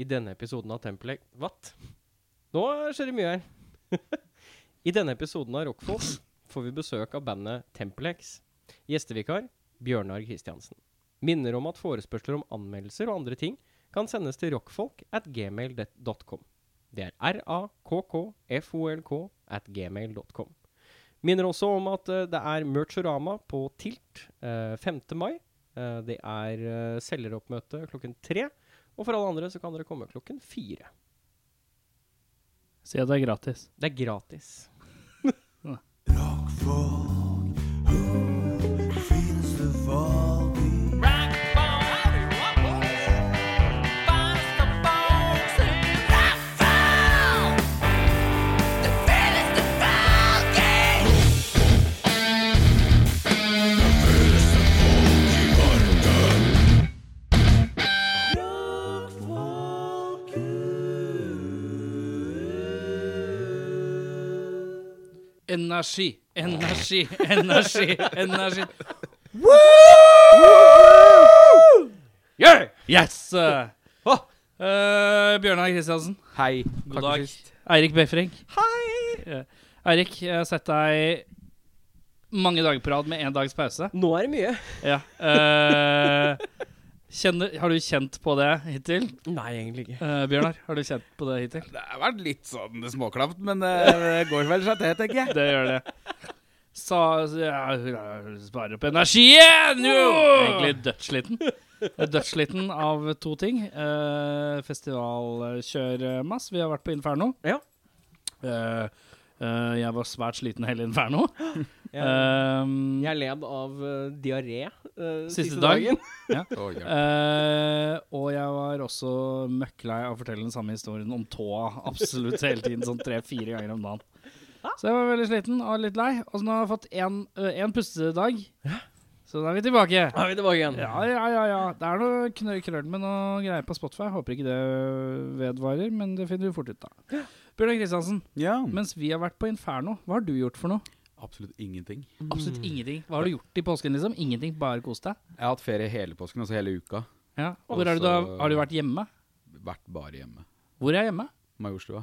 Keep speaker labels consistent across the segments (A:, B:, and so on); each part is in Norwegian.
A: I denne episoden av Tempelek... What? Nå skjer det mye her. I denne episoden av Rockfolk får vi besøk av bandet Tempelex. Gjestevikar Bjørnar Kristiansen. Minner om at forespørsler om anmeldelser og andre ting kan sendes til rockfolk at gmail.com. Det er r-a-k-k-f-o-l-k at gmail.com. Minner også om at eh, det er Merchorama på Tilt eh, 5. mai. Eh, det er eh, selgeroppmøte klokken tre. Og for alle andre så kan dere komme klokken fire.
B: Si at det er gratis.
A: Det er gratis.
B: Energi, energi, energi, energi.
A: Yeah!
B: Yes! Eh, eh, Bjørnar Kristiansen.
C: Hei.
B: God dag. Eirik Befring. Hei! Eirik, jeg har sett deg mange dager på rad med én dags pause.
A: Nå er det mye.
B: Ja. eh, kjenner, har du kjent på det hittil?
A: Nei, egentlig ikke.
B: Eh, Bjørnar, har du kjent på det hittil?
C: Det har vært litt sånn småklamt, men eh, det går vel seg til, tenker jeg.
B: Det gjør det. Sa ja, Sparer opp energien! Jo! Egentlig dødssliten. Jeg er Dødssliten av to ting. Eh, Festivalkjørmass. Vi har vært på Inferno.
A: Ja.
B: Eh, eh, jeg var svært sliten hele Inferno.
A: Jeg,
B: Eh,
A: jeg led av eh, diaré eh,
B: Siste dag.
C: Å, ja.
B: Eh, og jeg var også møkklei av å fortelle den samme historien om tåa absolutt hele tiden, sånn tre-fire ganger om dagen. Så jeg var veldig sliten og litt lei. Og så nå har jeg fått én pustedag, så da er vi tilbake.
A: Da er vi tilbake igjen.
B: Ja, ja, ja. ja. Det er noe knø- krøll med noe greier på Spotify. Jeg Håper ikke det vedvarer, men det finner du fort ut av. Bjørnar Kristiansen,
C: ja.
B: mens vi har vært på Inferno, hva har du gjort for noe?
C: Absolutt ingenting.
B: Absolutt ingenting. Hva har du gjort i påsken, liksom? Ingenting, bare kos deg.
C: Jeg har hatt ferie hele påsken, altså hele uka.
B: Ja. Hvor er du da? Har du vært hjemme?
C: Vært bare hjemme.
B: Hvor er jeg hjemme?
C: Majorstua.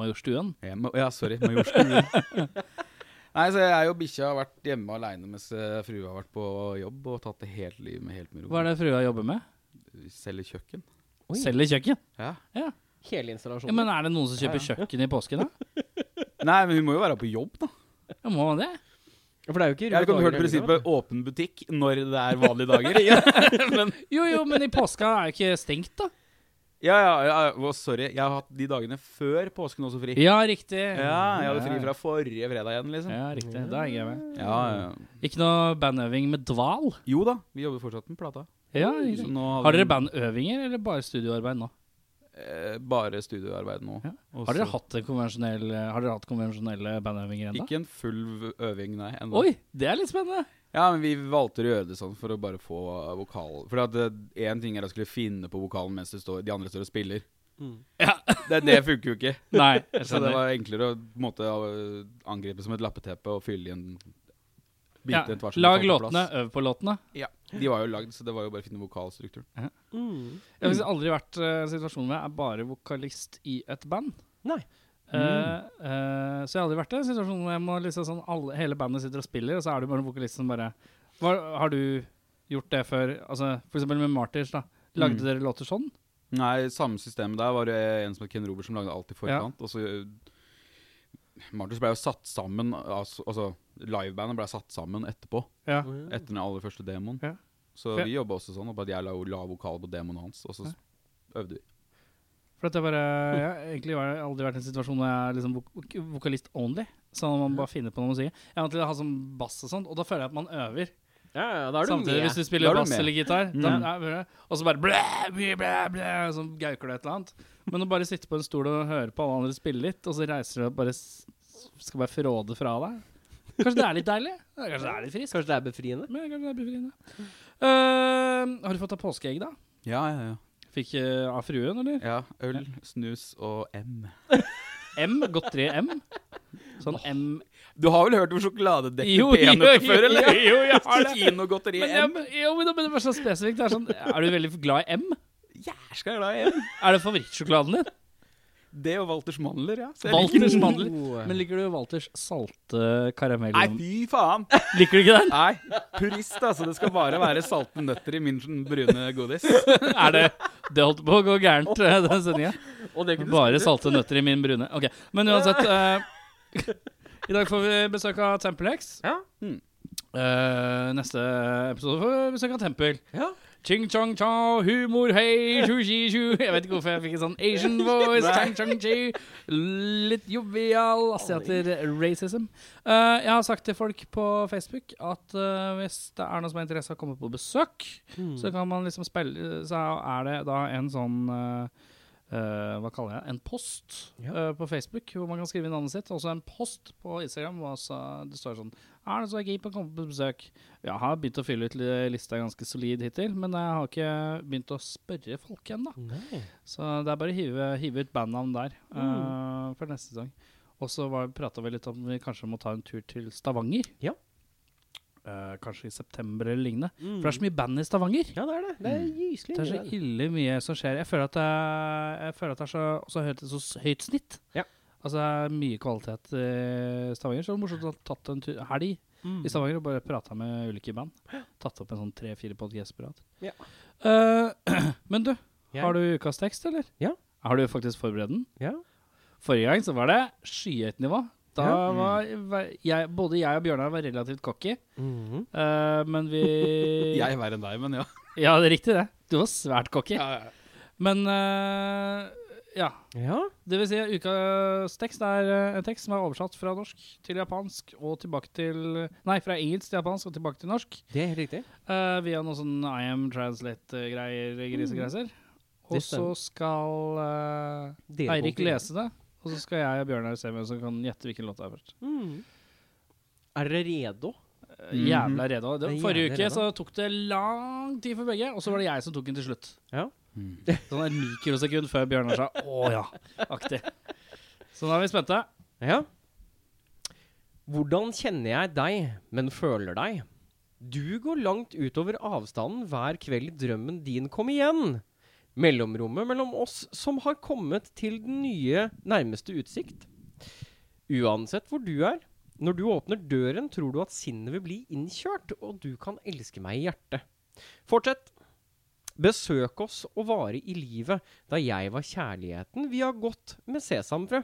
B: Majorstuen.
C: Ja, ma- ja, sorry. Majorstua. Nei, så jeg og bikkja har vært hjemme aleine mens eh, frua har vært på jobb og tatt det helt livet med helt med ro.
B: Hva er det frua jobber med?
C: Selger kjøkken.
A: Oi.
B: Selger kjøkken.
C: Ja.
A: Hele
B: Ja,
A: installasjonen.
B: men eh, er det noen som kjøper kjøkken i påsken, da?
C: Nei, men hun må jo være på jobb, da.
B: Ja, må man det?
A: For det er jo ikke
C: Jeg har ikke om du
A: dager
C: hørt
A: i uka.
C: prinsippet åpen butikk når det er vanlige dager. ja,
B: Jo, jo, men i påska er jo ikke stengt, da.
C: ja, ja, å, sorry. Jeg har hatt de dagene før påsken også fri.
B: Ja, riktig.
C: Ja, jeg hadde fri fra forrige fredag igjen, liksom.
B: Ja, riktig. Da henger jeg med.
C: Ja, ja.
B: Ikke noe bandøving med dval?
C: Jo da, vi jobber fortsatt med plata.
B: Ja,
C: Så
B: riktig.
C: nå
B: Har dere bandøvinger eller bare studioarbeid nå?
C: Eh, bare studioarbeid nå.
B: Ja.
C: Og
B: Har dere
C: så-
B: hatt, en konvensjonell, har dere hatt konvensjonelle bandøvinger ennå?
C: Ikke en full v- øving, nei. Enda.
B: Oi, det er litt spennende.
C: Ja, men vi valgte å gjøre det sånn for å bare få eh, vokal For én ting er å skulle finne på vokalen mens du står, de andre står og spiller.
A: Mm.
B: Ja.
C: Det, det funker jo ikke.
B: Nei, jeg
C: Så det
B: skjønner.
C: var enklere å på en måte, av- angripe som et lappeteppe og fylle igjen
B: Ja,
C: bite etter hvert som det
B: lag
C: falt på
B: låtene,
C: plass.
B: øv på låtene.
C: Ja, De var jo lagd, så det var jo bare å finne vokalstrukturen.
A: Mm.
B: Jeg har faktisk aldri vært eh, i en situasjon hvor jeg er bare vokalist i et band.
A: Nei.
B: Eh, eh, så jeg har aldri vært i en situasjon hvor jeg må liksom sånn alle, hele bandet sitter og spiller, og så er det bare en vokalist som bare hva, Har du gjort det før? Altså, for eksempel med Martyrs, da. Lagde
C: Mm.
B: dere låter sånn?
C: Nei, samme systemet der var det en som het Ken Robert som lagde alt i forkant. Og så eh, Martus ble jo satt sammen, altså, altså livebandet ble satt sammen etterpå.
B: Ja.
C: Etter den aller første demoen.
B: Ja.
C: Så
B: For-
C: vi jobba også sånn, og bare jeg la, la vokal på demoen hans, og så s- øvde vi.
B: For at jeg bare Jeg har egentlig var- aldri vært i en situasjon hvor jeg er liksom vok vokalist only. Sånn at man bare finner på noe å si. Jeg har til å ha sånn bass og sånt, og da føler jeg at man øver.
A: Ja, ja, da er du
B: Samtidig,
A: med.
B: hvis du
C: Da
B: spiller
C: er du
B: bass
C: med.
B: eller gitar, da,
C: Mm.
B: ja, bare- og så bare blæ, blæ, blæ, blæ, så gauker du et eller annet. Men å bare sitte på en stol og høre på alle andre spille litt, og så reiser du og bare s- skal bare fråde fra deg Kanskje det er litt deilig? Ja, Kanskje det er litt friskt?
A: Kanskje det er befriende?
B: Men kanskje det er befriende. Eh, har du fått deg påskeegg, da?
C: Ja, ja, ja.
B: Fikk eh, av fruen, eller?
C: ja øl, snus og M.
B: M? Godteri M? Sånn M
C: Du har vel hørt om sjokoladedekket
B: Jo, jo,
C: peanøtter
B: jo,
C: før, eller?
B: jo, jo, jeg har det.
C: Kinogodteri
B: Men,
C: M.
B: jeg, jo, men det var så spesifikt. Det er, sånn, er du veldig glad i M?
C: jæskla glad i en.
B: Er det favorittsjokoladen din?
C: Det og Walters mandler, ja. Så jeg liker-
B: Walters mandler.
A: Oh.
B: Men liker du Walters salte karamell?
C: Nei, fy faen!
B: Liker du ikke den?
C: Nei, purist, altså. Det skal bare være salte nøtter i min sånn brune godis.
B: Er det Det holdt på å gå gærent, eh, den sendinga.
A: Og det kunne
B: Bare salte nøtter i min brune. Ok, Men uansett eh, I dag får vi besøk av Tempel X.
A: Ja.
C: Mm.
B: Eh, neste episode får vi besøk av Tempel.
A: Ja.
B: Ching chong chao, humor hei, shu shi shu Jeg vet ikke hvorfor jeg fikk en sånn Asian voice. Chang chong chi. Litt jovial asiater racism. Eh, jeg har sagt til folk på Facebook at eh, hvis det er noen som har interesse av å komme på besøk, så kan man liksom spille Så er det da en sånn eh, eh, hva kaller jeg det? En post
A: Ja.
B: eh, på Facebook hvor man kan skrive inn navnet sitt. Også en post på Instagram hvor også det står sånn Er det så jeg på å komme på besøk? Jeg har begynt å fylle ut li- lista ganske solid hittil, men jeg har ikke begynt å spørre folk ennå.
A: Nei.
B: Så det er bare å hive, hive ut bandnavn der eh,
A: Mm.
B: for neste sesong. Og så prata vi litt om vi kanskje må ta en tur til Stavanger.
A: Ja.
B: Eh, kanskje i september eller lignende. For det er så mye band i Stavanger.
A: Mm. Ja, det er det. Det er gyselig.
B: Mm. Det er så
A: mye.
B: ille mye som skjer. Jeg føler at det, jeg føler at det er så, så høyt, så s- høyt snitt.
A: Ja.
B: Altså det er mye kvalitet i Stavanger. Så det var morsomt å ha tatt en tur helg
A: Mm.
B: i Stavanger og bare prata med ulike band. Tatt opp en sånn tre-fire podkast på rad.
A: Ja.
B: Eh, men du,
A: Jeg-
B: har du ukas tekst, eller?
A: Ja.
B: Har du faktisk forberedt den?
A: Ja.
B: Forrige gang så var det skyhøyt nivå. Da
A: Ja.
B: var var jeg, både jeg og Bjørnar var relativt cocky,
A: Mhm.
B: eh, men vi
C: Jeg verre enn deg, men ja.
B: Ja, det er riktig det. Du var svært cocky.
C: ja, ja.
B: Men eh, ja.
A: Ja.
B: Det vil si at ukas tekst er eh, en tekst som er oversatt fra norsk til japansk og tilbake til Nei, fra engelsk til japansk og tilbake til norsk.
A: Det er helt riktig.
B: eh, via noen sånn I am translate-greier, grisegreiser. Og
A: Mm. Det
B: så
A: stemmer.
B: skal eh,
A: Dere
B: Eirik
A: konkurrerer.
B: lese det. Og så skal jeg og Bjørnar se hvem som kan gjette hvilken låt det er først.
A: Mhm. Er dere redo?
B: Eh, Jævla redo. Det,
A: Det er
B: forrige
A: jævlig
B: uke
A: redo.
B: så tok det lang tid for begge, og så var det jeg som tok den til slutt.
A: Ja.
B: Sånn en mikrosekund før Bjørnar sa 'å ja', aktig. Så nå er vi spente.
A: Ja. Hvordan kjenner jeg deg, men føler deg? Du går langt utover avstanden hver kveld drømmen din kom igjen. Mellomrommet mellom oss som har kommet til den nye, nærmeste utsikt. Uansett hvor du er, når du åpner døren tror du at sinnet vil bli innkjørt, og du kan elske meg i hjertet. Fortsett. Besøk oss og vare i livet, da jeg var kjærligheten vi har gått med sesamfrø.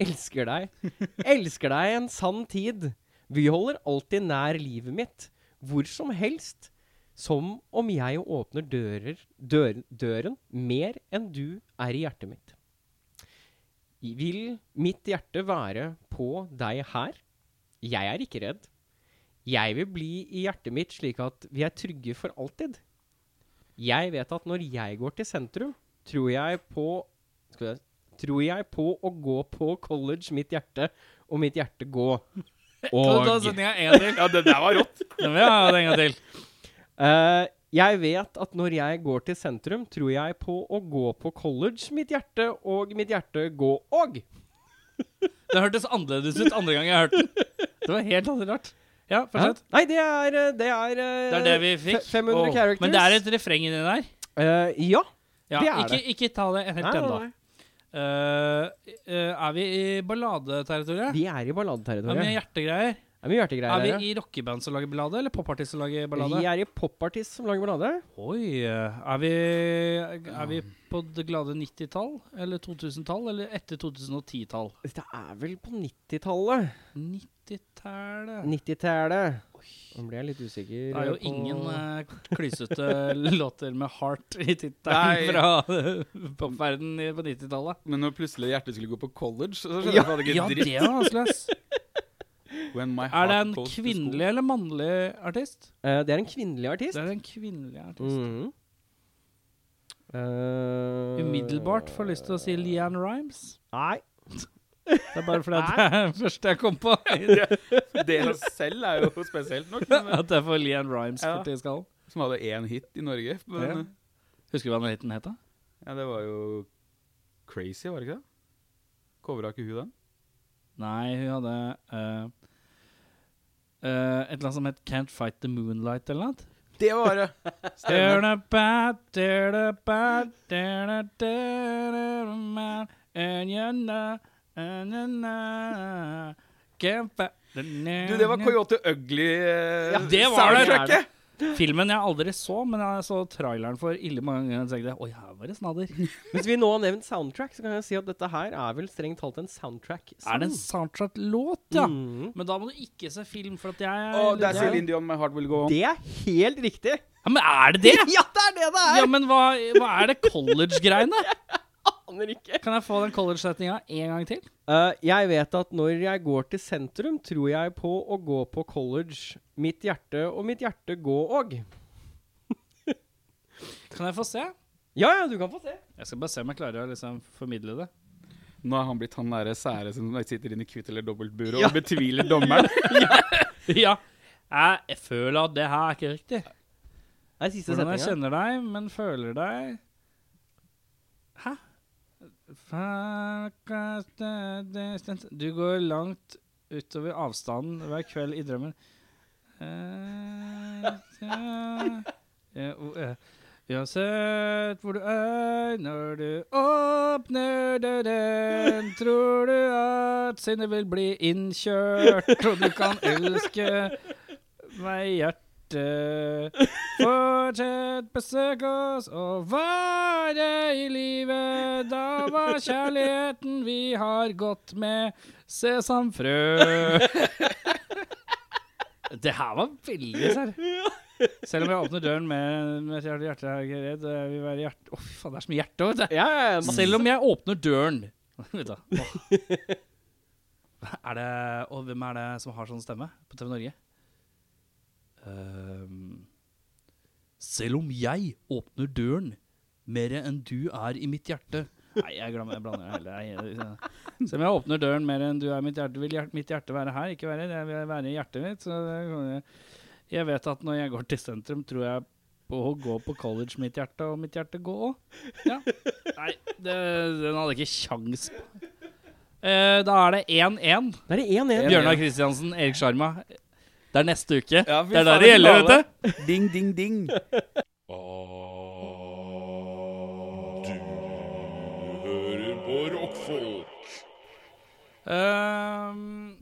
A: Elsker deg. Elsker deg en sann tid. Vi holder alltid nær livet mitt. Hvor som helst. Som om jeg åpner dører, dør, døren mer enn du er i hjertet mitt. I- Vil mitt hjerte være på deg her? Jeg er ikke redd. Jeg vil bli i hjertet mitt slik at vi er trygge for alltid. Jeg vet at når jeg går til sentrum, tror jeg på Skal vi se tror jeg på å gå på college mitt hjerte, og mitt hjerte gå.
B: Kan du ta
A: Og
B: sendinga én til?
C: ja det der var rått.
B: Den vil jeg ha en gang til.
A: Eh, jeg vet at når jeg går til sentrum, tror jeg på å gå på college mitt hjerte, og mitt hjerte gå og.
B: Det hørtes annerledes ut andre gang jeg hørte den. Det var helt annerledes rart. Ja, fortsett.
A: Nei, det er eh, Det er, eh,
B: Det er det vi fikk.
A: fe- 500
C: Åh,
A: characters.
B: Men det er et refreng inni der.
A: Eh, Ja.
B: Ja,
A: Det er
B: ikke, ikke ta det helt
A: Nei,
B: ennå.
A: nei,
B: Eh, eh, er vi i balladeterritoriet?
A: Vi er i
B: Det er mye
A: balladeterritoriet.
B: hjertegreier.
A: Det er mye hjertegreier
B: Er
A: her.
B: vi i rockeband som lager ballade, eller popartist som lager ballade?
A: Vi er i popartist som lager ballade.
B: Oi. Er vi, er vi på det glade 90-tall? Eller 2000-tall? Eller etter 2010-tall?
A: Dette er vel på 90-tallet.
B: 90-tallet
A: 90-tallet. Nå ble jeg litt usikker.
B: Det er jo
A: på-
B: ingen eh, klysete låter med heart i
C: Nei.
B: tittelen fra eh, popverden i- på 90-tallet.
C: Men når plutselig hjertet skulle gå på college, så skjønner
A: Ja,
C: jeg at det
B: Ja,
C: ikke dritt.
B: det var vanskelig, ass.
C: When my
B: Er det
C: heart
B: en
C: goes to
B: kvinnelig eller mannlig artist?
A: Eh, Det er en kvinnelig
B: Det
A: artist.
B: er en kvinnelig artist.
A: Mhm. Eh,
B: Umiddelbart får jeg lyst til å si Leanne Rhymes.
A: Nei.
B: Det er bare fordi at det er det første jeg kom på. At
C: school. Det i seg selv er jo spesielt nok. men-
B: jeg får Leanne Rhymes
C: Ja.
B: fort i skallen.
C: Som hadde én hit i Norge.
B: Ja.
C: Men
B: Husker du hva den hiten het, da?
C: ja, det var jo crazy, var det ikke det? Covra ikke hun den?
B: Nei, hun hadde eh, eh, et eller annet som het Can't Fight The Moonlight eller noe. annet.
C: Det var det! Stemmer.
B: Dødebæ, dødebæ, dødebæ, dødebæ, ønjønna, ønjønna, kæmpe,
C: Du, det var Coyote Ugly eh,
A: Ja,
B: det var det.
C: soundtracket.
B: Filmen jeg aldri så, men jeg så traileren for ille mange ganger. og tenkte jeg, Oi, her var det snadder.
A: Hvis vi nå har nevnt soundtrack, så kan jeg si at dette her er vel strengt talt en soundtrack.
B: Er det en soundtrack-låt, ja?
A: Mm.
B: Men da må du ikke se film, for at jeg
C: Og det er
B: jeg-
C: Céline Dion, 'My Heart Will Go On'.
A: Det er helt riktig!
B: Ja, men er det det?
A: Ja, det er det det er!
B: Ja, men hva, hva er det college-greiene?
A: Aner ikke.
B: Kan jeg få den college-setninga en gang til?
A: Eh, jeg vet at når jeg går til sentrum, tror jeg på å gå på college. Mitt hjerte og mitt hjerte gå òg.
B: Kan jeg få se?
A: Ja, ja, du kan få se.
B: Jeg skal bare se om jeg klarer å liksom formidle det.
C: Nå er han blitt han nære sære som sitter inne i kvitt eller dobbeltburet
A: Ja.
C: og betviler dommeren.
B: Ja. Jeg, jeg føler at det her er ikke riktig.
A: Det er siste
B: Hvordan jeg
A: setninga.
B: kjenner deg, men føler deg Hæ? Fuck Du går langt utover avstanden hver kveld i drømmen. Eh, ja. Ja, o- eh. Uansett hvor du er, når du åpner døren, tror du at sinnet vil bli innkjørt, og du kan elske meg i hjertet. Fortsett, besøk oss og vare i livet. Da var kjærligheten vi har gått med, sesamfrø. Det her var veldig sær. Selv om jeg åpner døren med, med et hjerte, hjerte er jeg ikke redd. Jeg vil være hjerte... Å, fy faen, det er så mye hjerte. vet du.
A: Ja, ja, ja. masse-
B: Selv om jeg åpner døren Vet du, åh. Er det Og hvem er det som har sånn stemme på TV Norge? Ehm, selv om jeg åpner døren mer enn du er i mitt hjerte Nei, jeg, glemmer, jeg blander hele. Jeg, selv om jeg åpner døren mer enn du er i mitt hjerte, vil hjert, mitt hjerte være her, ikke være Jeg vil være i hjertet mitt. Så det, kan jeg- jeg vet at når jeg går til sentrum, tror jeg på å gå på college mitt hjerte, og mitt hjerte gå òg. Ja. Nei, det, den hadde ikke kjangs på. Eh, da er det 1-1.
A: Da er det 1-1.
B: Bjørnar Kristiansen, Erik Sjarma. Det er neste uke.
C: Ja, fy
B: det er der
C: faen,
B: det gjelder,
C: finale.
B: vet du.
C: Ding, ding, ding.
D: hører på rockfolk.
B: Eh,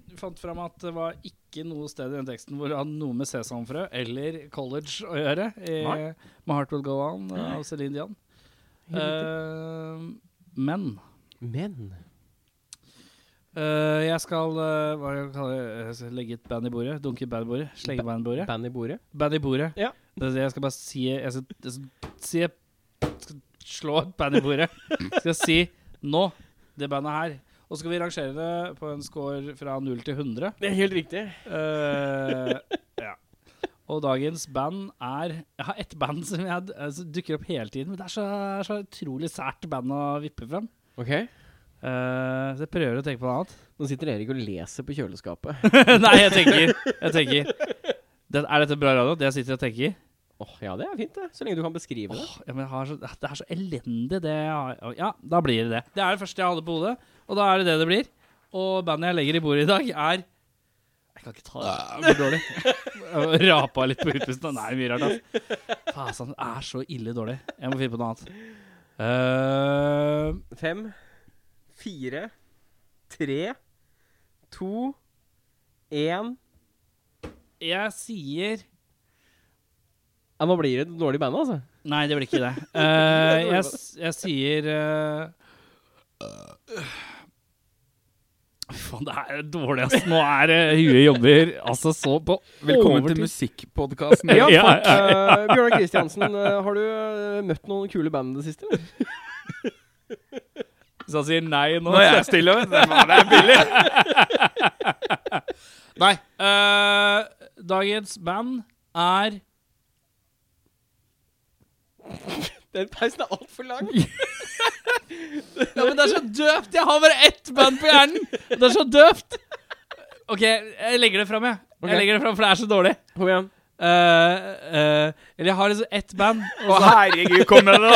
B: vi fant fram at det var ikke noe sted i den teksten hvor det hadde noe med sesamfrø eller college å gjøre. I
A: Nei.
B: My Heart Will Go On av Celine Dion. Eh, men
A: Men
B: eh, jeg skal eh, hva jeg kaller det? Jeg skal legge et band i bordet. Dunke et band i bordet. Slenge band i bordet.
A: band i bordet.
B: Band i bordet.
A: Ja.
B: Det, det, jeg skal bare si Jeg skal, jeg skal, si, skal slå et band i bordet. Skal si nå, det bandet her. Og så skal vi rangere det på en score fra 0 til 100.
A: Det er helt riktig.
B: Eh, ja. Og dagens band er Jeg har ett band som jeg, eh, som dukker opp hele tiden. Men det er så, så utrolig sært band å vippe frem.
A: Ok,
B: Eh, så jeg prøver å tenke på noe annet.
A: Nå sitter Erik og leser på kjøleskapet.
B: Nei, jeg tenker. Jeg tenker. Det, er dette bra radio? Det jeg sitter og tenker?
A: Åh, Ja, det er fint, det. Så lenge du kan beskrive det.
B: Åh, ja, men jeg har så, det er så elendig, det jeg har. Ja, da blir det det. Det er det første jeg hadde på hodet, og da er det det det blir. Og bandet jeg legger i bordet i dag, er Jeg kan ikke ta det. Det blir dårlig. Jeg Rapa litt på utpusten. Nei, mye rart, altså. Fasan, det er så ille dårlig. Jeg må finne på noe annet. Eh,
A: Fem, fire, tre, to, én
B: Eh, jeg sier
A: ja, Nå blir det et dårlig band, altså.
B: Nei, det blir ikke det. Eh, jeg, s- jeg sier eh, Fy Faen, det er dårlig, ass. Nå er det huet jobber altså så på
C: Velkommen
B: overtid.
C: til musikkpodkasten.
A: Ja,
B: Ja,
A: fuck.
B: ja,
A: Eh, Bjørnar Kristiansen, eh, har du eh, møtt noen kule band i det siste? eller?
B: Så han sier nei nå.
C: Nå er jeg stille, vet du. Det er billig.
B: Nei. Eh, dagens band er
A: Den pausen er altfor lang.
B: Ja, men det er så døvt! Jeg har bare ett band på hjernen! Det er så døvt! OK, jeg legger det fram, jeg.
A: Ok.
B: Jeg legger det fram, For det er så dårlig.
A: Kom igjen.
B: Eh, eh, eller jeg har liksom ett band.
C: Å, herregud, kom med det, da.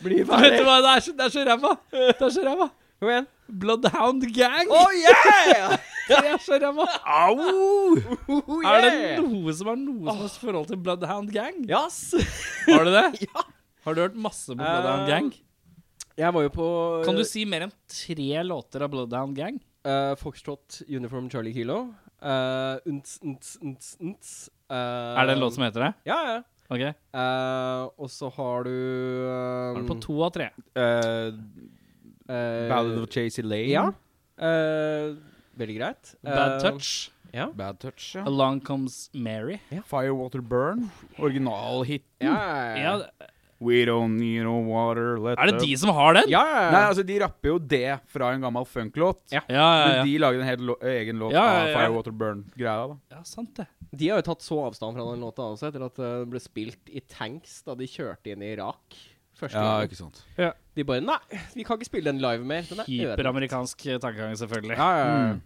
A: Bli
B: Vet du
A: ferdig.
B: hva, det er så- det er så ræva! Det er så ræva.
A: Kom igjen.
B: Bloodhound Gang.
A: Oh, yeah!
B: Det er så ræva!
C: Au!
A: Oh,
B: Er det noe som er noe som har forhold til Bloodhound Gang?
A: Yes!
B: Har du det? Har du hørt masse på
A: Eh,
B: Bloodhound
A: øh,
B: Gang?
A: Jeg var jo på
B: Kan du si mer enn tre låter av Bloodhound Gang?
A: eh, Foxtrot Uniform Charlie Kilo. eh, unts, unts, unts, unts. eh,
B: Er det en låt som heter det?
A: Ja, ja.
B: Ok,
A: Eh, og så har du eh,
B: Er det på to av tre?
C: Eh,
A: eh,
C: Ballad of Chasey Lane.
A: Ja. eh, veldig greit.
B: Bad
A: Eh,
B: Touch,
A: Ja.
C: Bad Touch. Ja.
B: Along Comes Mary.
C: Firewater Burn. Originalhit.
A: Ja,
B: Ja,
A: ja,
C: We don't need no water. Let
B: er det
C: the-
B: de som har den?
A: ja.
C: Nei, altså, de rapper jo det fra en gammel funklåt.
A: Ja.
B: ja, ja.
C: Men
B: ja.
C: de lager en helt lo egen låt
B: Ja, ja,
C: av
B: ja.
C: Firewater Burn-greia. da
B: ja sant det.
A: De har jo tatt så avstand fra den låta også, etter at eh, den ble spilt i tanks da de kjørte inn i Irak. Første
C: Ja,
A: gang.
C: ikke sant.
A: De bare Nei, vi kan ikke spille den live mer. Den er ødelagt."
B: Hyperamerikansk eh, tankegang, selvfølgelig.
A: Ja, ja, ja.
C: Mm.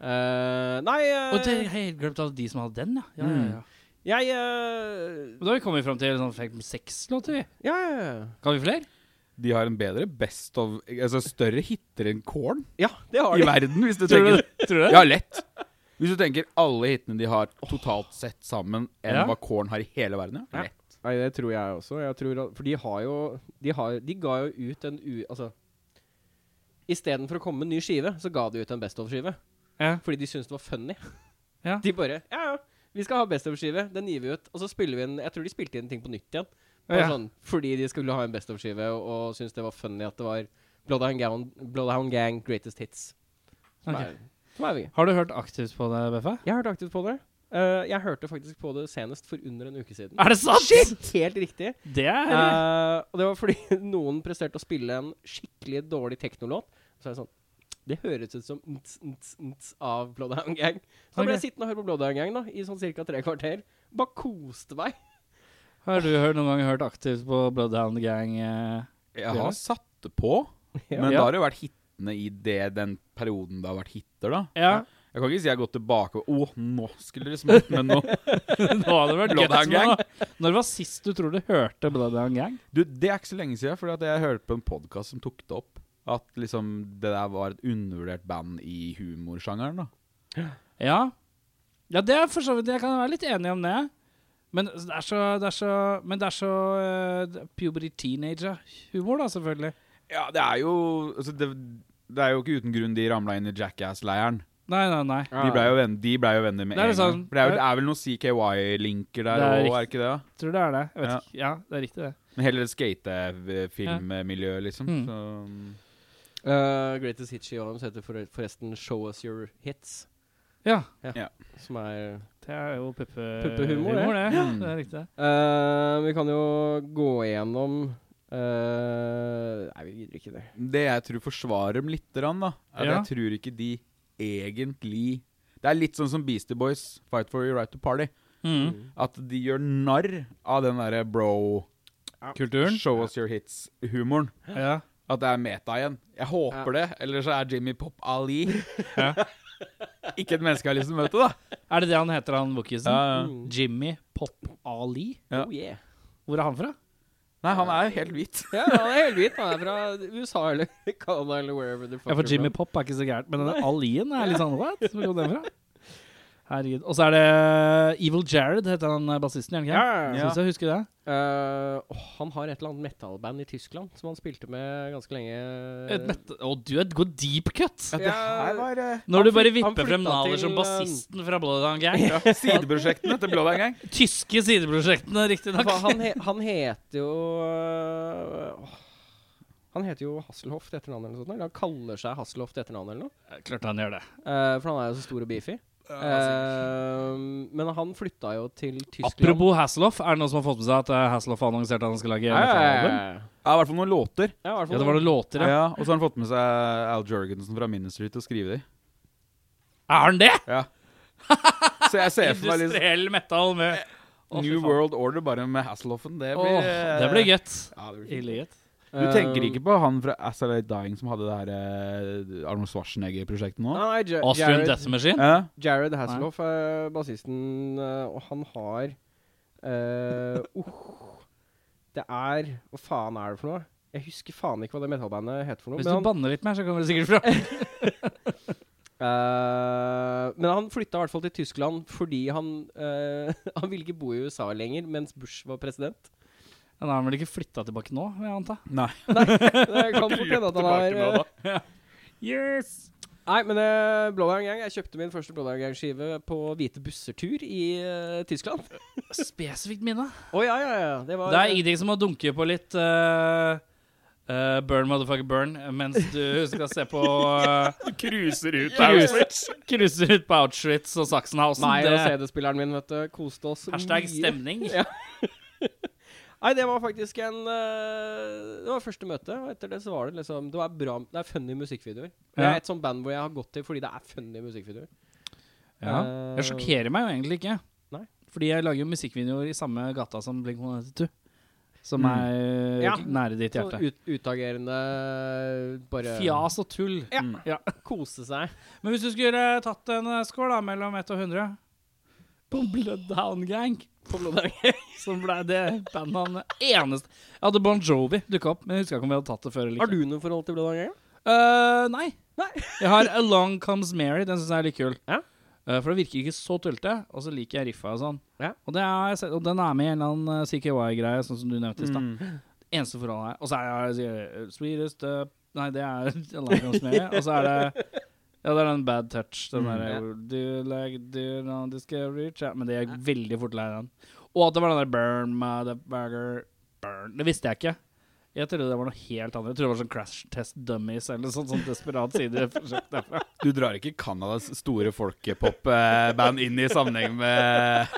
A: Eh, nei, eh,
B: Og det jeg har helt glemt alle de som hadde den, ja. ja, ja,
A: Mm.
B: ja.
A: jeg eh,
B: Men Da har vi kommet fram til sånn fem-seks låter. vi.
A: Ja, ja, ja.
B: Kan vi flere?
C: De har en bedre best of Altså større hitter enn Korn
A: Ja, det har
C: i
A: de.
C: verden, hvis du tenker
B: Tror du det?
C: Ja, lett. Hvis du tenker alle hitene de har totalt sett sammen, enn
B: Ja.
C: hva Korn har i hele verden.
A: Ja.
C: Ja. Lett.
A: Nei, det tror jeg også. Jeg tror at, for de har jo De, har, de ga jo ut en u... Altså Istedenfor å komme med en ny skive, så ga de ut en Best of-skive.
B: Ja.
A: Fordi de syntes det var funny.
B: Ja.
A: De bare Ja, ja, vi skal ha Best of-skive. Den gir vi ut. Og så spiller vi en Jeg tror de spilte inn ting på nytt igjen. Bare
B: Ja.
A: sånn, fordi de skulle ha en Best of-skive og, og syntes det var funny at det var Bloodhound Gang, Bloodhound Gang Greatest Hits. Som
B: Ok.
A: er, som er vi.
B: Har du hørt aktivt på det, Beffa?
A: Jeg hørte aktivt på det. Eh, jeg hørte faktisk på det senest for under en uke siden.
B: Er det sant?
A: Helt riktig.
B: Det er
A: Eh, og det var fordi noen presterte å spille en skikkelig dårlig teknolåt. Så er det sånn Det høres ut som nt, nt, nt av Bloodhound Gang. Så da ble jeg sittende og høre på Bloodhound Gang da i sånn ca. tre kvarter. Bare koste meg.
B: Har du hørt, noen gang hørt aktivt på Bloodhound Gang? eh?
C: Jeg
B: Ja.
C: har satt det på,
A: Ja.
C: men
B: Ja.
C: da har det jo vært hittene i det, den perioden det har vært hitter, da.
B: Ja.
C: Jeg kan ikke si jeg har gått tilbake og Å, nå skulle det smelt, men nå
B: Nå hadde det vært
C: Bloodhound
B: gøy. Gang. Når var sist du tror du hørte Bloodhound Gang?
C: Du, det er ikke så lenge siden, for jeg hørte på en podkast som tok det opp. At liksom det der var et undervurdert band i humorsjangeren, da.
B: Ja. Ja, det er for så vidt Jeg kan være litt enig om det. Men det er så, det er så, men det er så eh, puberty teenager-humor, da, selvfølgelig.
C: Ja, det er jo altså det, det er jo ikke uten grunn de ramla inn i Jackass-leiren.
B: Nei, nei, nei.
C: De blei jo, venn, de ble jo venner med
B: Det er
C: en
B: litt
C: gang.
B: sånn-
C: For det er, jo, det er vel noen CKY-linker der
B: Det er
C: òg,
B: riktig.
C: er det ikke det? da?
B: Jeg tror det er det. Jeg vet
C: Ja.
B: ikke. Ja, det er riktig, det.
C: Men hele det skatefilmmiljøet, liksom.
B: Mm.
C: Så,
A: Eh, Greatest Hits Shivam heter for, forresten Show Us Your Hits.
B: Ja.
A: Som er
B: Det er jo puppe
A: Puppehumor, det.
B: humor, det.
C: Mm.
B: Det er riktig.
A: Eh, Vi kan jo gå igjennom eh, Nei, vi gidder ikke det.
C: det jeg tror forsvarer dem lite grann, da, er at
B: Ja.
C: jeg tror ikke de egentlig Det er litt sånn som Beastie Boys, Fight for your right to party.
B: Mm.
C: At de gjør narr av den derre bro
B: Kulturen.
C: Show us your hits-humoren.
B: Ja.
C: At det er meta igjen. Jeg håper det, eller så er Jimmy Pop Ali
B: Ja.
C: ikke et menneske jeg har lyst til å møte, da.
B: Er det det han heter, han bookisen?
A: Mm.
B: Jimmy Pop Ali?
C: Ja.
A: Oh, yeah.
B: Hvor er han fra?
C: Nei, han er jo helt hvit.
A: Ja, han er helt hvit. Han er fra USA eller Canada eller wherever the fuck
B: Ja, for
A: you're
B: Jimmy
A: from.
B: Pop er ikke så gærent, men denne Alien er litt sånn What? Hvor kom den fra? Herregud. Og så er det Evil Jared, heter han eh, bassisten, gjør han ikke?
A: Ja, ja, ja.
B: Syns jeg husker det.
A: Eh, åh, han har et eller annet metallband i Tyskland som han spilte med ganske lenge.
B: Et mette... Å, du er et god deep cut!
A: det her var, eh,
B: Når du
A: Han
B: bare
A: flyt- han
B: vipper frem
A: flytta
B: Nahler
A: til,
B: som
A: eh,
B: bassisten fra Bloodhound Gang.
C: Sideprosjektene til Blå en gang.
B: Tyske sideprosjektene, riktignok.
A: Hva, han, he, han heter jo eh, åh, Han heter jo Hasselhoff til etternavn eller noe sånt. Eller han kaller seg Hasselhoff til etternavn eller noe.
B: Klart han gjør det.
A: Eh, for han er jo så stor og beefy. Eh, men han flytta jo til Tyskland.
B: Apropos Hasselhoff, er det noen som har fått med seg at eh, Hasselhoff har annonsert at han skal lage
A: Ja, ja, ja,
B: metallalbum?
A: ja.
C: Ja, I hvert fall noen låter.
A: Ja, i hvert
B: Ja,
A: fall sånn.
B: det var noen låter, ja.
C: Ja, Og så har han fått med seg Al Jorgensen fra Ministry til å skrive dem.
B: Er han det?!
C: Ja. Så jeg ser for meg liksom- litt
B: Industriell metal med Å, fy
C: New
B: faen.
C: World Order bare med Hasselhoffen. Det blir eh,
B: Åh, det blir gøtt.
C: Ja, det blir fint.
B: Ille gøtt.
C: Du tenker ikke på han fra Assalate Dying som hadde det her eh, Arnold Schwarzenegger-prosjektet nå?
A: Eh, Nei, Ja-
B: Austrian
A: Jared-
B: Death Machine.
C: Ja.
A: Jared Hasselhoff er bassisten, eh, og han har eh, uh, Det er Hva faen er det for noe? Jeg husker faen ikke hva det metallbandet heter for noe.
B: Hvis du
A: Men han,
B: banner litt mer, så kommer du sikkert fra.
A: Eh, men han flytta i hvert fall til Tyskland fordi han eh, Han ville ikke bo i USA lenger mens Bush var president.
B: Men da har han vel ikke flytta tilbake nå, vil jeg anta?
C: Nei.
A: Det kan fort hende at han har eh,
B: Yes!
A: Nei, men uh, Blåbær Gang Jeg kjøpte min første Blåbær Gang-skive på Hvite busser-tur i eh, Tyskland. Å
B: Spesifikt minne.
A: ja, ja, ja. Det var
B: Det er ingenting som å dunke på litt eh, eh, burn, motherfucker, burn, mens du skal se på eh,
E: Cruiser ut
B: Cruise- Cruiser ut på Auschwitz og Sachsenhausen.
A: Nei, og
B: det,
A: CD-spilleren min, vet du. Koste oss
B: hashtag
A: mye.
B: stemning.
A: Ja. Nei, det var faktisk en eh, Det var første møte, og etter det så var det liksom Det, var bra, det er funny musikkvideoer. Det
B: Ja.
A: er et sånt band hvor jeg har gått til fordi det er funny musikkvideoer.
B: Ja.
A: Eh,
B: Jeg sjokkerer meg jo egentlig ikke.
A: Nei.
B: Fordi jeg lager jo musikkvideoer i samme gata som Blink-182. Som
C: Mm.
B: er eh,
A: Ja.
B: nære ditt
A: Sånn
B: hjerte.
A: ut, utagerende Bare
B: Fjas og tull.
A: Ja.
C: Mm.
A: ja. Kose seg.
B: Men hvis du skulle tatt en eh, skål da, mellom 1 og 100 På Blood Down Gang,
A: På Blåbær Gang.
B: som ble det bandnavnet eneste Jeg hadde Bon Jovi dukka opp, men jeg husker ikke om vi hadde tatt det før. eller
A: Har
B: ikke.
A: du noe forhold til Blåbær Gang?
B: Eh, nei.
A: Nei.
B: jeg har Along Comes Mary. Den syns jeg er litt kul.
A: Ja.
B: Eh, for det virker ikke så tullete, og så liker jeg riffa og sånn.
A: Ja.
B: Og, det har jeg sett, og den er med i en eller annen eh, CKY-greie, sånn som du nevnte i stad.
C: Mm.
B: Eneste forholdet her. Og så er det eh, Sweetest eh, Nei, det er Along Comes Mary. Og så er det Ja, det er den Bad Touch. Den
C: Mm.
B: derre
A: Ja.
B: Do you like do you know this can reach out? Men det er jeg veldig fort lei av. den. Og at det var den der Burn motherfucker Burn. Det visste jeg ikke. Jeg trodde det var noe helt annet. Jeg trodde det var sånn Crash Test Dummies eller noe sånt, sånn desperat sideprosjekt derfra.
C: Du drar ikke Canadas store folkepopband inn i sammenheng med,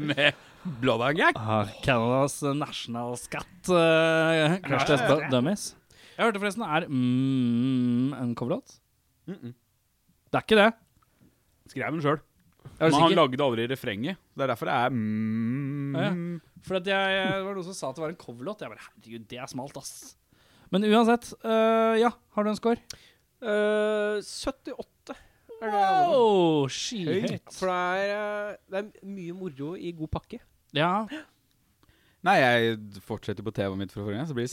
C: med Blåbær Gang?
B: Ah, Canadas nasjonalskatt. Uh, Crash Test Du- Dummies. Jeg hørte forresten er mm, en coverlåt. Det er ikke det.
C: Skrev den sjøl.
B: Jeg var
C: Men han
B: sikker.
C: lagde aldri refrenget. Det er derfor det er mm,
B: Ja, ja. For at jeg, det var noen som sa at det var en coverlåt. Jeg bare, herregud, det er smalt, ass. Men uansett, eh, ja, har du en score?
A: Eh, 78. Er det jeg hadde på.
B: Wow,
A: For
B: skyhøyt.
A: det er, eh, det er mye moro i god pakke.
B: Ja,
C: Nei, jeg fortsetter på TV-et mitt fra forrige gang, så blir det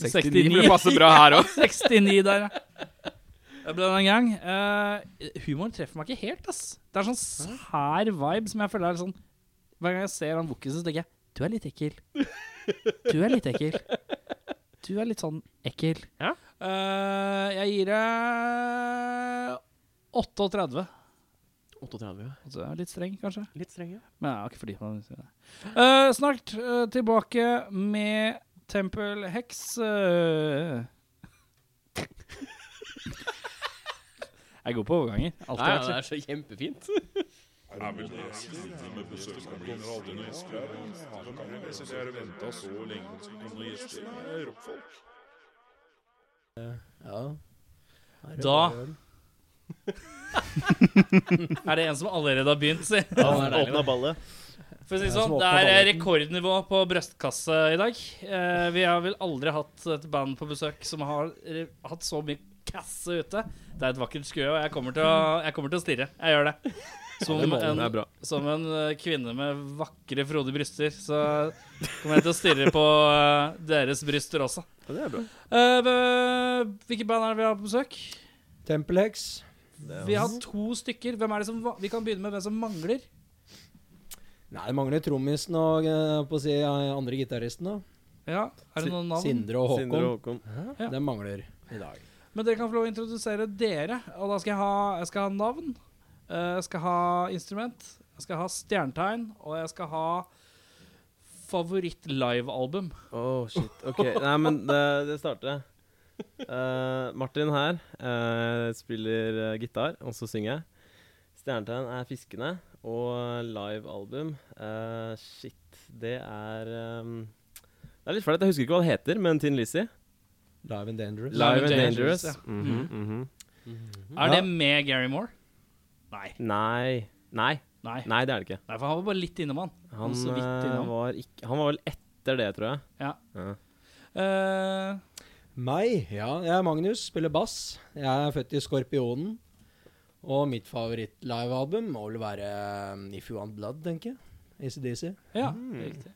B: 69.
C: 69. For det passer bra her òg.
B: 69 der, ja. Jeg ble den en gang. Eh, humoren treffer meg ikke helt, ass. Det er sånn sær vibe som jeg føler er sånn Hver gang jeg ser han Wookisen, så tenker jeg du er litt ekkel. Du er litt ekkel. Du er litt sånn ekkel.
A: Ja.
B: Eh, jeg gir deg 38.
A: 38, ja.
B: Altså, jeg er litt streng, kanskje.
A: Litt streng, ja.
B: Men jeg har ikke fordypet meg. i det. Eh, snart eh, tilbake med Temple Hex. eh. jeg er god på overganger. Alltid
A: Nei, ja,
B: vært
A: det
B: det.
A: er så kjempefint. Ja.
B: Da er det en som allerede har begynt, si.
E: Ja,
A: det er deilig,
E: åpna ballet.
B: For å si det sånn, det er rekordnivå på brystkasse i dag. Eh, vi har vel aldri hatt et band på besøk som har eh, hatt så mye kasse ute. Det er et vakkert skue, og jeg kommer til å, jeg kommer til å stirre. Jeg gjør det. Som en, som en eh, kvinne med vakre, frodige bryster, så kommer jeg til å stirre på eh, deres bryster også.
E: det er bra.
B: Eh, hva- hvilke band er det vi har på besøk?
F: Tempelhex.
B: Vi har to stykker. Hvem er det som, va- vi kan begynne med hvem som mangler.
F: Nei, det mangler trommisen og eh, på å si, eh, andre gitaristen. da.
B: Ja, Er det noen navn?
F: Sindre og Håkon.
E: Sindre og Håkon.
B: Ja.
F: Den mangler i dag.
B: Men dere kan få lov å introdusere dere. Og da skal jeg ha, jeg skal ha navn, eh, jeg skal ha instrument, jeg skal ha stjernetegn, og jeg skal ha favoritt-livealbum.
E: Åh, Oh, shit. Ok, nei, men det, det starter jeg. Eh, Martin her eh, spiller eh, gitar, og så synger jeg. Stjernetegn er Fiskene, og livealbum eh, Shit, det er ehm, Det er litt flaut, jeg husker ikke hva det heter, men Tin Lizzie.
F: Live and Dangerous.
E: Live and
B: Dangerous,
E: Dangerous.
B: ja.
E: Mhm, mhm.
B: Er det med Gary Moore? Nei.
E: Nei. Nei,
B: Nei,
E: nei, det er det ikke.
B: Nei for han var bare litt innom, han.
E: Han,
B: Så vidt
E: eh,
B: innom.
E: var ikke, han var vel etter det, tror jeg.
B: Ja.
E: Ja.
B: Eh,
F: Meg? Ja, jeg er Magnus, spiller bass. Jeg er født i Skorpionen. Og mitt favoritt-livealbum må vel være eh, If You Want Blood, tenker jeg. ACDC.
B: ja,
E: Mm.
B: riktig.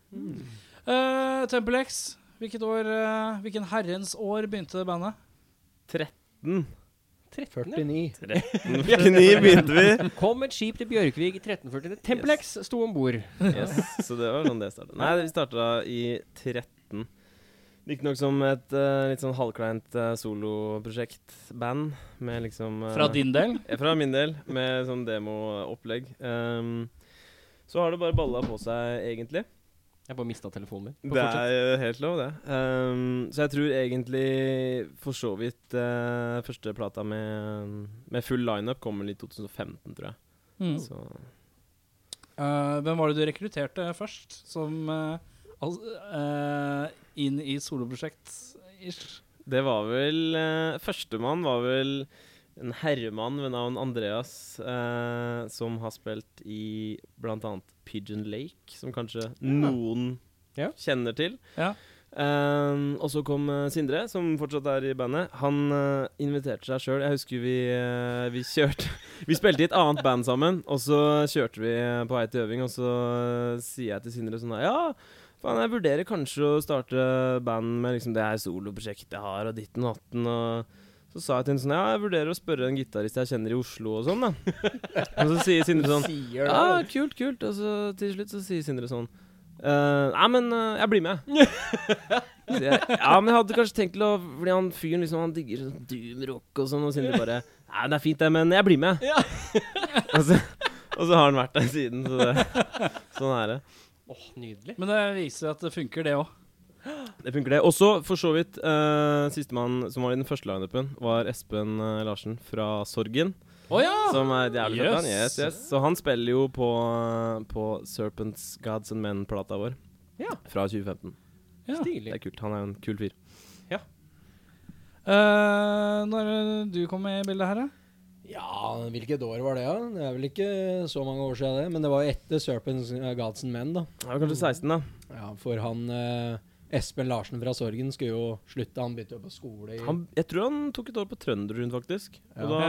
B: Eh, Temple X, hvilket år, eh, hvilken herrens år begynte bandet?
E: 13
A: 13.
F: 49.
E: 49 begynte vi.
A: Kom et skip til Bjørkvig i 1349. Templex sto om bord.
E: Yes, så det var sånn det startet. Nei, vi starta i 13. Riktignok som et eh, litt sånn halvkleint uh, soloprosjekt-band med liksom eh,
B: Fra din del?
E: eh, Fra min del, med sånn demoopplegg. Um, så har det bare balla på seg, egentlig.
A: Jeg bare mista telefonen min.
E: Det er eh, helt lov, det. Um, så jeg tror egentlig for så vidt eh, første plata med, med full lineup kommer i 2015, tror jeg.
B: Mm.
E: Så
B: Eh, hvem var det du rekrutterte først som eh, al- eh, inn i soloprosjekt-ish?
E: Det var vel eh, Førstemann var vel en herremann ved navn Andreas, eh, som har spilt i bl.a. Pigeon Lake, som kanskje noen
A: Ja.
E: kjenner til.
B: Ja.
E: Eh, og så kom eh, Sindre, som fortsatt er i bandet. Han eh, inviterte seg sjøl. Jeg husker vi, eh, vi kjørte Vi spilte i et annet band sammen, og så kjørte vi eh, på vei til øving, og så eh, sier jeg til Sindre sånn her, Ja, Faen, jeg vurderer kanskje å starte band med liksom det her soloprosjektet jeg har, og ditten og hatten. Og så sa jeg til henne sånn Ja, jeg vurderer å spørre en gitarist jeg kjenner i Oslo og sånn, da. og så sier Sindre sånn
F: Sier det.
E: Ja, kult, kult. Og så til slutt så sier Sindre sånn «Eh, Nei, men eh, jeg blir med. Så jeg, ja, men jeg hadde kanskje tenkt til å Fordi han fyren liksom Han digger sånn doom-rock og sånn, og Sindre bare Nei, det er fint, det, men jeg blir med. og, så, og så har han vært der siden, så det, sånn er det.
A: Åh, nydelig.
B: Men det viser at det funker, det òg.
E: Det funker, det. Også for så vidt eh, Sistemann som var i den første lineupen, var Espen eh, Larsen fra Sorgen.
B: Å ja!
E: Som er et jævlig fett band.
B: Ah, Yes.
E: Yes, yes. Så han spiller jo på, på Serpents Gods and Men-plata vår.
A: Ja.
E: Fra 2015.
B: Ja.
E: Det
A: Stilig.
E: er kult. Han er jo en kul fyr.
B: Eh, når eh, du kom med i bildet her, da?
F: Ja, hvilket år var det, da? Det er vel ikke så mange år siden, det. Men det var jo etter Serpents eh, Gods and Men, da.
E: Han er kanskje 16, da.
F: Ja, For han eh, Espen Larsen fra Sorgen skulle jo slutte. Han begynte jo på skole i
E: Han, jeg tror han tok et år på Trønderrund, faktisk.
F: Mm. Ja.
E: Og da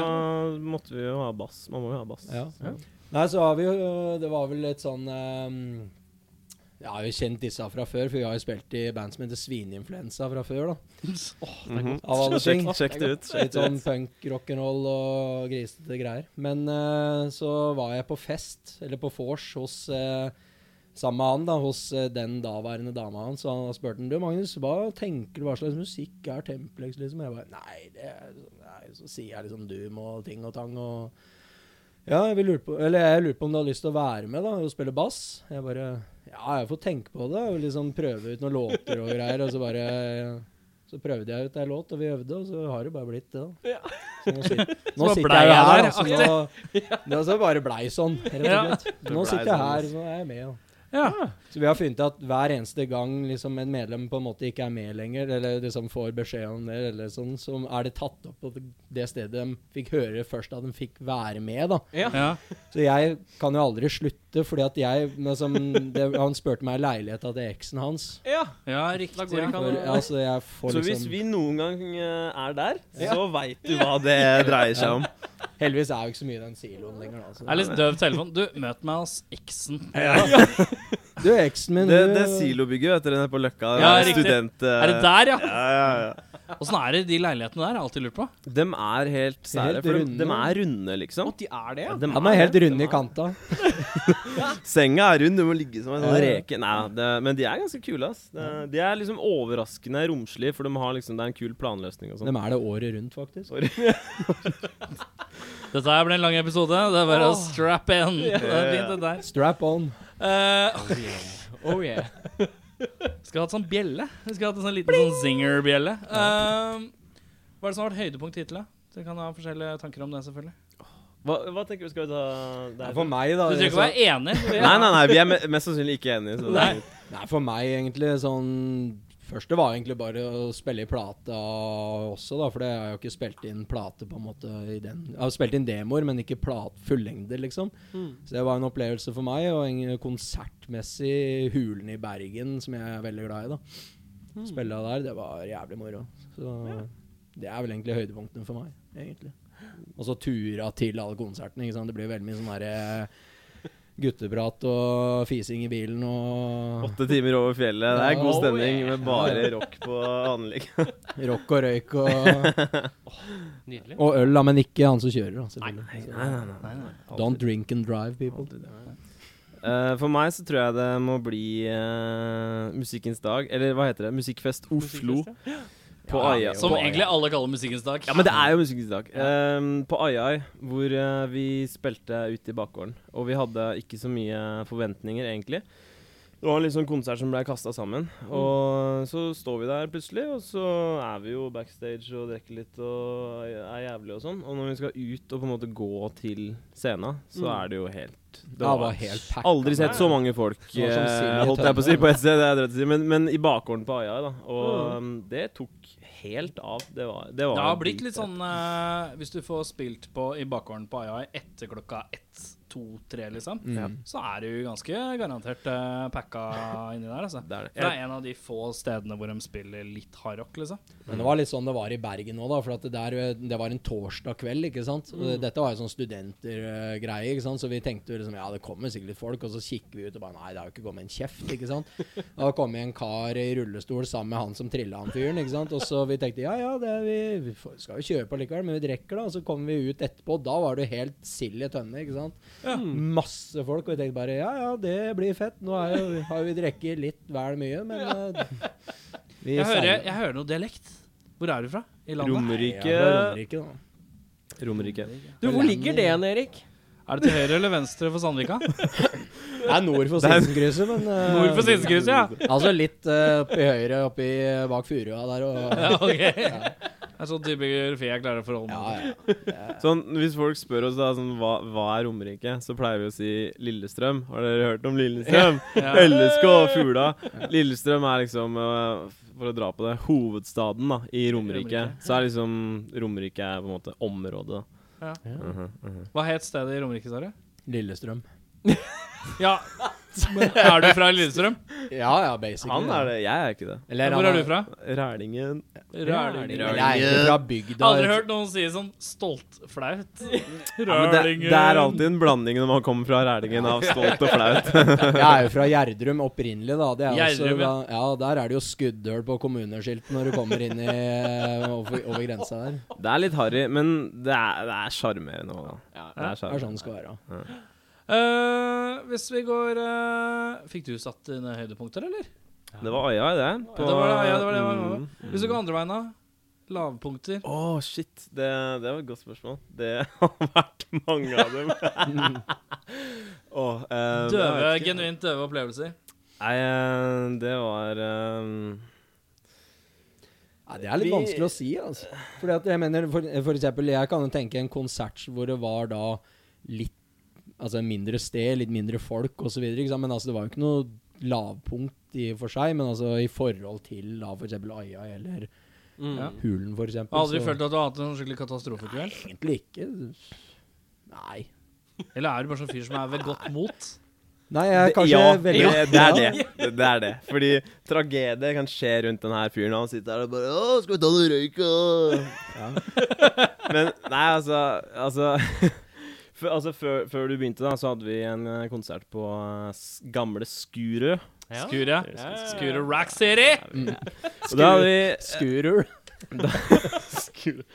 E: måtte vi jo ha bass. Man må jo ha bass.
F: Ja. Nei, så har vi jo Det var vel et sånn ehm, Jeg har jo kjent disse fra før, for vi har jo spilt i band som heter Svineinfluensa fra før, da.
E: Mhm.
F: Av alle ting.
E: Sjekk, sjekk det ut.
F: Litt sånn punk, rock'n'roll og grisete greier. Men eh, så var jeg på fest, eller på vors, hos eh, sammen med han, da, hos eh, den daværende dama hans. Og han spurte han, du Magnus, hva tenker du, hva slags musikk er Templex? liksom? Jeg bare nei, det er, sånn, nei, så sier jeg liksom doom og ting og tang og ja, jeg vil lure på, eller jeg lurer på om du har lyst til å være med da, og spille bass. Jeg bare Ja, jeg får tenke på det. Og liksom prøve ut noen låter og greier. Og så bare Så prøvde jeg ut ei låt, og vi øvde, og så har det bare blitt det, da. Så nå, sit, nå
B: bare
F: sitter
B: blei
F: jeg jo her,
B: jeg
F: altså.
B: der,
F: Nå, det altså bare blei sånn, rett og slett. Nå sitter jeg her, så er jeg med, da.
B: Ja.
F: Så vi har funnet at hver eneste gang liksom, en medlem på en måte ikke er med lenger, eller liksom får beskjed om det, eller sånn, så er det tatt opp på det stedet de fikk høre først at de fikk være med, da.
E: Ah.
B: ja.
F: Så jeg kan jo aldri slutte, fordi at jeg liksom, det, Han spurte meg i leiligheta til eksen hans.
A: Ja.
B: Ja, riktig.
A: Da går det ikke
F: For,
A: an å
F: altså, jeg får
E: Så hvis
F: liksom
E: vi noen gang eh, er der, så veit du hva det dreier seg om.
F: Heldigvis er jo ikke så mye i den siloen lenger, da.
B: Det er
F: Så.
B: litt døv telefon. Du, møt meg hos eksen.
F: Du, eksen min eh,
E: Det,
F: hun-
E: det silobygget vet dere, nede på Løkka.
B: Ja,
E: det er
B: riktig.
E: student... eh,
B: Er det der, ja?
E: Ja, ja, ja.
B: Åssen er det i de leilighetene der? Jeg har alltid lurt på.
E: Dem er helt sære.
F: Helt
E: for
F: runde.
E: dem, dem er runde, liksom.
A: At de er det,
E: Ja,
A: ja.
E: dem
F: Han er helt
E: det.
F: rund i kanta.
E: Senga er rund, du må ligge som en sånn
F: Ja, ja.
E: reke. Nei, det, men de er ganske kule, ass. Det, de er liksom overraskende romslige, for de har liksom, det er en kul planløsning og
F: De
E: sånn.
F: er det året rundt, faktisk.
B: Dette her ble en lang episode. Det er bare å strap in. Det er fint, det der.
F: Strap on.
B: Eh,
A: Oh yeah.
B: skal ha hatt sånn bjelle. Vi skal ha hatt en sånn liten sånn zinger-bjelle. Eh, hva er det som har vært høydepunkt hittil, da? Dere kan ha forskjellige tanker om det, selvfølgelig.
E: Hva, hva tenker du skal vi ta der?
F: For meg, da.
B: Du trenger ikke å være enig.
E: Nei, nei, nei, vi er me mest sannsynlig ikke enige. Så det
B: Nei.
E: er fint.
F: Nei, for meg egentlig sånn Første var egentlig bare å spille i plata også, da, for det har jeg jo ikke spilt inn plate på en måte i den. Jeg har spilt inn demoer, men ikke plat fullengder, liksom. Så det var en opplevelse for meg, og en konsertmessig Hulen i Bergen, som jeg er veldig glad i, da. Spille der, det var jævlig moro. Så det er vel egentlig høydepunktene for meg, egentlig. Og så tura til alle konsertene, ikke sant. Det blir veldig mye sånn derre gutteprat og fising i bilen og
E: Åtte timer over fjellet. Det er god
F: Oh,
E: stemning
A: yeah.
E: med bare rock på anlegget.
F: rock og røyk og,
A: Nydelig.
F: og øl, da, men ikke han som kjører, da, selvfølgelig.
E: Nei, nei, nei.
F: Don't drink and drive, people.
E: Eh, for meg så tror jeg det må bli eh, Musikkens dag, eller hva heter det? Musikkfest Oslo på Aia.
B: Som
E: på Aia.
B: egentlig alle kaller Musikkens dag.
E: Ja, men det er jo Musikkens dag. Eh, på Ai-Ai, hvor eh, vi spilte ute i bakgården. Og vi hadde ikke så mye forventninger, egentlig. Det var en litt sånn konsert som ble kasta sammen.
F: Mm.
E: Og så står vi der plutselig, og så er vi jo backstage og drikker litt og er jævlig og sånn. Og når vi skal ut og på en måte gå til scenen, så
A: Mm.
E: er det jo helt
F: Det var helt packa.
E: Aldri sett så mange folk,
F: Sånn som Silje
E: eh, holdt jeg på å si,
F: Tønne.
E: på ett sted. det er drøyt å si, Men, men i bakgården på Aia, da. Og um, det tok helt av. Det var, det var
B: Det har blitt litt
E: dritfett.
B: sånn eh, Hvis du får spilt på i bakgården på AI etter klokka ett, to, tre, liksom, så er du ganske garantert eh, packa inni der, altså.
E: Det er det.
B: For det er en av de få stedene hvor de spiller litt hardrock, liksom.
F: Men det var litt sånn det var i Bergen òg, da. For at det, der, eh, det var en torsdag kveld, ikke sant. Og
B: Mm.
F: det- Dette var jo sånn studentergreie, ikke sant. Så vi tenkte jo liksom ja, det kommer sikkert litt folk. Og så kikker vi ut og bare nei, det har jo ikke kommet en kjeft, ikke sant. Da kom det en kar i rullestol sammen med han som trilla han fyren, ikke sant. Og så vi tenkte ja ja, det er vi, vi får- skal jo kjøre på likevel, men vi drikker da. Og så kom vi ut etterpå, og da var det jo helt sild i tønne, ikke sant. Masse folk, og vi tenkte bare ja ja, det blir fett. Nå er jo, har jo vi drukket litt vel mye, men eh, vi
B: Jeg hører,
F: seiler.
B: jeg hører noe dialekt. Hvor er du fra? I landet?
E: Romerike.
F: Ja, fra Romerike, da.
E: Romerike.
A: Du, hvor ligger det hen, Erik?
B: Er det til høyre eller venstre for Sandvika?
F: Det er nord for Sinsenkrysset, men eh,
B: Nord for Sinsenkrysset, ja.
F: Altså litt eh, oppi høyre, oppi eh, bak furua der og
B: ja ok. Det er sånn type geografi jeg klarer å forholde
F: Ja,
B: meg til.
F: ja.
E: Sånn, hvis folk spør oss da, sånn, hva, hva er Romerike, så pleier vi å si Lillestrøm. Har dere hørt om Lillestrøm?
B: Ja.
E: LSK og Fula. Lillestrøm er liksom, eh, for å dra på det, hovedstaden da, i Romerike.
B: Romerike.
E: Så er liksom Romerike er på en måte området. da.
B: Hva het stedet i Romerike, sa du?
F: Lillestrøm.
B: Ja. Men er du fra Lillestrøm?
F: Ja, ja, basically.
E: Han er det, jeg er ikke det.
F: Eller,
B: Hvor er du fra?
E: Rælingen.
B: Rælingen.
F: Jeg er ikke fra bygda.
B: Aldri hørt noen si sånn stolt flaut.
E: Ja, men det,
B: Rælingen.
E: det er alltid en blanding når man kommer fra Rælingen av stolt og flaut.
F: Jeg er jo fra Gjerdrum opprinnelig, da. Det er
B: Gjerdrum,
F: også, da ja, der er det jo skuddhull på kommuneskilt når du kommer inn i, eh, over, over grensa der.
E: Det er litt harry, men det er, det er sjarmerende òg, da. Det er
F: Det er sånn
E: sjarmerende.
F: det skal være.
B: Eh, hvis vi går eh, Fikk du satt dine høydepunkter, eller?
E: Det var Aia, det.
B: det var det, ja, det var det, det var
E: Mm.
B: det. Hvis du går andre veien, da? Lavpunkter.
E: Å, shit. Det, det var et godt spørsmål. Det har vært mange av dem. Åh, eh, det
B: Døve,
E: vet jeg ikke.
B: genuint døve opplevelser.
E: Nei, eh, det var eh,
F: Nei, det er litt
E: Vi-
F: vanskelig å si, altså. Fordi at jeg mener, for, for eksempel, jeg kan jo tenke en konsert hvor det var da litt Altså mindre sted, litt mindre folk osv. Men altså, det var jo ikke noe lavpunkt i og for seg. Men altså i forhold til da f.eks. Aia eller
E: Mm.
B: Ja.
F: Hulen, f.eks.
B: Jeg har aldri følt at du har hatt en sånn skikkelig katastrofekveld?
F: Egentlig ikke. Nei.
B: Eller er du bare sånn fyr som er ved godt mot?
F: Nei, jeg er kanskje
E: ja,
F: veldig
E: det, det er det. det. Det er det. Fordi tragedie kan skje rundt den her fyren. og Han sitter her og bare Å, skal vi ta noe røyk, da? Men nei, altså Altså, for, altså før, før du begynte, da, så hadde vi en eh, konsert på eh, S- gamle Skurø.
A: Ja.
B: Skure. Skure Rack City!
E: Og da hadde vi
F: Scooter.
E: Skure.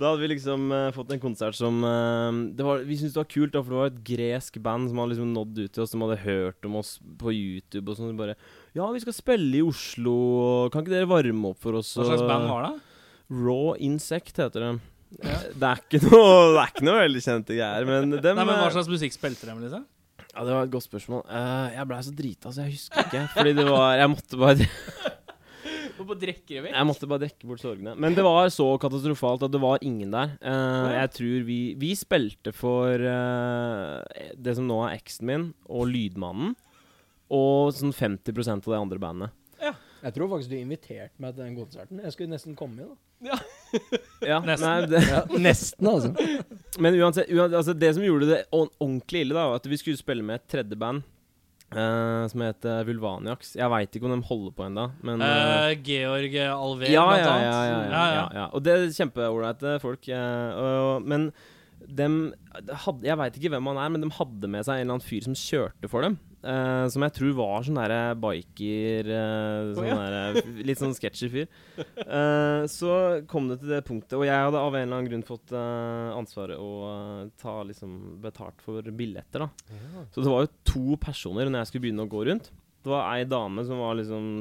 E: Da hadde vi liksom eh, fått en konsert som eh, det var, Vi syntes det var kult, da, for det var et gresk band som hadde liksom nådd ut til oss, som hadde hørt om oss på YouTube og sånn. og Bare Ja, vi skal spille i Oslo, og kan ikke dere varme opp for oss?
B: Hva slags band var det?
E: Raw Insect heter det.
B: Ja.
E: Det, er ikke noe, det er ikke noe veldig kjente greier, men dem
B: Nei, men Hva
E: eh,
B: slags musikk spilte de? Liksom?
E: ja, Det var et godt spørsmål. Eh, jeg blei så drita, så jeg husker ikke. Fordi det var Jeg måtte bare,
A: Hvorfor drikker vi?
E: jeg måtte bare dekke bort sorgene. Men det var så katastrofalt at det var ingen der. Eh, jeg tror vi Vi spilte for eh, det som nå er eksen min, og Lydmannen. Og sånn 50 av det andre bandet.
F: Jeg tror faktisk du inviterte meg til den konserten. Jeg skulle nesten komme, da.
E: Ja,
B: Nesten.
E: Nei, det,
F: Nesten, altså.
E: Men uansett, uansett altså det som gjorde det on- ordentlig ille, da, var at vi skulle spille med et tredje band. eh, som heter Vulvaniax. Jeg veit ikke om de holder på ennå, men eh,
B: Eh, Georg Alver,
E: ja, ja,
B: blant
E: ja,
B: annet.
E: ja, ja, ja,
B: Ja, ja.
E: ja. Og det er kjempeålreite folk. eh, og- men dem hadde, Jeg veit ikke hvem han er, men de hadde med seg en eller annen fyr som kjørte for dem. eh, som jeg tror var sånn derre biker eh, sånn derre- Litt sånn sketchy fyr. Eh, så kom det til det punktet, og jeg hadde av en eller annen grunn fått eh, ansvaret å eh, ta liksom betalt for billetter, da. Så det var jo to personer når jeg skulle begynne å gå rundt. Det var ei dame som var liksom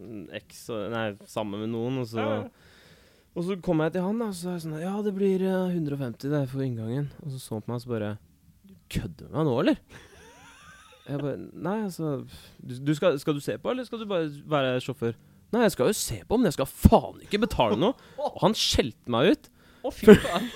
E: mm, eks, nei, sammen med noen, og så Og så kom jeg til han, da, og så er jeg sånn Ja, det blir eh, 150 det for inngangen. Og så så han på meg og så bare Du kødder med meg nå, eller? Jeg bare Nei, altså du, du skal, skal du se på, eller skal du bare være sjåfør? Nei, jeg skal jo se på, men jeg skal faen ikke betale noe! Og han skjelte meg ut.
A: Å, fy faen.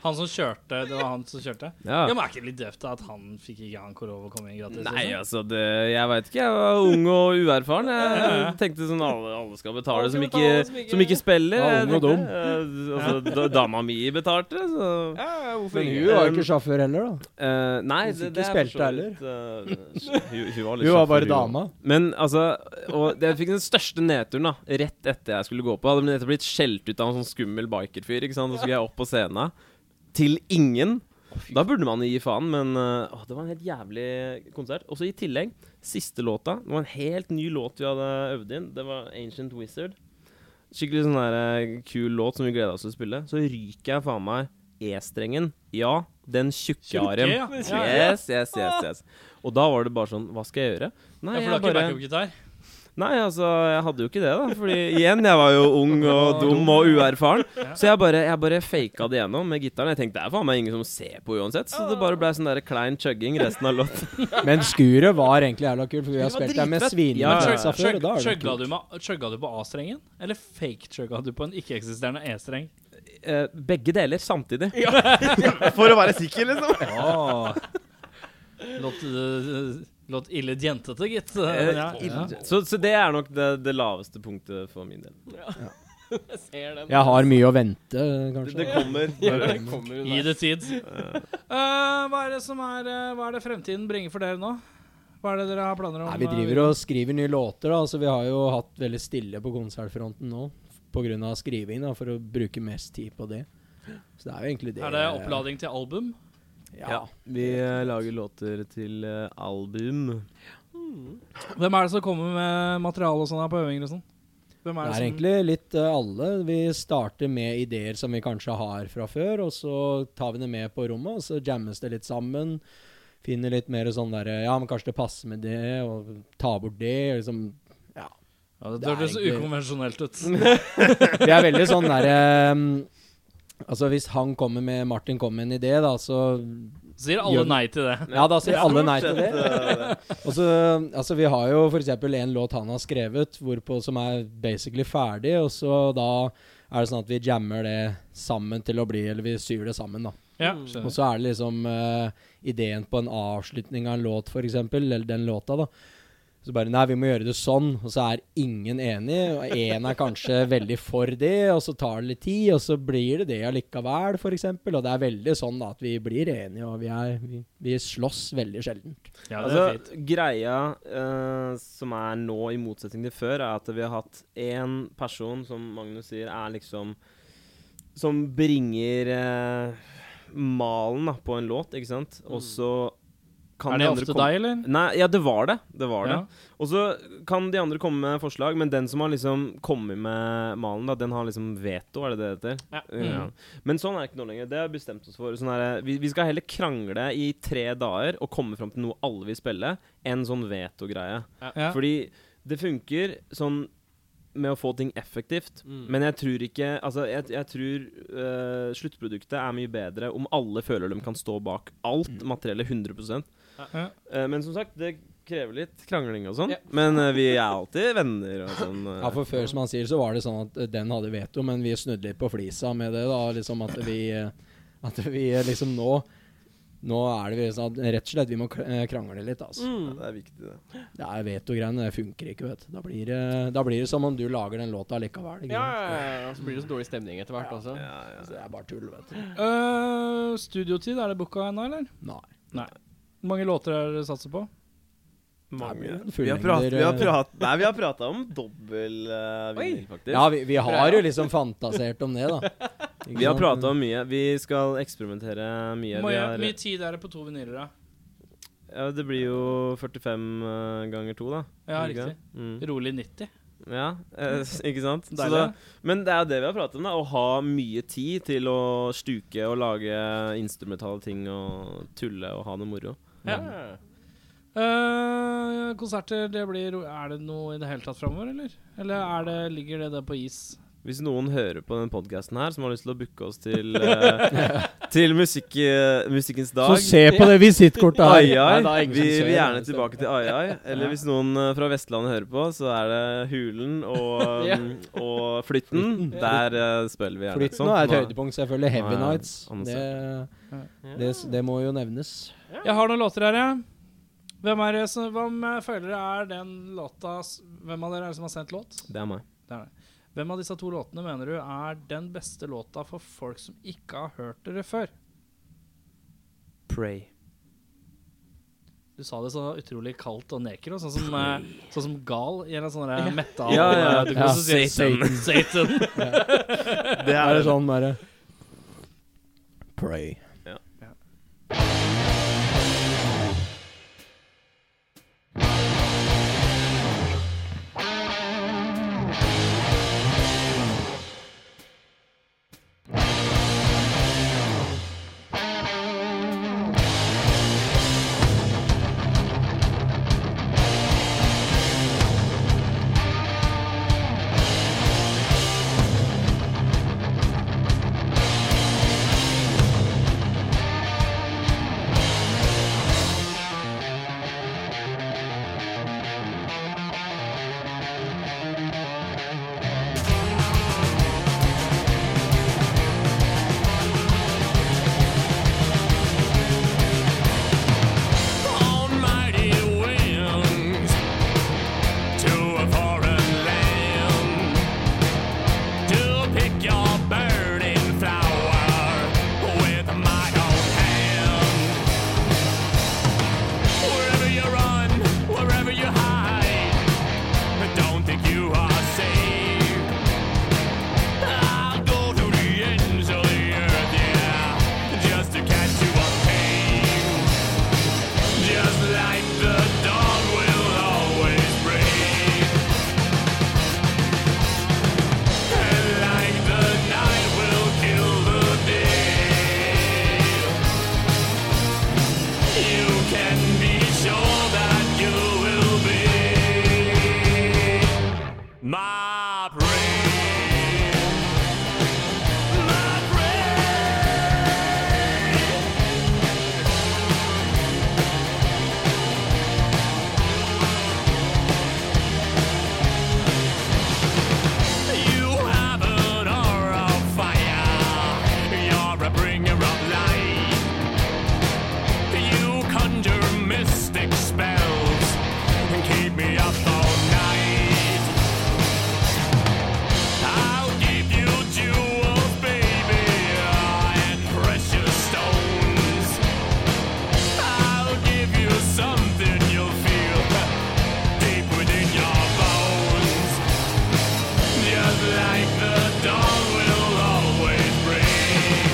B: Han som kjørte, det var han som kjørte?
E: Ja.
B: Ja, men er ikke det litt døvt da, at han fikk ikke han lov å komme inn gratis?
E: Nei,
B: liksom?
E: altså, det, jeg veit ikke. Jeg var ung og uerfaren. Jeg tenkte sånn alle, alle skal betale som ikke, som ikke spiller.
F: Ja, ung og dum.
E: Eh, altså, da- dama mi betalte, så
A: Ja, hvorfor
F: Men
A: ikke?
F: hun var jo ikke sjåfør heller, da.
E: Eh, Nei,
F: Hvis
E: det,
F: ikke
E: det er for
F: spilte
E: så vidt, eh, hun, hun var litt
F: Hun var
E: sjåfør,
F: bare
E: hun.
F: dama.
E: Men altså Og det- jeg fikk den største nedturen, da. Rett etter jeg skulle gå på. Hadde nettopp blitt skjelt ut av en sånn skummel bikerfyr. Ikke sant? Så skulle jeg opp på scenen. Til ingen. Da burde man gi faen, men eh, åh, det var en helt jævlig konsert. Og så i tillegg, siste låta Det var en helt ny låt vi hadde øvd inn. Det var Ancient Wizard. Skikkelig sånn der eh, kul låt som vi gleda oss til å spille. Så ryker jeg faen meg E-strengen. Ja, den tjukke
B: Tjukke,
E: arm.
B: ja. Ja, ja.
E: Yes, yes, yes, yes. Og da var det bare sånn Hva skal jeg gjøre? Nei,
B: ja, for du har
E: jeg
B: ikke
E: bare
B: backup-gitar?
E: Nei, altså, jeg hadde jo ikke det, da. Fordi igjen, jeg var jo ung og dum og uerfaren. Så jeg bare, jeg bare faka det gjennom med gitaren. Jeg tenkte det er faen meg ingen som ser på uansett. Så det bare blei sånn der klein chugging resten av låta.
F: Men skuret var egentlig jævla kult, for vi har
E: Skuret var
F: spilt der med
E: dritfett. Ja,
B: Men
E: ja,
F: svineneksa
B: chug-
F: før. og da
B: chug-
F: er det
B: Chugga
F: kult.
B: du, med- chugga du på A-strengen? Eller fake-chugga du på en ikke-eksisterende E-streng?
E: Eh, begge deler samtidig. For å være sikker, liksom.
B: Åh. Låt, øh, låt ille jentete, gitt.
E: Eh,
B: Men ja, ja.
E: Så, så det er nok det, det laveste punktet for min del.
F: Jeg har mye å vente,
E: Det,
F: kanskje.
E: det kommer.
B: Gi det tid. Eh, hva, er det som er, eh, hva er det fremtiden bringer for dere nå? Hva er det dere har planer om?
F: Nei, vi driver og skriver nye låter, da. Så vi har jo hatt veldig stille på konsertfronten nå. Pga. skriving, da, for å bruke mest tid på det. Så det er jo egentlig det.
B: Eh, Er det opplading til album?
E: Ja. Vi eh, lager låter til eh, album.
B: Hvem er det som kommer med materiale og sånn her på øvinger og sånn? Hvem
F: Det
B: er
F: er
B: det som
F: egentlig litt eh, alle. Vi starter med ideer som vi kanskje har fra før, og så tar vi det med på rommet, og så jammes det litt sammen. Finner litt mer sånn derre Ja, men kanskje det passer med det, og ta bort det, og liksom Ja.
B: ja, Det
F: det er
B: hørtes
F: egentlig-
B: ukonvensjonelt ut.
F: Vi er veldig sånn derre Altså, hvis han kommer med Martin kommer med en idé, da, så
B: Sier alle
F: Gjør-
B: nei til det.
F: Ja, da sier alle nei til det. Og så, altså Vi har jo f.eks. en låt han har skrevet hvorpå, som er basically ferdig, og så da er det sånn at vi jammer det sammen til å bli Eller vi syr det sammen, da.
B: Ja,
F: Og
B: skjønner.
F: så er det liksom eh, ideen på en avslutning av en låt, f.eks., eller den låta, da. Så bare Nei, vi må gjøre det sånn. Og så er ingen enig. Og én er kanskje veldig for det, og så tar det litt tid, og så blir det det allikevel, f.eks. Og det er veldig sånn da at vi blir enige, og vi, er, vi, vi slåss veldig sjelden.
B: Ja, det er fint.
E: Altså, greia eh, som er nå, i motsetning til før, er at vi har hatt én person som Magnus sier er liksom Som bringer eh, malen da, på en låt, ikke sant? Og så kan
B: Mm. Er
E: de
B: det
E: andre
B: ofte
E: komme-
B: deg, eller?
E: Nei, ja, det var det. Det var
B: Ja.
E: det. Og så kan de andre komme med forslag, men den som har liksom kommet med malen, da, den har liksom veto, er det det det heter?
B: Ja.
E: Ja. Men sånn er det ikke nå lenger. Det har vi bestemt oss for. Sånn er, det- vi, vi skal heller krangle i tre dager og komme fram til noe alle vil spille, enn sånn veto-greie.
B: Ja.
E: Fordi det funker sånn med å få ting effektivt, men jeg tror ikke Altså, jeg, jeg tror øh, sluttproduktet er mye bedre om alle føler de kan stå bak alt materiellet 100
B: Ja.
E: Eh, Men som sagt, det krever litt krangling og sånn.
A: Ja.
E: Men eh, vi er alltid venner og sånn. eh.
F: Ja, for før, som han sier, så var det sånn at eh, den hadde veto, men vi snudde litt på flisa med det, da. Liksom at vi eh, At vi eh, liksom nå Nå er det vi sånn at rett og slett vi må kr- eh, krangle litt, altså.
E: Ja, det er viktig, det.
F: Det er veto-greiene, det funker ikke, vet du. Da blir, det, da blir det som om du lager den låta likevel. Ikke
A: Ja,
F: sant?
A: ja, ja, ja. Så blir det så dårlig stemning etter hvert også.
E: Ja, ja.
F: Så det er bare tull, vet du.
B: Øh, studiotid, er det booka ennå, eller?
F: Nei.
B: Hvor mange låter er det satser på?
E: Mange.
F: Det blir
E: Vi
F: jo
E: har, prat,
F: fullmengder,
E: vi har
F: eh.
E: prat, nei, vi har prata om dobbel eh, vinyl, faktisk.
F: Ja, vi, vi har jo liksom fantasert om det, da. Ikke
E: Vi har
F: sant?
E: prata om mye. Vi skal eksperimentere mye.
B: Hvor
E: Vi
B: mye-
E: har,
B: mye tid er det på to vinyler, da?
E: ja, det blir jo 45 eh, ganger to, da.
B: Ja,
E: Ikke
B: riktig.
E: det? Mm.
B: Rolig 90.
E: Ja, eh, ikke sant? Så
B: Deilig.
E: da, men det er jo det vi har pratet om, da. Å ha mye tid til å stuke og lage instrumentale ting og tulle og ha det moro.
B: Ja. Eh, konserter, det blir Er det noe i det hele tatt framover, eller? Eller er det, ligger det der på is?
E: Hvis noen hører på den podkasten her som har lyst til å booke oss til, eh, til musikk, eh, Musikkens dag
F: Så se på det visittkortet her.
E: Ai, ai.
A: Nei, det er ingen
E: Vi
A: som ser
E: vil
A: det,
E: gjerne
A: det stemmer.
E: tilbake til ai, ai. Eller hvis noen eh, fra Vestlandet hører på, så er det Hulen og,
A: Ja.
E: mm, og Flytten. Der eh, spiller vi gjerne.
F: Flytten
E: Sånt
F: er et
E: må-
F: høydepunkt, selvfølgelig. Heavy
E: Ja, ja.
F: Nights.
E: Han
F: Det, det, det må jo nevnes.
B: Jeg har noen låter her, jeg. Hvem, er det som, hvem eh, føler er den låta s- Hvem av dere er det som har sendt låt?
E: Det er meg.
B: Det er det. Hvem av disse to låtene mener du er den beste låta for folk som ikke har hørt dere før?
E: Pray.
B: Du sa det så utrolig kaldt og nekro, sånn som, eh, sånn som gal i en sånn der metal
E: Ja, ja,
B: eh, du
F: ja.
B: kan også si
F: Satan.
B: Satan.
F: Det er, det sånn bare Pray.
G: Just to catch you on pain. Just like the dawn will always break And like the night will kill the day You can be sure that you will be My prey My prey You have an aura of fire. You're a bringer of light. You conjure mystic spells and keep me up all night. I'll give you jewels, baby, and precious stones. I'll give you something you'll feel deep within your bones. Just like the dawn will always break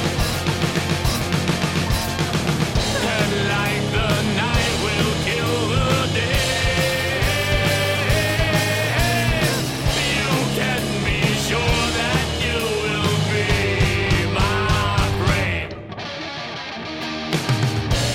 G: And like the night will kill the day You can be sure that you will be my brain Just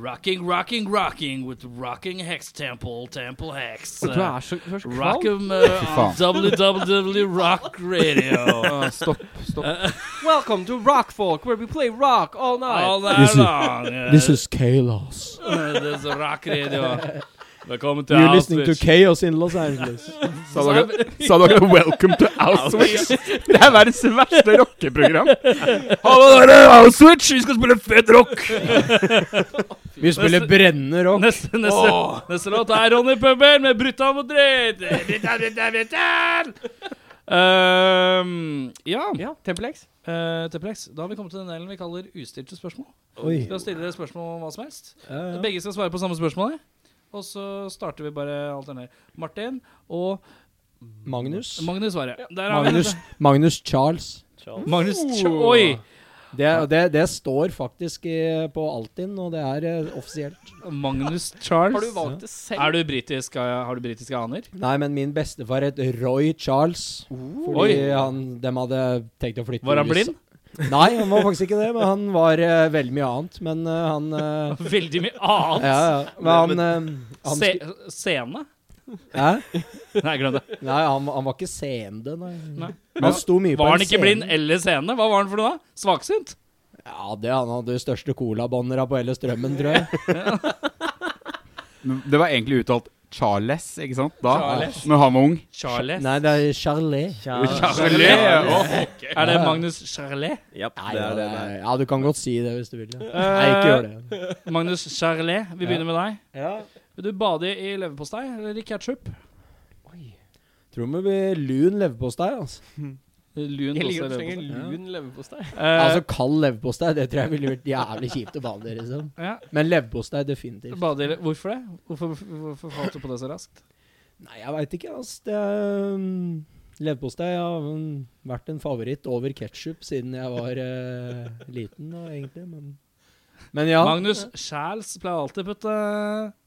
B: Rocking, rocking, rocking with rocking hex temple, temple hex.
A: Du er så, du er så
B: Rock
A: kvalm.
B: 'em
C: faen.
B: uh, on WWW Rock Radio.
C: Ah, stopp, stopp.
A: Welcome to Rockfolk, where we play rock all night.
B: All night long. Uh,
F: This is chaos.
B: uh, this is rock radio. Velkommen til
F: You're listening to
B: Auschwitz.
F: chaos in Los Angeles.
C: Sa dere, sa dere 'Welcome to Auschwitz'? Det er verdens verste rockeprogram. Hallo, dere! Auschwitz! Vi skal spille fet rock!
F: Vi spiller brennende rock.
B: Neste, neste, neste låt er Ronny Pøbel med 'Brutta Madrid'. Brutta, brutta, brutta! Um, ja,
A: Ja, Templex.
B: uh, Teplex, da har vi kommet til den delen vi kaller ustilte spørsmål.
F: Oi.
B: Vi kan stille dere spørsmål om hva som helst.
F: Ja, ja.
B: Begge skal svare på samme spørsmål. Og så starter vi bare alternert. Martin og
F: Magnus.
B: Magnus svarer. Der har vi-
F: Magnus, Magnus Charles.
B: Magnus Ch- Oi!
F: Det, det, det står faktisk i, på Altinn, og det er eh, offisielt.
B: Magnus Charles.
A: Har du valgt det selv?
B: Er du britisk, eh, har du britiske aner?
F: Nei, men min bestefar het Roy Charles. Fordi
B: Oi.
F: han, dem hadde tenkt å flytte
B: Var han
F: til USA.
B: blind?
F: Nei, han var faktisk ikke det, men han var eh, veldig mye annet. Men eh, han eh,
B: Veldig mye annet.
F: Ja, ja. Men han, eh, han
B: Se, scene?
F: sku- Hæ?
B: Nei, glem det.
F: Nei, han, han var ikke seende, nei.
B: Nei.
F: Men han sto mye på
B: Var
F: en
B: han ikke
F: scene.
B: blind eller seende? Hva var han for noe da? Svaksynt?
F: Ja, det han hadde de største colabannera på hele strømmen, tror jeg.
C: Det var egentlig uttalt Charles, ikke sant? Da,
B: Charles.
C: Når han var ung.
B: Charles?
F: Nei, det er Charlet.
C: Charles.
B: Er det Magnus Charlet?
E: Ja,
F: Nei, eh,
E: det er det. det er.
F: Ja, du kan godt si det hvis du vil. Ja.
B: Eh,
F: Nei, ikke gjør det.
B: Magnus Charlet, vi begynner med deg. Vil du bade i leverpostei eller i ketsjup?
F: Tror du vi lun leverpostei, altså.
B: Lun
A: Jeg
B: også
A: liker
B: i
A: at du trenger
B: leverpostei.
A: lun leverpostei.
B: Eh,
F: Altså kald leverpostei, det tror jeg ville vært jævlig kjipt å bade i, liksom.
B: ja,
F: Men leverpostei, definitivt.
B: bade i le- Hvorfor det? Hvorfor, hvorfor falt du på det så raskt?
F: Nei, jeg veit ikke, altså. Det er um, Leverpostei har um, vært en favoritt over ketsjup siden jeg var eh, liten, da, egentlig. Men, men ja.
B: Magnus Charles pleier alltid å putte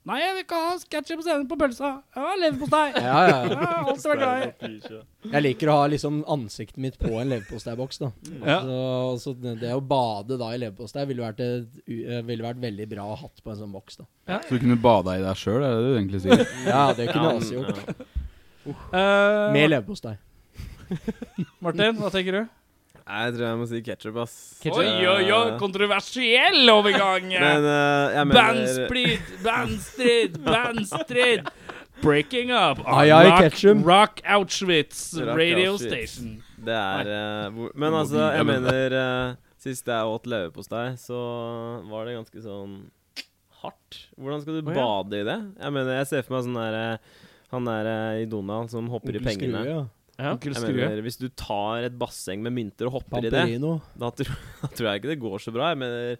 B: Nei, jeg vil ikke ha ketsjup og sennep på pølsa! Jeg har leverpostei! Jeg
F: Ja, ja.
B: har alltid vært glad i
F: Jeg liker å ha liksom ansiktet mitt på en leverposteiboks, da.
B: Ja.
F: Så, så det, det å bade da i leverpostei ville vært, et, u- eh, ville vært veldig bra å hatt på en sånn boks, da.
C: Så du kunne bada i deg sjøl, er det det du egentlig sier?
F: Ja, det kunne jeg også gjort.
B: Eh,
F: Med leverpostei.
B: Martin, hva tenker du?
E: Nei, Jeg tror jeg må si ketsjup, ass.
B: Oi, oi, oi,
E: Eh,
B: kontroversiell overgang!
E: Men eh, jeg mener
B: Bandsplit, bandstrid, bandstrid. Breaking up on
F: Ai, ai,
B: rock,
F: Ketchum.
B: rock Auschwitz
E: Rock
B: radio
E: Auschwitz.
B: station.
E: Det er eh, hvor, Men altså, jeg mener eh, Sist jeg åt leverpostei, så var det ganske sånn hardt. Hvordan skal du
A: Å, ja.
E: bade i det? Jeg mener, jeg ser for meg sånn der eh, Han der eh, i Donald som hopper i
F: Onkel Skrue,
E: pengene.
F: ja.
A: Ja.
B: Onkel
E: Jeg
B: Skrue.
E: mener, Hvis du tar et basseng med mynter og hopper i det,
F: Pamperino.
E: da tror, da tror jeg ikke det går så bra. Jeg mener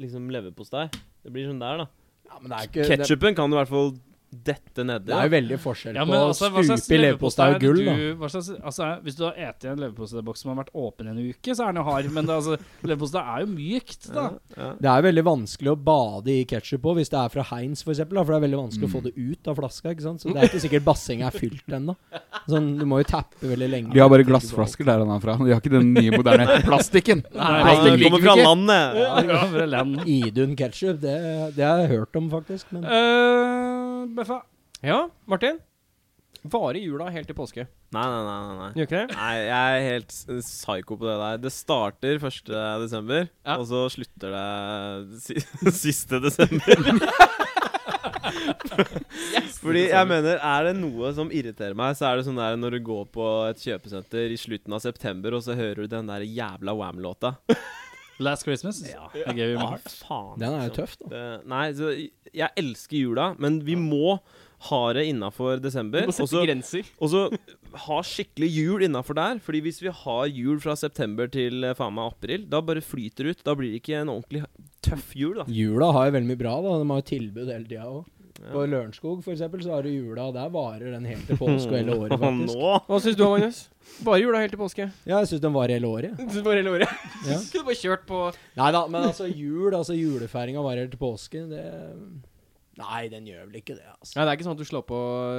E: liksom leverpostei. Det blir sånn der, da.
F: Ja, men det er ikke det,
E: Ketchupen kan du i hvert fall dette nedi.
F: det er jo veldig forskjell
B: Ja, men
F: på å
B: altså, hva slags
F: stupe i leverpostei
B: er
F: og gull,
B: det
F: da.
B: du- hva slags, altså, hvis du har spist en leverposteiboks som har vært åpen en uke, så er den jo hard. Men det, altså, leverpostei er jo mykt, da.
E: Ja.
F: Det er veldig vanskelig å bade i ketsjup på hvis det er fra Heinz f.eks. For det er veldig vanskelig å
B: Mm.
F: få det ut av flaska. ikke sant? Så det er ikke sikkert bassenget er fylt ennå. Sånn, du må jo tappe veldig lenge.
C: De har bare glassflasker der han er fra. De har ikke den nye, moderne plastikken.
E: Nei,
C: Plastikk liker
E: det kommer
C: vi
E: fra
C: ikke.
E: landet!
B: Ja, for det er land.
F: Idun ketsjup, det, det har jeg hørt om, faktisk. Men
B: Eh, Beffa.
A: ja, Martin. Varer jula helt til påske?
E: Nei, nei, nei. nei, nei.
A: Gjør ikke det?
E: Nei, jeg er helt s- psyko på det der. Det starter 1. desember,
A: Ja.
E: og så slutter det si- siste desember. Fordi jeg mener, er det noe som irriterer meg, så er det sånn der når du går på et kjøpesenter i slutten av september, og så hører du den der jævla Wam-låta.
B: Last Christmas. Det gave you my heart.
E: faen.
F: den er jo
E: liksom.
F: tøff, da.
E: Det, nei, så jeg elsker jula, men vi må ha det innafor
A: Du
E: desember.
A: må sette
E: og så-
A: grenser.
E: og så ha skikkelig jul innafor der. Fordi hvis vi har jul fra september til eh, faen meg april, da bare flyter det ut. Da blir det ikke en ordentlig tøff jul, da.
F: Jula har jo veldig mye bra, da. De har jo tilbud hele tida òg. På Lørenskog for eksempel, så har du jula, og der varer den helt til påske og hele året, faktisk.
E: Nå!
A: Hva syns du, Magnus? Bare jula helt til påske.
F: Ja, jeg syns den varer hele året.
A: Du bare hele året.
F: Ja.
A: Skulle bare kjørt på
F: Nei da, men altså jul, altså julefeiringa varer til påske, det Nei, den gjør vel ikke det, altså.
A: Nei, det er ikke sånn at du slår på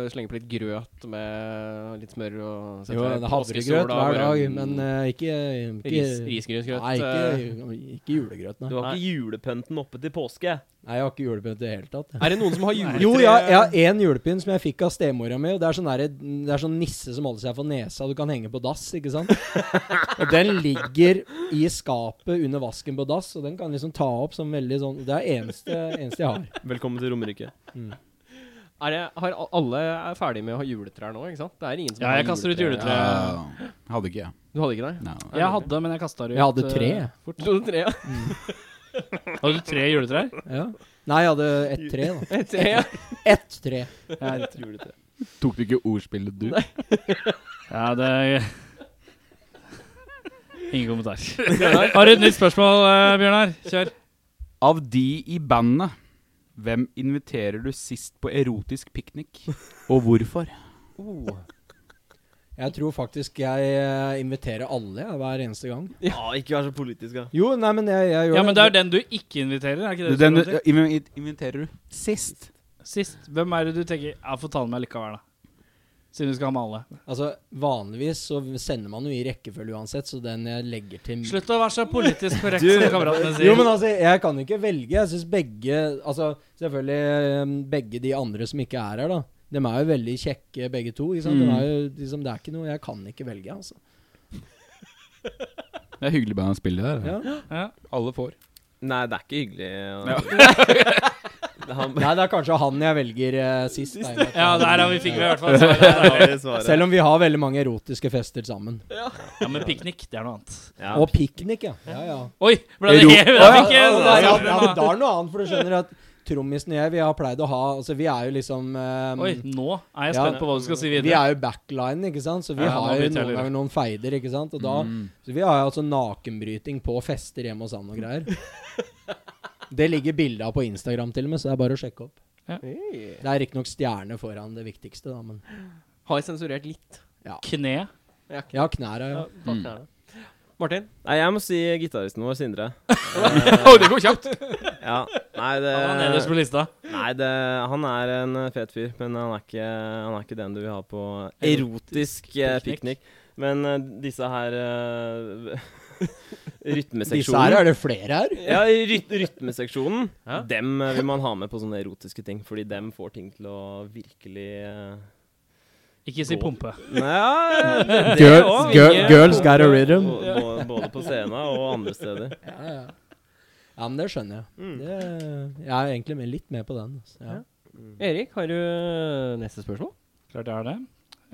A: slenger på litt grøt med litt smør og setter
F: Jo,
A: deg
F: det er
A: på påskesola
F: havregrøt
A: og
F: hver dag,
A: bare-
F: men eh, ikke, ikke
A: Ris, risgrynsgrøt.
F: Nei,
A: eh,
F: ikke, ikke julegrøt,
E: Du
F: nei.
E: har ikke julepynten oppe til påske.
F: Nei, jeg har ikke julepynt i det hele tatt. jeg.
A: Er det noen som har juletre?
F: Jo, jeg, jeg har én julepynt som jeg fikk av stemora mi. Og det, er sånn derre- det er sånn nisse som holder seg for nesa du kan henge på dass, ikke sant? og den ligger i skapet under vasken på dass, og den kan liksom ta opp som veldig sånn Det er eneste, eneste jeg har.
E: Velkommen til Romerike.
A: Er det, har al- alle er ferdig med å ha juletrær nå, ikke sant? Det er ingen som
B: Ja,
A: har
B: jeg kaster ut
C: Ja,
B: juletre.
C: hadde ikke jeg.
A: Du hadde ikke det?
C: Nei.
B: Jeg hadde, men jeg kasta det ut.
F: Jeg hadde tre.
B: eh,
A: Du hadde tre, ja.
B: Hadde du tre juletrær?
F: Ja. Nei, jeg hadde ett tre, da.
A: Et tre, ja.
F: Ett tre.
E: Juletre.
C: Tok du ikke ordspillet, du?
B: Ja, det Ingen kommentar. Har du et nytt spørsmål, eh, Bjørnar? Kjør.
C: Av de i bandet, hvem inviterer du sist på erotisk piknik, og hvorfor?
F: Jeg tror faktisk jeg eh, inviterer alle jeg, hver eneste gang.
E: Ja, ikke vær så politisk, da.
F: Jo, nei, men jeg, jeg gjør
B: Ja, men det er jo den du ikke inviterer, er ikke det? du
C: Den
B: skal til?
C: invi- inviterer du sist.
B: Sist, hvem er det du tenker Ja, få ta den med likevel, da. Siden du skal ha med alle.
F: Altså, Vanligvis så sender man jo i rekkefølge uansett, så den jeg legger til
B: Slutt å være så politisk korrekt,
E: Du-
B: som kameratene sier.
F: Jo, men altså, jeg kan ikke velge. Jeg syns begge Altså, selvfølgelig um, begge de andre som ikke er her, da. De er jo veldig kjekke, begge to. Ikke sant? De er jo, liksom, det er ikke noe Jeg kan ikke velge, altså.
C: Det er hyggelig band å spille der.
F: Ja.
B: Ja.
C: Alle får.
E: Nei, det er ikke hyggelig. Han,
F: Nei, det er kanskje han jeg velger eh, sist. da, i og med at
B: Ja,
F: han-
B: der har vi fikk vi i hvert fall svar. der har vi.
F: Selv om vi har veldig mange erotiske fester sammen.
B: Ja, men piknik, det er noe annet.
E: ja.
F: Og piknik, ja. ja, ja.
B: Oi, ble det
C: Ro-
B: helt
F: Ja,
B: Det
F: ja,
B: fikk
F: ja,
B: jeg-
F: ja, ja,
B: det
F: ja,
B: var-
F: men Da er det noe annet, for du skjønner at trommisen og jeg, vi har pleid å ha Altså, vi er jo liksom um,
B: Oi, nå er jeg
F: Ja.
B: spent på hva du skal si
F: Vi
B: videre.
F: er jo backline, ikke sant? Så vi
B: Ja, nå
F: har jo
B: blir det
F: noen
B: tellere.
F: ganger noen feider, ikke sant? Og da,
E: Mm.
F: Så vi har jo altså nakenbryting på fester hjemme hos han og greier. Det ligger bilde av på Instagram til og med, så det er bare å sjekke opp.
A: Hey.
F: Det er riktignok stjerne foran det viktigste, da, men
A: Har jeg sensurert litt?
B: Kne.
F: Ja, knæra, ja.
A: Takk, det er det. Martin?
E: Nei, jeg må si gitaristen vår, Sindre.
A: det går kjapt!
E: Ja. Nei, det,
B: Han er nederst på lista.
E: nei, det Han er en fet fyr, men han er ikke, han er ikke den du vil ha på erotisk eh,
B: piknik.
E: piknik. Men eh, disse her eh,
F: Disse her
E: Rytmeseksjonen
F: er det flere her.
E: Ja, ryt, rytmeseksjonen.
A: Ja.
E: Dem eh, vil man ha med på sånne erotiske ting, fordi dem får ting til å virkelig eh,
B: Ikke si pumpe.
E: Nei, det,
F: Girl-
E: også,
F: girl-
E: ikke-
F: girls got a rhythm.
E: Bå- bå- Både på scenen og andre steder.
F: Ja, ja. ja, men det skjønner jeg.
E: Mm.
F: Det, jeg er egentlig med, litt med på den. altså. Ja.
A: Erik, har du neste spørsmål?
B: Klart jeg har det.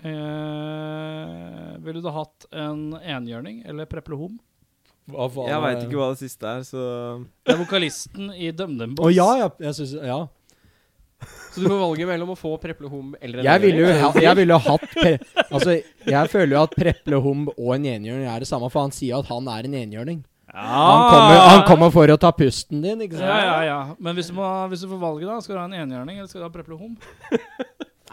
B: Eh, ville du hatt en enhjørning eller preplohom?
F: Hva faen
E: Jeg
F: er-
E: veit ikke hva det siste er, så
B: Det er vokalisten i DumDum
F: Å
B: Boys.
F: ja, ja, jeg syns Ja.
A: Så du får valget mellom å få preplohom eller en
F: Jeg ville jo
A: enhjørning.
F: ha, jeg ville jo hatt pre Altså, jeg føler jo at Preple Humb og en enhjørning er det samme, for han sier jo at han er en enhjørning. Han kommer, han kommer for å ta pusten din, ikke sant?
B: Ja, ja, ja. Men hvis du, må, hvis du får valget, da, skal du ha en enhjørning eller skal du ha preplohom?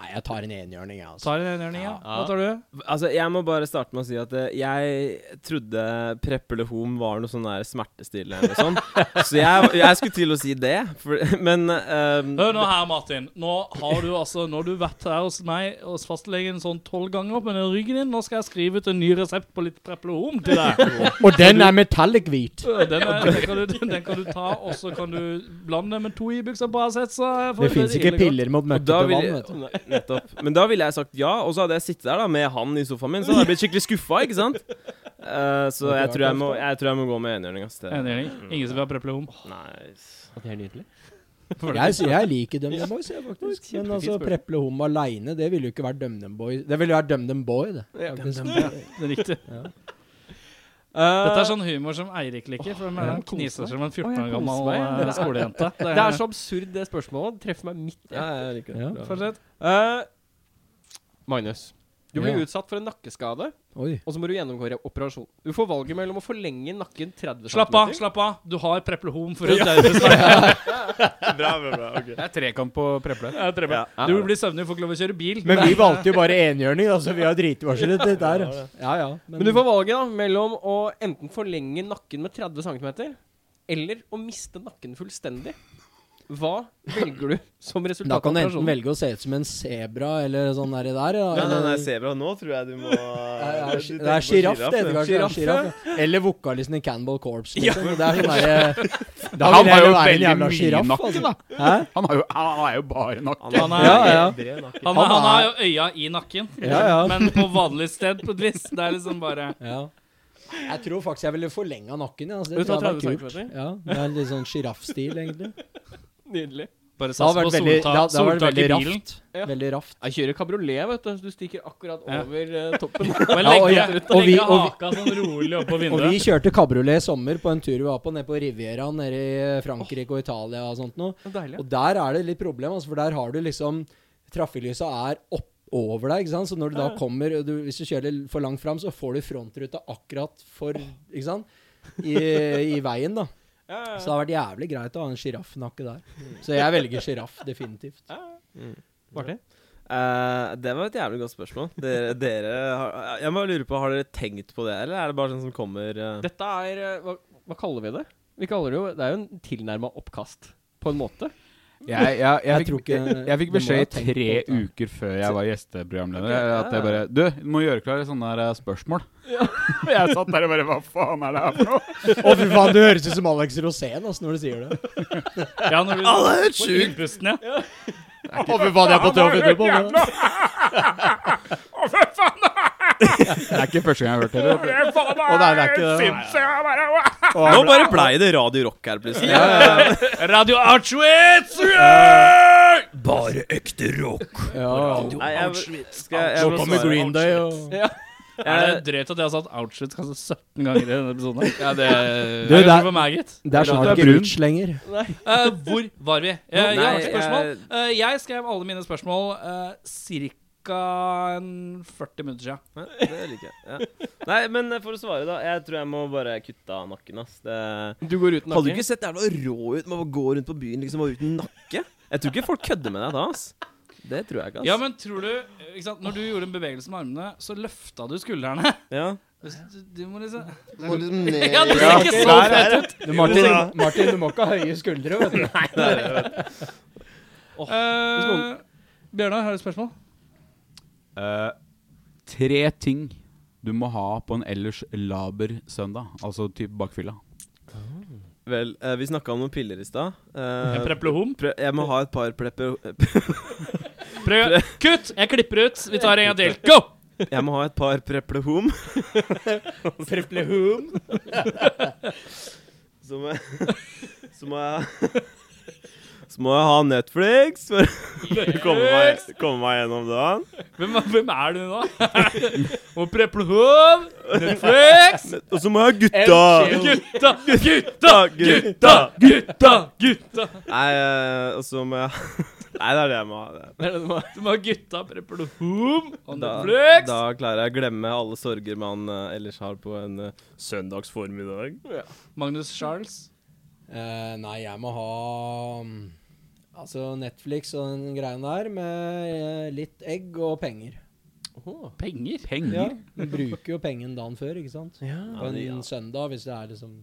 F: Nei, jeg tar en enhjørning, jeg, altså.
B: Tar en enhjørning, ja. Hva tar du?
E: Altså, jeg må bare starte med å si at eh, jeg trodde Preppelehom var noe sånn der smertestillende eller noe sånt. Så jeg, jeg skulle til å si det, for, men ehm,
B: Hør nå her, Martin. Nå har du altså Nå har du vært her hos meg hos fastlegen sånn tolv ganger på den ryggen din. Nå skal jeg skrive ut en ny resept på litt preplohom til deg.
F: Og den er metallic hvit.
B: Den, er, den, kan du, den kan du ta, og så kan du blande den med to Ibux og Paracet. så jeg får
F: Det fins
B: ille
F: ikke
B: godt.
F: piller mot
E: og da
F: møkkete vann,
E: ville-
F: vet du.
E: Nei, Nettopp. Men da ville jeg sagt ja, og så hadde jeg sittet der da med han i sofaen min, så hadde jeg blitt skikkelig skuffa, ikke sant? Eh, så jeg tror jeg, må, jeg tror jeg må gå med enhjørning, ass. Det-
B: Enhjørning. Ingen som vil ha preplohom.
E: Nei
A: Det er nydelig.
F: Jeg, sy- jeg liker DumDum Boys, jeg, faktisk. Men altså, Preple Humb aleine, det ville jo ikke vært DumDum Boys. Det ville vært DumDum Boy, det. faktisk.
B: Det er riktig.
A: Eh,
B: Dette er sånn humor som Eirik liker, for de
A: jeg koser
B: kniser
A: meg.
B: som en
A: Å,
B: 14 år
A: jeg koser
B: gammel
A: meg.
B: eh, skolejente.
A: det er så absurd, det spørsmålet. Det treffer meg midt i.
E: ja, jeg liker det.
F: Ja.
E: Bra.
B: Fortsett.
A: Eh, Magnus, du blir
F: Ja.
A: utsatt for en nakkeskade,
F: Oi.
A: og så må du gjennomgå re- operasjon. Du får valget mellom å forlenge nakken 30 cm
B: Slapp av, slapp av. Du har preplohom for å daue snart.
C: Det er trekamp på preple.
B: Jeg tror jeg. Du blir søvnig, får ikke lov å kjøre bil.
F: Men vi valgte jo bare enhjørning, da, så vi har dritvarslet det der. Ja, ja.
A: Men du får valget da mellom å enten forlenge nakken med 30 cm eller å miste nakken fullstendig. Hva velger du som resultat?
F: Da kan du
A: av
F: enten
A: operasjonen?
F: velge å se ut som en sebra eller sånn der. der ja,
E: Nei, nei,
F: eller-
E: nei, sebra. Nå tror jeg du må
F: Nei,
E: du
F: Det er
E: tenker på
F: sjiraff, det
E: du.
F: heter kanskje.
A: Giraff, ja.
F: Giraff, ja. Eller vokalisten i Cannibal Corps. Liksom. Det er sånn derre Da
C: Han
F: vil
C: har
F: jeg
C: jo
F: være en
C: veldig
F: jævla
C: mye
F: sjiraff.
C: nakke,
F: Altså.
C: da.
F: Hæ?
C: Han er jo, han er jo bare nok.
E: Han er,
B: Han er-
F: Ja,
E: bred nakke.
B: Han,
F: Han
B: han har jo
F: er-
B: øya i nakken,
F: Ja, ja.
B: men på vanlig sted, på et vis. Det er liksom bare
F: ja. Jeg tror faktisk jeg ville forlenga nakken. ja, Altså,
A: Du
F: det
A: tar
F: tror jeg
A: 30
F: hadde vært
A: centimeter.
F: kult. Ja, det er litt sånn sjiraffstil, egentlig.
A: Nydelig.
B: Bare
F: Det
B: sats
F: hadde
B: på
F: vært veldig, det
B: soltak,
F: hadde- det hadde vært
B: soltak i
F: veldig
B: bilen.
F: raft.
A: Ja.
F: Veldig raft.
A: Jeg kjører kabriolet, vet du. Du stikker akkurat
B: Ja.
A: over eh, toppen.
B: Bare
F: Ja, og
B: legge,
F: jeg- og vi-
B: legge
F: og vi-
B: haka sånn rolig oppå
F: Og vi
B: vinduet.
F: kjørte kabriolet i sommer på en tur vi var på nede på Riviera nede i Frankrike og Italia og sånt noe.
A: Deilig.
F: Og der er det litt problem, altså, for der har du liksom Trafikklysa er opp over deg, ikke sant? så når du da kommer og du, Hvis du kjører litt for langt fram, så får du frontruta akkurat for Ikke sant? I, I veien, da.
A: Ja, ja,
F: Så det har vært jævlig greit å ha en sjiraffnakke der. Så jeg velger sjiraff, definitivt.
A: Martin?
E: Eh, det var et jævlig godt spørsmål. Dere, dere har, Jeg bare lurer på, har dere tenkt på det, eller er det bare sånn som kommer eh?
A: Dette er eh, hva, hva kaller vi det? Vi kaller det jo Det er jo en tilnærma oppkast, på en måte.
C: Jeg, jeg, jeg,
F: Jeg tror
C: fikk,
F: ikke-
C: jeg, jeg fikk
F: det må jeg ha
C: beskjed i
F: tenkt på
C: tre
F: dette.
C: uker før jeg var gjesteprogramleder.
A: Ok, ja.
C: At jeg bare Du, du må gjøre klar sånne der eh, spørsmål. jeg satt der og bare Hva faen er det her for noe?
F: Å, fy faen, du høres ut som Alex Rosén altså, når du sier det.
B: Ja, når du på innpusten, ja.
F: Å, fy faen, jeg er på TV etterpå. men-
C: Det er ikke første gang jeg har hørt det. vet du.
F: Å, nei, det er ikke det.
E: Nå bare blei det Radio Rock her, plutselig.
B: Radio Auschwitz!
F: Ja.
E: Nei, jeg, skal jeg, jeg,
F: Nå
E: må
F: kommer
E: svare.
F: Green Day og
B: Er det drøyt at jeg har satt Auschwitz kanskje 17 ganger i denne episoden? her?
C: Ja, det
F: Du,
B: Det er
F: det
B: for meg, gitt.
F: Det er
C: Du er
F: snart ikke
C: brun.
F: Rich lenger.
B: Eh, hvor var vi? Eh, jeg har
E: Nei,
B: et spørsmål.
E: jeg-
B: Eh, jeg skrev alle mine spørsmål uh, ca. 40 minutter siden.
E: Ja, det liker jeg. Ja. Nei, men eh, for å svare, da. Jeg tror jeg må bare kutte av nakken, ass. Det...
A: Du går uten
E: Hadde du
A: nakke.
E: ikke sett jævla rå ut med å gå rundt på byen liksom og uten nakke? Jeg tror ikke folk kødder med deg da, ass. Det tror jeg ikke, ass.
B: Ja, men tror du ikke sant, Når du gjorde en bevegelse med armene, så løfta du skuldrene.
E: ja.
B: Du, du må liksom
E: Ja, det
B: ser ikke sånn. så
E: fett ut.
F: Du, Martin, Martin, du må ikke ha høye skuldre, vet du.
B: Eh, Bjørnar, har du et spørsmål?
C: Eh, tre ting du må ha på en ellers laber søndag. Altså typ bakfylla.
E: Vel, eh, vi snakka om noen piller i stad.
B: En
E: Eh,
B: preplohom?
E: pre- jeg må ha et par plepper...
B: Prøv. Kutt! Jeg klipper ut. Vi tar en gang til. Go!
E: Jeg må ha et par preplehom. preplehom? så, må jeg, så må jeg Så må jeg ha Netflix for å komme meg, komme meg gjennom dagen.
B: Hvem, hvem er du nå? Og preplohom? Netflix?
E: Og så må jeg ha gutta!
B: Gutta, gutta, gutta, gutta! gutta
E: Nei, eh, og så må jeg Nei, det er det jeg må ha.
B: Det er det du må ha. Du må ha gutta, preplohom og
E: Da,
B: Netflix.
E: da klarer jeg å glemme alle sorger man eh, ellers har på en eh, søndagsformiddag.
B: Magnus Charles.
F: Eh, nei, jeg må ha mm, Altså Netflix og den greien der med eh, litt egg og penger.
B: Penger?
F: Ja, Du bruker jo pengene dagen før, ikke sant? og en søndag, hvis det er liksom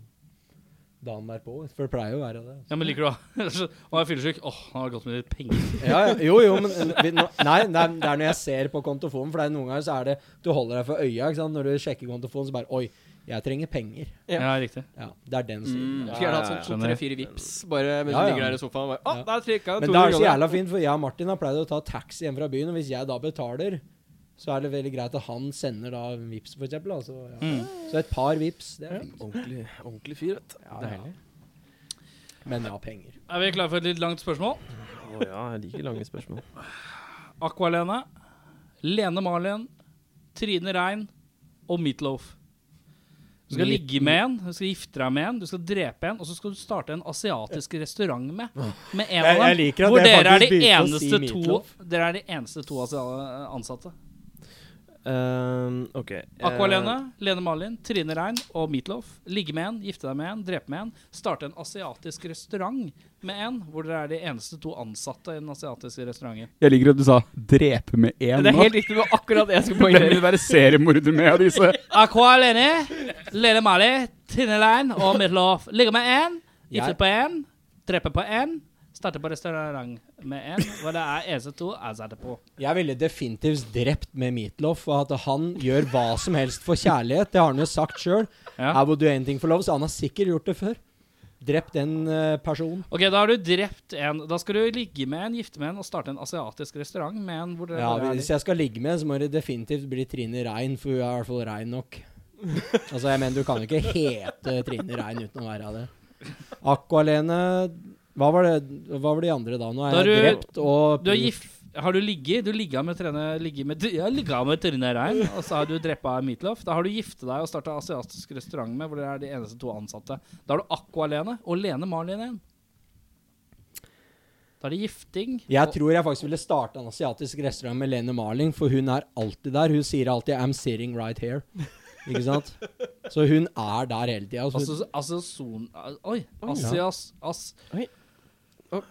F: dagen derpå. For det pleier jo å være det.
B: Ja, men liker du det? Å, jeg er fyllesyk. Åh, nå har det gått med litt penger.
F: Ja, ja, jo, jo, men eh, vi, nå- Nei, det er, det er når jeg ser på kontofonen, for det er noen ganger så er det Du holder deg for øya, ikke sant? Når du sjekker kontofonen, så bare Oi, jeg trenger penger.
B: Ja, riktig.
F: Ja, det er den stilen.
A: Skulle gjerne hatt sånn
B: ja.
A: to-tre-fire vips bare mens
F: Ja,
A: du
F: ja.
A: ligger der i sofaen. og Bare,
F: Ja.
A: å, der trykket jeg
F: Men det er så jævla fint, for jeg og Martin har pleid å ta taxi hjem fra byen, og hvis jeg da betaler, så er det veldig greit at han sender da vips, for eksempel. da, så, ja. Så et par vips, det er fint.
E: Mm. Ordentlig, ordentlig fyr, vet du.
F: Ja, ja. Men ja, penger.
B: Er vi klare for et litt langt spørsmål?
E: Å ja, jeg liker lange spørsmål.
B: Aqualene, Lene Marlen, Trine Rein og Meatloaf. Du skal
F: Meat-
B: ligge med en, du skal gifte deg med en, du skal drepe en, og så skal du starte en asiatisk restaurant med, med en av
F: Jeg-
B: dem.
F: jeg liker at
B: hvor
F: jeg
B: dere er,
F: faktisk
B: de
F: begynte å si
B: eneste to,
F: Meatloaf.
B: dere er de eneste to asia- ansatte.
E: Um, ok. eh,
B: Aqualene, Lene Marlen, Trine Rein og Meatloaf. Ligge med en, gifte deg med en, drepe med en. Starte en asiatisk restaurant med en, hvor dere er de eneste to ansatte i den asiatiske restauranten.
C: Jeg liker at du sa 'drepe med én'
A: Det er helt riktig. Det var akkurat det jeg skulle
C: Hvem
A: poengtere.
C: vil være seriemorder med av disse?
B: Aqua alene, Lene Mali, Trine Lein og Midtlof. Ligger med én, gifter
F: Jeg-
B: på én, dreper på én, Starte på restaurant med en, hvor det er eneste to jeg setter på.
F: Jeg ville definitivt drept med Meatloaf, og at han gjør hva som helst for kjærlighet. Det har han jo sagt sjøl.
B: Ja.
F: I would do anything for love, så han har sikkert gjort det før. Drept en eh, person.
B: Ok, da har du drept en. Da skal du ligge med en, gifte med en og starte en asiatisk restaurant med en hvor dere
F: Ja,
B: bare er
F: Hvis jeg skal ligge med en, så må det definitivt bli Trine Rein, for hun er i hvert fall rein nok. Altså, jeg mener, du kan jo ikke hete Trine Rein uten å være det. Aqualene hva var, det, hva var de andre da? Nå er
B: Da
F: jeg
B: er du-
F: drept og
B: Du har gift... Har du ligget? Du ligga med Trine ligget med, Jeg har ligget med Trine Rein, og så har du drepa Meatloaf. Da har du gifte deg og starta asiatisk restaurant med, hvor dere er de eneste to ansatte. Da har du Aqua Lene og Lene Marlin igjen. Da er det gifting.
F: Jeg
B: og-
F: tror jeg faktisk ville starte en asiatisk restaurant med Lene Marling, for hun er alltid der. Hun sier alltid 'I'm sitting right here'. Ikke sant? Så hun er der hele tida. Altså,
B: Altså, altså son... Oi. Asias... As, jeg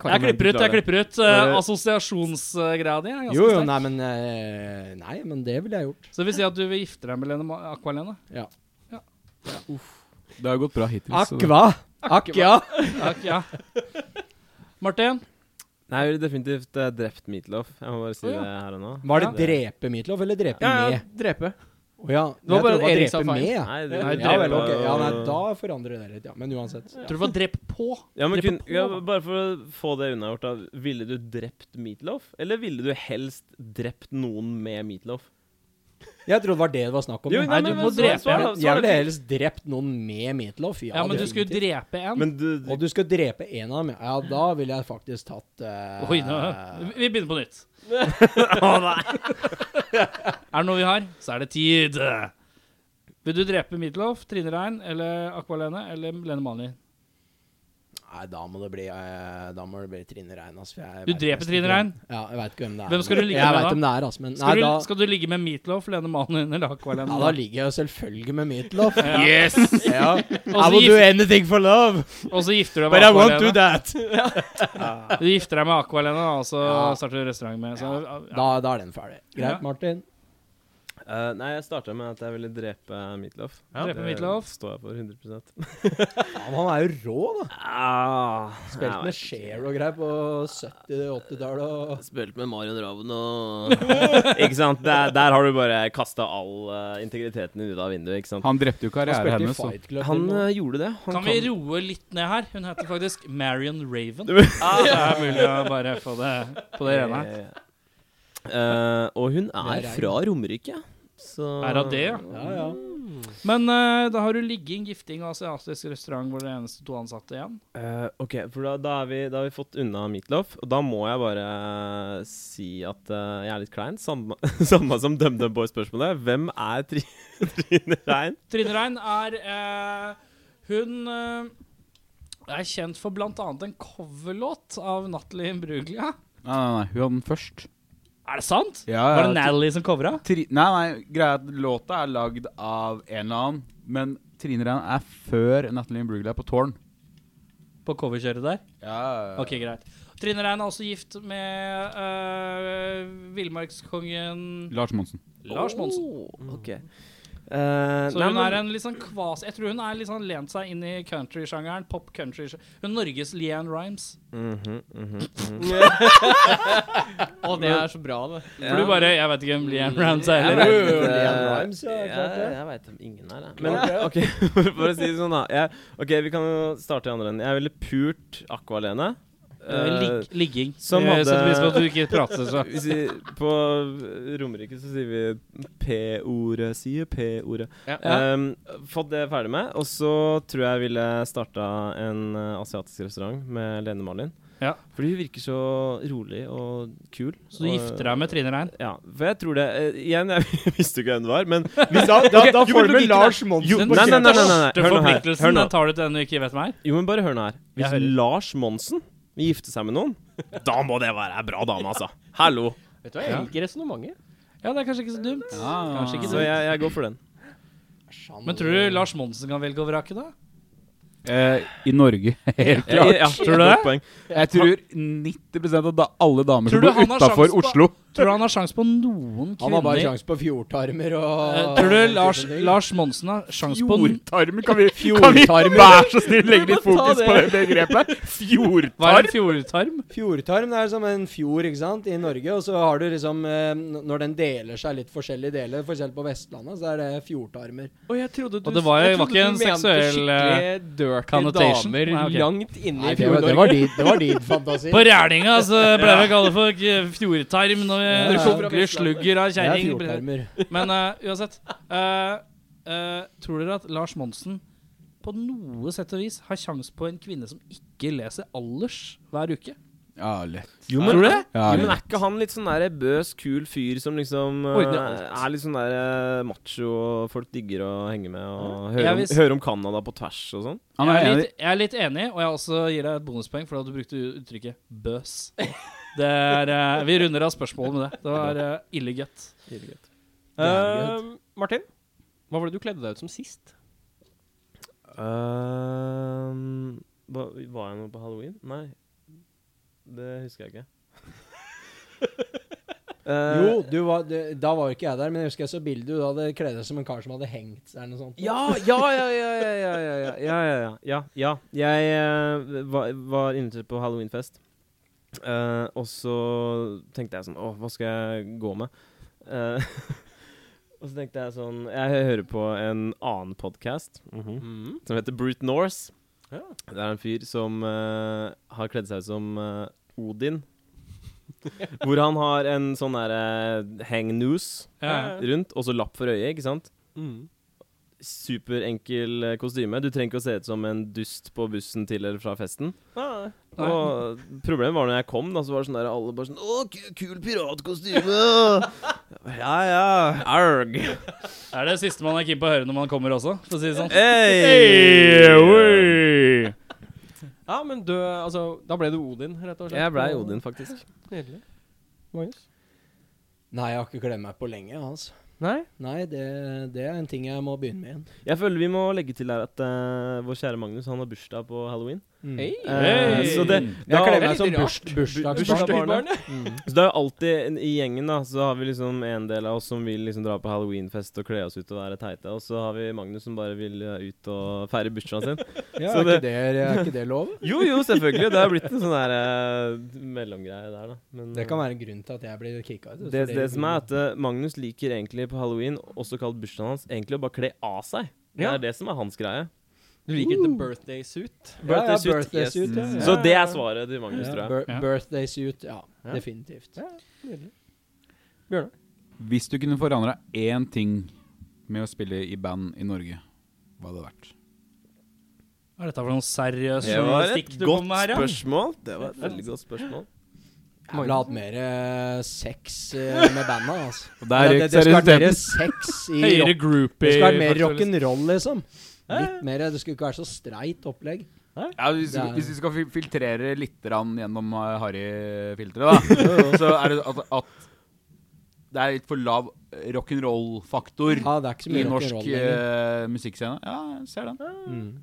A: Karamell,
B: klipper ut, jeg
A: beklager.
B: klipper ut. Uh, Assosiasjonsgreia di er ganske
F: jo, jo,
B: sterk.
F: nei, men eh, Nei, men det ville jeg gjort.
B: Så det vil si at du vil gifte deg med Lene Ma- Aqua Lene?
F: Ja.
C: Det har gått bra hittil. så-
F: Akva! Akja!
B: Takk, ja. Martin?
E: Nei, jeg ville definitivt eh, drept Meatloaf. Jeg må bare si
B: Å, ja.
E: det her og nå.
F: Var det
E: Ja.
F: drepe Meatloaf eller drepe
A: Ja, ja,
F: med?
A: drepe.
F: Å ja.
A: Det var bare
F: Jeg trodde
A: at Erik
F: det
A: sa
F: var drepe
A: feil.
F: med. Ja.
E: Nei, det,
A: Nei,
F: Ja
A: drepe
F: vel, ok.
E: og-
F: Ja, nei, da forandrer det litt, ja. Men uansett.
B: Tror du var drept på?
E: Ja, men
B: Drepe
E: kun,
B: på,
E: ja,
B: da.
E: bare for å få det unnagjort, da. Ville du drept Meatloaf? Eller ville du helst drept noen med Meatloaf?
F: Jeg trodde det var det det var snakk om.
E: Jo,
F: ja.
E: nei,
B: du
E: men
B: må
E: svar-
B: drepe.
E: svar da,
F: Men
E: svar
F: jeg
E: da.
F: ville helst drept noen med Meatloaf. Ja,
B: Ja, men du skulle
F: definitivt.
B: drepe en.
E: Men du,
F: Og du skal drepe en av dem? Ja, da ville jeg faktisk tatt eh,
B: Oi, nå, vi begynner på nytt. er det noe vi har, så er det tid. Vil du drepe Midtloff, Trine Rein eller Aqua Lene eller Lene Malin?
F: Nei, da må det bli, eh, da må det bli Trine Rein. Altså, for jeg
B: Du
F: vet
B: dreper
F: nesten
B: Trine
F: ikke hvem-
B: Rein?
F: Ja, jeg veit ikke hvem det er.
B: Hvem skal du ligge
F: jeg
B: med
F: vet
B: da?
F: hvem det er, altså, men nei,
B: Skal,
F: da,
B: du, skal du ligge med Meatloaf, Lene Malin eller Aqua Lene?
F: ja, da ligger jeg jo selvfølgelig med Meatloaf.
B: Yes!
F: ja.
B: Og
F: I
B: så
F: will do
B: gift-
F: anything for love,
B: og så gifter du deg
F: but
B: med
F: I
B: Aqua
F: won't do
B: Lene.
F: that.
B: Du gifter deg med Aqua Lene, og så
F: Ja.
B: starter du restaurant med så, ja.
F: Da, da er den ferdig. Greit,
B: Ja.
F: Martin.
E: Eh, nei, jeg starta med at jeg ville drepe Meatloaf.
B: Ja. Drepe
E: det
B: Meatloaf.
E: står jeg for 100
F: Ja, men han er jo rå, da.
E: ah,
F: Spilte med Cher og greier på 70-80-tallet. og-
E: Spilte med Marion Ravn og Ikke sant? Der, der har du bare kasta all eh, integriteten din ut av vinduet, ikke sant?
C: Han drepte jo
F: Han
C: karrieren
F: spilte i
C: hennes. Så.
F: Fight Club. til
E: Han
F: og med.
E: eh, gjorde det. Han
B: Kan vi roe litt ned her? Hun heter faktisk Marion Raven.
E: Ah,
B: Det er mulig å bare få det på det rene.
E: Ja, ja, ja. Eh, og hun er,
F: Det er
E: fra Romerike. Så
B: Er hun det, ja?
F: Ja, ja.
B: Men eh, da har du ligging, gifting og asiatisk restaurant hvor det er eneste to ansatte igjen.
E: Eh, ok, for da, da, er vi, da har vi fått unna Meatloaf, og da må jeg bare eh, si at eh, jeg er litt klein. Samme, samme som DumDum Boy-spørsmålet. Hvem er Tri- Trine Rein?
B: Trine Rein er eh, Hun eh, er kjent for blant annet en coverlåt av Natalie Imbruglia.
C: Nei, nei, nei, hun hadde den først.
B: Er det sant?
C: Ja,
B: Var
C: ja,
B: det Natalie som covra?
C: Tri nei, nei, greia er at låta er lagd av en eller annen, men Trine Rein er før Natalie Brugler på Tårn.
B: På coverkjøret der?
C: Ja,
B: Ok, greit. Trine Rein er også gift med eh, villmarkskongen
C: Lars Monsen.
B: Lars Monsen.
E: Åh, ok. Eh,
B: Så
E: nei,
B: hun
E: men-
B: er en litt sånn kvas... Jeg tror hun er litt sånn lent seg inn i countrysjangeren. Pop country Hun er Norges Leanne Rhymes.
E: Mhm, mhm, mhm.
A: Å, det er så bra, det.
B: For du bare Jeg vet ikke hvem Leanne Rhymes er
E: Jeg
B: heller.
E: vet,
F: Jo, jo,
E: eh,
F: Leanne Rimes, ja,
E: jeg-
F: klart det.
E: Jeg veit om ingen her, jeg. Men ok, for å si det sånn, da. Jeg, ok, vi kan jo starte i andre enden. Jeg ville pult Aqua Lene.
B: Eh, Ligg, ligging.
E: som
B: Eh,
E: hadde-
B: Setter pris på at du ikke prater så
E: Vi sier, på Romerike så sier vi P-ordet. Sier P-ordet.
A: Ja.
E: Ehm, fått det ferdig med. Og så tror jeg jeg ville starta en eh, asiatisk restaurant med Lene Marlin.
B: Ja.
E: Fordi hun virker så rolig og kul.
B: Så du gifter deg med Trine Rein?
E: Ja, for jeg tror det eh, Igjen, jeg visste jo ikke hvem det var, men hvis da, da,
A: Ok,
E: da
A: jo,
E: får
A: men
E: du
A: logikken
E: Lars
A: Monsen
E: Nei, nei, nei, nei, nei, nei.
B: Hør
E: Hør nå her. Hør
B: Forpliktelsen
E: nå.
B: den tar du til den du ikke vet hvem er?
E: Jo, men bare hør nå her. Hvis
B: Jeg hører.
E: Lars Monsen vil gifte seg med noen, da må det være ei bra dame, altså. Hallo.
A: Vet du hva, jeg liker resonnementet.
B: Ja, det er kanskje ikke så dumt. Kanskje ikke
E: Så jeg, jeg går for den.
B: Men tror du Lars Monsen kan velge og vrake, da?
C: Eh, I Norge. Helt
E: Ja,
C: klart.
E: ja, tror du
B: det?
E: Poeng.
C: Jeg tror 90 av da alle damer
B: Tror
C: som
B: du
C: bor
B: han har
C: utafor
B: sjans på-
C: Oslo,
B: Tror du han har sjanse på noen
F: Han har bare
B: kvinner?
F: sjanse på fjordtarmer
B: Eh,
F: og
B: Tror du Lars, Lars Monsen har sjanse på n-
C: Fjordtarmen? Kan vi, kan vi
F: Fjordtarmer.
C: være så snill legge litt
E: Ta
C: fokus på det
E: det.
C: begrepet?
B: Hva er
C: Fjordtarm?
B: en fjordtarm?
F: Fjordtarm det er som en fjord ikke sant, i Norge. Og så har du liksom eh, n- Når den deler seg litt forskjellige deler, for eksempel på Vestlandet, så er det fjordtarmer.
A: Og jeg trodde du,
B: Og det var-
A: jeg
B: var
A: trodde
B: ikke en
A: du mente
B: seksuell, eh,
A: skikkelig dirty
B: connotation.
A: damer
B: Nei, ok.
A: langt inne i
F: det var,
A: fjorden.
F: din, fantasi.
B: På Rælingen så ble vi kalt for k- fjordtarm når
F: Ja,
B: vi
F: ja.
B: ordentlig slugger av
F: Det er
B: kjerring.
F: fjordtarmer.
B: Men eh, uansett eh, eh, Tror dere at Lars Monsen på noe sett og vis har sjanse på en kvinne som ikke leser alders hver uke?
C: Ja, lett.
B: Tror du det?
C: Ja,
E: Jo, men er ikke han litt sånn der bøs, kul fyr som liksom eh,
B: Ordner alt.
E: er litt sånn der eh, macho og folk digger å henge med og
B: Jeg
E: høre om,
B: vil s-
E: høre om Canada på tvers og sånn?
C: Han
B: Jeg
C: er
B: er,
C: enig.
B: litt, jeg er litt enig, og jeg også gir deg et bonuspoeng for at du brukte uttrykket 'bøs'. Det er, eh, vi runder av spørsmålet med det. Det var uh, ille gøtt.
A: Eh, Martin, hva var det du kledde deg ut som sist?
E: Ehm, hva- var jeg nå på halloween? Nei. Det husker jeg ikke. Eh,
F: Jo, du var, du, da var jo ikke jeg der, men jeg husker jeg så bildet du hadde kledd deg som en kar som hadde hengt seg eller noe sånt.
E: Ja, ja, ja, ja, ja, ja, ja, ja, ja, ja, ja, ja. Jeg eh, var, var invitert på halloweenfest. Eh, og så tenkte jeg sånn Å, hva skal jeg gå med? Eh, og så tenkte jeg sånn Jeg hører på en annen podkast
A: Mm.
E: som heter Brute Norse.
A: Mhm. Ja.
E: Det er en fyr som eh, har kledd seg ut som eh, Odin. Hvor han har en sånn derre hang noose
B: Ja,
E: rundt, og så lapp for øyet, ikke sant?
A: Eh, Mm.
E: superenkel eh, kostyme. Du trenger ikke å se ut som en dust på bussen til eller fra festen.
A: Ah,
B: Nei.
E: Og problemet var når jeg kom, da, så var det sånn der alle bare sånn Å, ku- kul piratkostyme! ja, ja. Arg.
B: Er det siste man er keen på å høre når man kommer også? For å si det sånn.
E: Hey.
A: Ja, men du, altså, da ble du Odin, rett og slett.
E: Jeg blei Odin, faktisk.
A: Nydelig. Magnus?
F: Nei, jeg har ikke kledd meg på lenge. altså.
A: Nei?
F: Nei, det, det er en ting jeg må begynne med igjen.
E: Jeg føler vi må legge til her at eh, vår kjære Magnus han har bursdag på halloween.
F: Mm.
A: Hey.
E: Eh,
B: Hey.
E: så det, da-
F: Jeg kler
A: det
F: meg
A: er
F: som
A: litt rart.
F: burs- bursdagsbarn. Mm.
E: Bursdagsbarnet.
A: Bursdagsbarnet.
E: Så det er jo alltid en- i gjengen, da, så har vi liksom en del av oss som vil liksom dra på halloweenfest og kle oss ut og være teite, og så har vi Magnus som bare vil eh, ut og feire bursdagen sin.
F: Ja,
E: Så
F: er, ikke det, er ikke det lov?
E: Jo, jo, selvfølgelig. Det har blitt en sånn der eh, mellomgreie der, da. Men,
F: Det kan være en grunn til at jeg blir kicka ut.
E: eh, det, det som er at eh, Magnus liker egentlig på halloween, også kalt bursdagen hans, egentlig å bare kle av seg. Det
A: Ja.
E: er det som er hans greie.
A: Du liker the birthday suit.
F: ja, ja,
E: Birthday suit,
F: birthday
E: yes.
F: suit, ja, ja.
E: Så det er svaret til Magnus,
F: Ja,
E: tror jeg.
F: bir-
B: Ja.
F: Birthday suit, ja.
A: Ja.
F: Definitivt.
C: Hvis du kunne forandra én ting med å spille i band i Norge, hva hadde det vært?
B: Hva er dette for noen seriøs
E: Det var
B: journalistikk
E: et
B: du
E: godt
B: kom med her? ja?
E: spørsmål. Det var et veldig godt spørsmål.
F: Jeg ville hatt mer eh, sex eh, med banda, altså.
C: Og der gikk
F: det, det, det skal være mer
C: seriøsiteten.
F: sex i
B: Høyere
F: rock.
B: groupie
F: Det skal være mer
B: faktisk.
F: rock'n'roll, liksom. Litt mer, Det skulle ikke være så streit opplegg.
C: Ja, hvis,
F: Det er-
C: hvis vi skal fil- filtrere litt grann gjennom eh, Harry-filteret, da, så er det at, at det er litt for lav rock'n'roll-faktor
F: Ja, det er ikke så
C: i
F: mye
C: norsk
F: rock'n'roll lenger.
C: eh, musikkscene. Ja, jeg ser den.
F: Mm.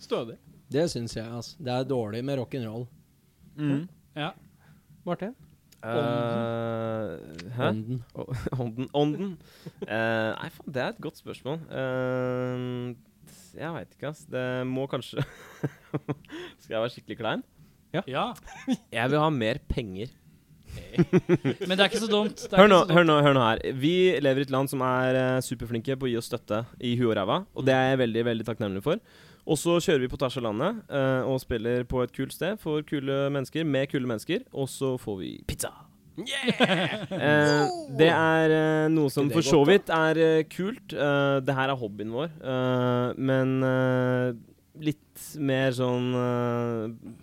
A: Stødig.
F: Det syns jeg, altså. Det er dårlig med rock'n'roll.
C: Mm.
B: Ja.
A: Martin?
E: Eh, hæ?
F: Ånden.
E: Å- Ånden. Ånden. Eh, nei, faen, det er et godt spørsmål. Eh, jeg veit ikke, ass. Det må kanskje Skal jeg være skikkelig klein?
B: ja.
E: Jeg vil ha mer penger.
B: Men det er ikke så dumt. Det er
E: Hør nå,
B: ikke så dumt.
E: hør nå, hør nå her. Vi lever i et land som er eh, superflinke på å gi oss støtte i huet og ræva, og det
B: Mm.
E: er jeg veldig veldig takknemlig for. Og så kjører vi på tvers av landet eh, og spiller på et kult sted for kule mennesker med kule mennesker, og så får vi pizza. Eh, det er eh, noe som
F: det
E: for
F: godt,
E: så vidt er eh, kult. Eh, det her er hobbyen vår, eh, men eh, litt mer sånn eh,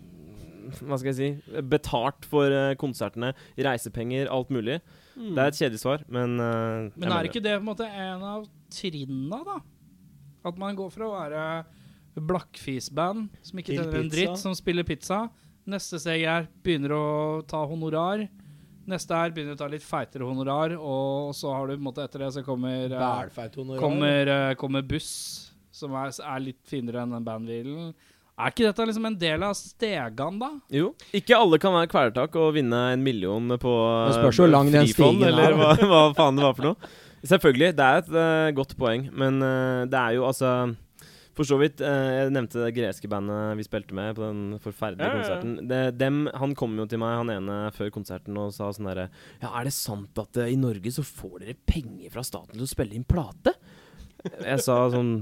E: Hva skal jeg si? Betalt for eh, konsertene, reisepenger, alt mulig. Det er et kjedelig svar, men eh,
B: Mm.
E: jeg
B: Men
E: mener
B: er ikke det på en måte en av trinna, da? At man går fra å være blakkfisband som ikke
F: Til
B: tjener en
F: pizza.
B: dritt, som spiller pizza. Neste steg er begynner å ta honorar. Neste er begynner å ta litt feitere honorar, og så har du på en måte etter det så kommer eh,
F: Bælfeit honorar.
B: Kommer, eh, kommer buss, som er, er litt finere enn den bandhvilen. Er ikke dette liksom en del av stegan, da?
E: Jo. Ikke alle kan være kvelertak og vinne en million på
F: Det spørs hvor lang den
E: frifond,
F: stigen er.
E: eller hva, hva faen det var for noe. Selvfølgelig, det er et eh, godt poeng, men eh, det er jo altså For så vidt, eh, jeg nevnte det greske bandet vi spilte med på den
A: Ja,
E: forferdelige
A: ja, ja.
E: konserten. Det, dem, han kom jo til meg, han ene, før konserten og sa sånn derre Ja, er det sant at eh, i Norge så får dere penger fra staten til å spille inn plate? Jeg sa sånn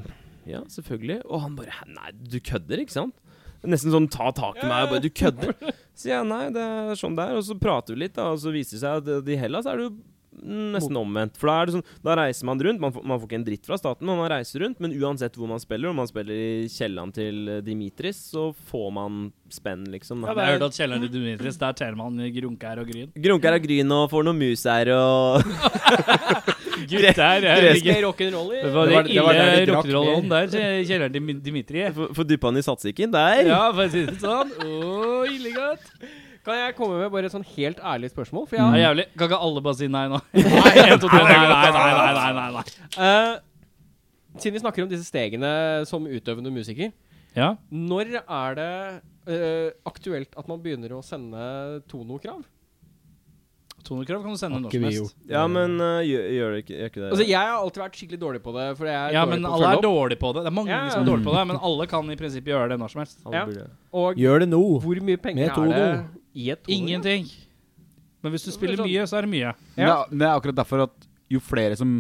E: Ja, selvfølgelig. Og han bare "Hæ, Nei, du kødder, ikke sant? Nesten sånn ta tak i meg og bare Du kødder? Så sier jeg nei, det er sånn det er. Og så prater vi litt, da, og så viser det seg at i Hellas er det jo nesten omvendt. For da er det sånn Da reiser man rundt. Man får, man får ikke en dritt fra staten, men man reiser rundt. Men uansett hvor man spiller, om man spiller i kjelleren til eh, Dimitris, så får man spenn, liksom. Da.
B: Jeg hørte at kjelleren til Dimitris, der teller man grunker og gryn.
E: Grunker av gryn og får noe mus her og
B: Gutter, jeg
E: Greske
B: ligger
A: rock'n'roll i
B: Det var det
C: det var der de
B: ille
C: drakk
B: rock'n'roll-ånden der, kje- kjelleren til Min- Dimitri.
E: Får får dyppa den i satsikken der.
B: Ja, for å si det sånn. Å, ille godt.
A: Kan jeg komme med bare et sånn helt ærlig spørsmål? For
B: Mm. Ja,
A: jeg,
B: jævlig. Kan ikke alle bare si nei nå? Nei, en, to, tre, nei, nei, nei, nei, nei, nei, nei.
A: Eh, siden vi snakker om disse stegene som utøvende musiker,
B: Ja.
A: når er det eh, aktuelt at man begynner å sende tonokrav?
B: Tonekrav kan du sende når
F: Ikke
B: som
F: vi
B: helst.
F: gjort.
E: Ja, men eh, gjør, gjør, det ikke, gjør ikke det?
A: Altså, jeg har alltid vært skikkelig dårlig på det. For jeg er
B: Ja,
A: dårlig
B: men
A: på å
B: alle
A: følge
B: er
A: opp.
B: dårlige på det. Det er mange
A: Ja, ja.
B: som er dårlige på det, men alle kan i prinsippet gjøre det når som helst.
E: Alle
A: ja.
E: burde-
A: Og
F: Gjør det nå.
A: hvor mye penger er
F: Med tono.
A: det i et tono?
B: Ingenting. Men hvis du spiller
A: sånn-
B: mye, så er det mye.
C: Men det, er, men det er akkurat derfor at jo flere som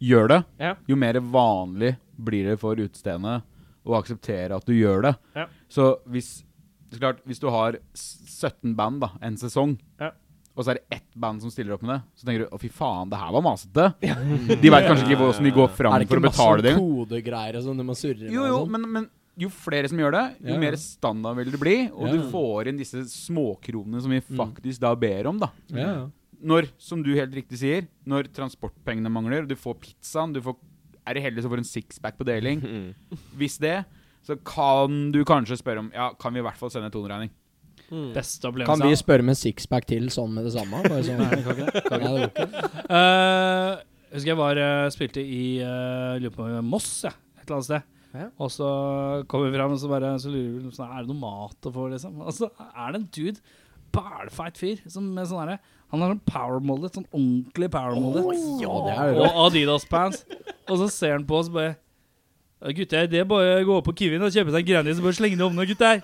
C: gjør det,
A: Ja.
C: jo mer vanlig blir det for utestedene å akseptere at du gjør det.
A: Ja.
C: Så hvis så klart, Hvis du har s- 17 band da, en sesong,
A: Ja.
C: og så er det ett band som stiller opp med det, så tenker du å fy faen, det her var masete. De veit kanskje ikke hvordan de går
F: Er
C: fram
F: det
C: for
F: ikke
C: å betale det.
F: masse sånn kodegreier og sånn når man surrer
C: Jo,
F: med
C: jo,
F: og sånn?
C: men, men jo flere som gjør det, jo
F: Ja.
C: mer standard vil det bli. Og
F: Ja. Mm.
C: du får inn disse småkronene som vi faktisk da ber om, da.
F: Ja, ja.
C: Når, som du helt riktig sier, når transportpengene mangler, du får pizzaen, du får, er du heldig så får du en sixpack på deling.
E: Mm.
C: Hvis det, så kan du kanskje spørre om Ja, kan vi i hvert fall sende en toneregning?
B: Beste
F: Kan vi
B: opplevelse.
F: spørre med sixpack til sånn med det samme? Bare sånn. Nei, det går ikke.
B: Eh, husker jeg var, eh, spilte i eh, lurer på om det var Moss, ja, et eller annet sted.
A: Ja.
B: Og så kom vi fram, og så, bare, så lurer vi liksom, sånn, er det noe mat å få, liksom. Og så er det en dude, bælfeit fyr, som med sånn herre Han har sånn powermoldet, sånn ordentlig powermoldet.
F: Ja, det er rått.
B: og Adidas-pants. Og så ser han på oss bare «Ja, Gutter, det er bare å gå på Kiwien og kjøpe seg en Grandis og bare slenge det om nå, gutter.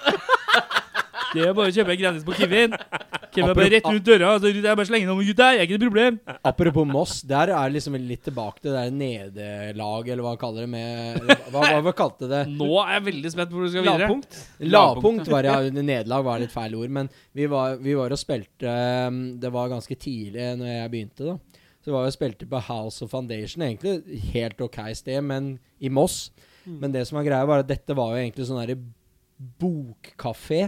B: Det er bare å kjøpe en Grandis på Kiwien. Kommer bare rett rundt døra, og så det er bare å slenge det om, gutter. Det er ikke noe problem.
F: Apropos Moss, der er det liksom litt tilbake til det der nederlag, eller hva kaller det med Hva, hva, hva kalte det?
B: Nå er jeg veldig spent på hvor du skal videre.
A: Lavpunkt?
F: Lavpunkt var ja, nederlag var litt feil ord, men vi var, vi var og spilte um, Det var ganske tidlig eh, når jeg begynte, da. Så var vi og spilte på House of Foundation, egentlig helt ok sted, men i Moss. Men det som var greia, var at dette var jo egentlig sånn derre bokkafé.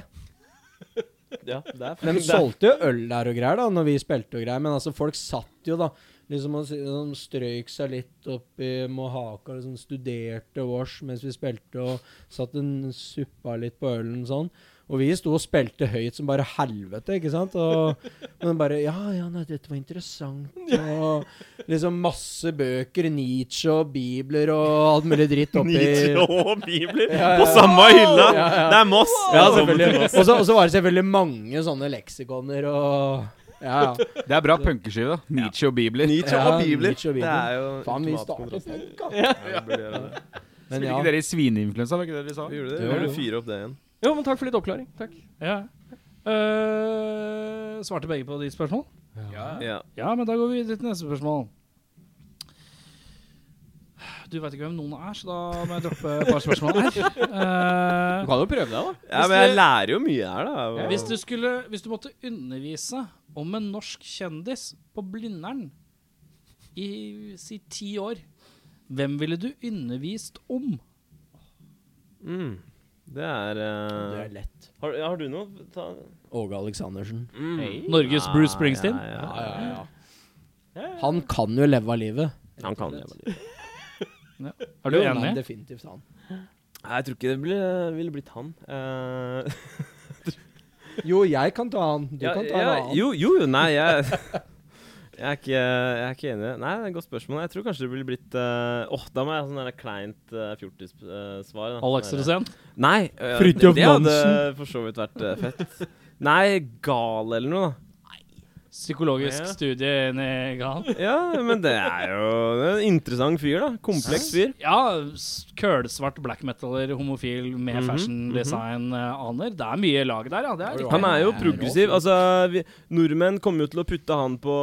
E: ja, det er
F: De solgte jo øl der og greier da Når vi spilte og greier Men altså folk satt jo da Liksom og s- sånn strøyk seg litt opp i Mohaka liksom Studerte vårs mens vi spilte Og satt en suppa litt på ølen sånn og vi sto og spilte høyt som bare helvete, ikke sant? Og men bare, ja, ja, nei, dette var interessant. Og liksom masse bøker, Nietzsche og Bibler og alt mulig dritt oppi.
E: Nietzsche og bibler
F: Ja, ja.
E: på samme hylla!
F: Ja, ja.
E: Det er Moss!
F: Ja,
E: Velkommen til
F: selvfølgelig.
E: Moss.
F: Og så og så var det selvfølgelig mange sånne leksikoner og Ja, ja.
C: Det er bra punkeskive, da. Nietzsche og bibler.
E: Nietzsche
F: Ja,
E: og bibler.
F: Nietzsche og
E: Det
F: bibler.
E: er jo
F: Faen, vi
E: ultimat
F: startet
E: kontrast.
F: sterkt, da.
E: Ja, vi burde gjøre det.
F: Men
C: Spilte
F: ja.
C: ikke dere i svineinfluensa, var ikke det dere sa?
E: Vi gjorde det.
F: Jo,
E: Vi burde
F: jo.
E: fyre opp det igjen.
A: Jo, men takk for litt oppklaring. Takk.
B: Ja. Eh, svarte begge på ditt spørsmål?
E: Ja.
B: Ja, men da går vi videre til neste spørsmål. Du veit ikke hvem noen er, så da må jeg droppe et par spørsmål her. Eh,
A: Du kan jo prøve deg, da.
E: ja, men jeg lærer jo mye her, da. Hva-
B: Hvis du, skulle, hvis du måtte undervise om en norsk kjendis på Blindern i si ti år, hvem ville du undervist om?
E: mm. Det er, eh,
F: Det er lett.
E: har, ja, har du noe? Ta...
F: Åge Aleksandersen.
E: Mm.
B: Norges Bruce Springsteen?
E: Ja,
F: Ja,
E: ja, ja.
F: ja, ja. Han kan jo leve av livet.
E: Han kan det.
B: Er du
F: Jo, nei,
B: enig?
F: Definitivt han.
E: Nei, Jeg tror ikke det ble, ville blitt han. Eh,
F: Jo, jeg kan ta han. Du
E: ja,
F: kan ta
E: ja,
F: en annen.
E: Jo, jo, jo, nei, jeg Jeg er, ikke, jeg er ikke enig. Nei, det er et godt spørsmål. Jeg tror kanskje det ville blitt eh, Åh, da må jeg ha sånn der kleint uh, fjortis-svar. Sånn
B: Alex Rosén?
E: Nei. øh,
B: Fridtjof
E: det hadde
B: Nansen.
E: for så vidt vært eh, fett. Nei, gal eller noe, da.
B: Psykologisk
E: Ja.
B: studie inn i Gan.
E: Ja, men det er jo det er en interessant fyr, da. Kompleks fyr.
B: Ja, s- kølsvart black metaler, homofil, med
E: Mhm,
B: fashion design eh, aner. Det er mye lag der, ja. Det er
E: Han
B: riktig.
E: er jo
F: Det er
E: progressiv.
F: rått.
E: Altså, vi, nordmenn kommer jo til å putte han på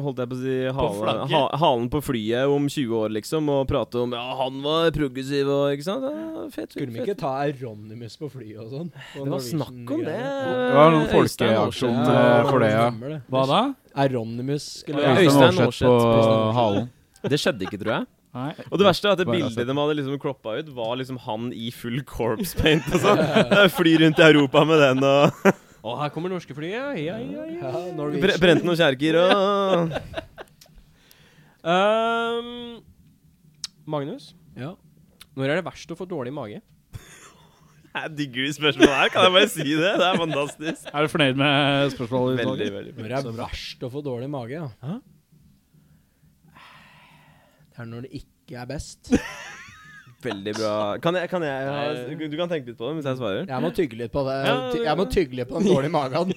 E: Holdt jeg på å si halen
B: flagget.
E: ha, halen på flyet om 20 år, liksom, og prate om Ja, han var progressiv og Ikke sant? Ja, fett,
F: Skulle de
E: fett.
F: ikke ta Euronymous på flyet og sånn? På
E: Det var
F: Norwegian
E: snakk om det.
F: greiene.
C: Det var noen
E: Øystein
C: folkeaksjon
E: Aarseth.
C: eh, for det, ja.
F: stemmer det.
B: Hva da?
F: Euronymous skulle
E: Ja,
F: være
E: Øystein
C: Øystein Aarseth på
E: Aarseth.
C: halen.
E: Det skjedde ikke, tror jeg.
B: Nei.
E: Og det verste er at det
C: Bare altså.
E: bildet
C: Aarseth.
E: de hadde liksom croppa ut, var liksom han i full corpse paint og sånn. Fly rundt i Europa med den og
A: Å, her kommer norske flyet! Ja, ja, ja.
F: ja,
E: bre
F: Norwegian.
E: brente noen kjerker og
A: Ehm, Magnus,
F: Ja.
A: når er det verst å få dårlig mage?
E: Jeg digger de spørsmålene her, kan jeg bare si det? Det er fantastisk.
B: Er du fornøyd med spørsmålet? i
E: Veldig,
B: dag?
E: veldig.
F: Når det er verst å få dårlig mage, ja.
A: Hæ?
F: Det er når det ikke er best.
E: Veldig bra. Kan jeg, kan jeg ha, Du kan tenke litt på det mens
B: Mm.
E: jeg svarer.
F: Jeg må tygge litt på det.
A: Ja,
F: Ty- Jeg må tygge litt på den dårlige magen.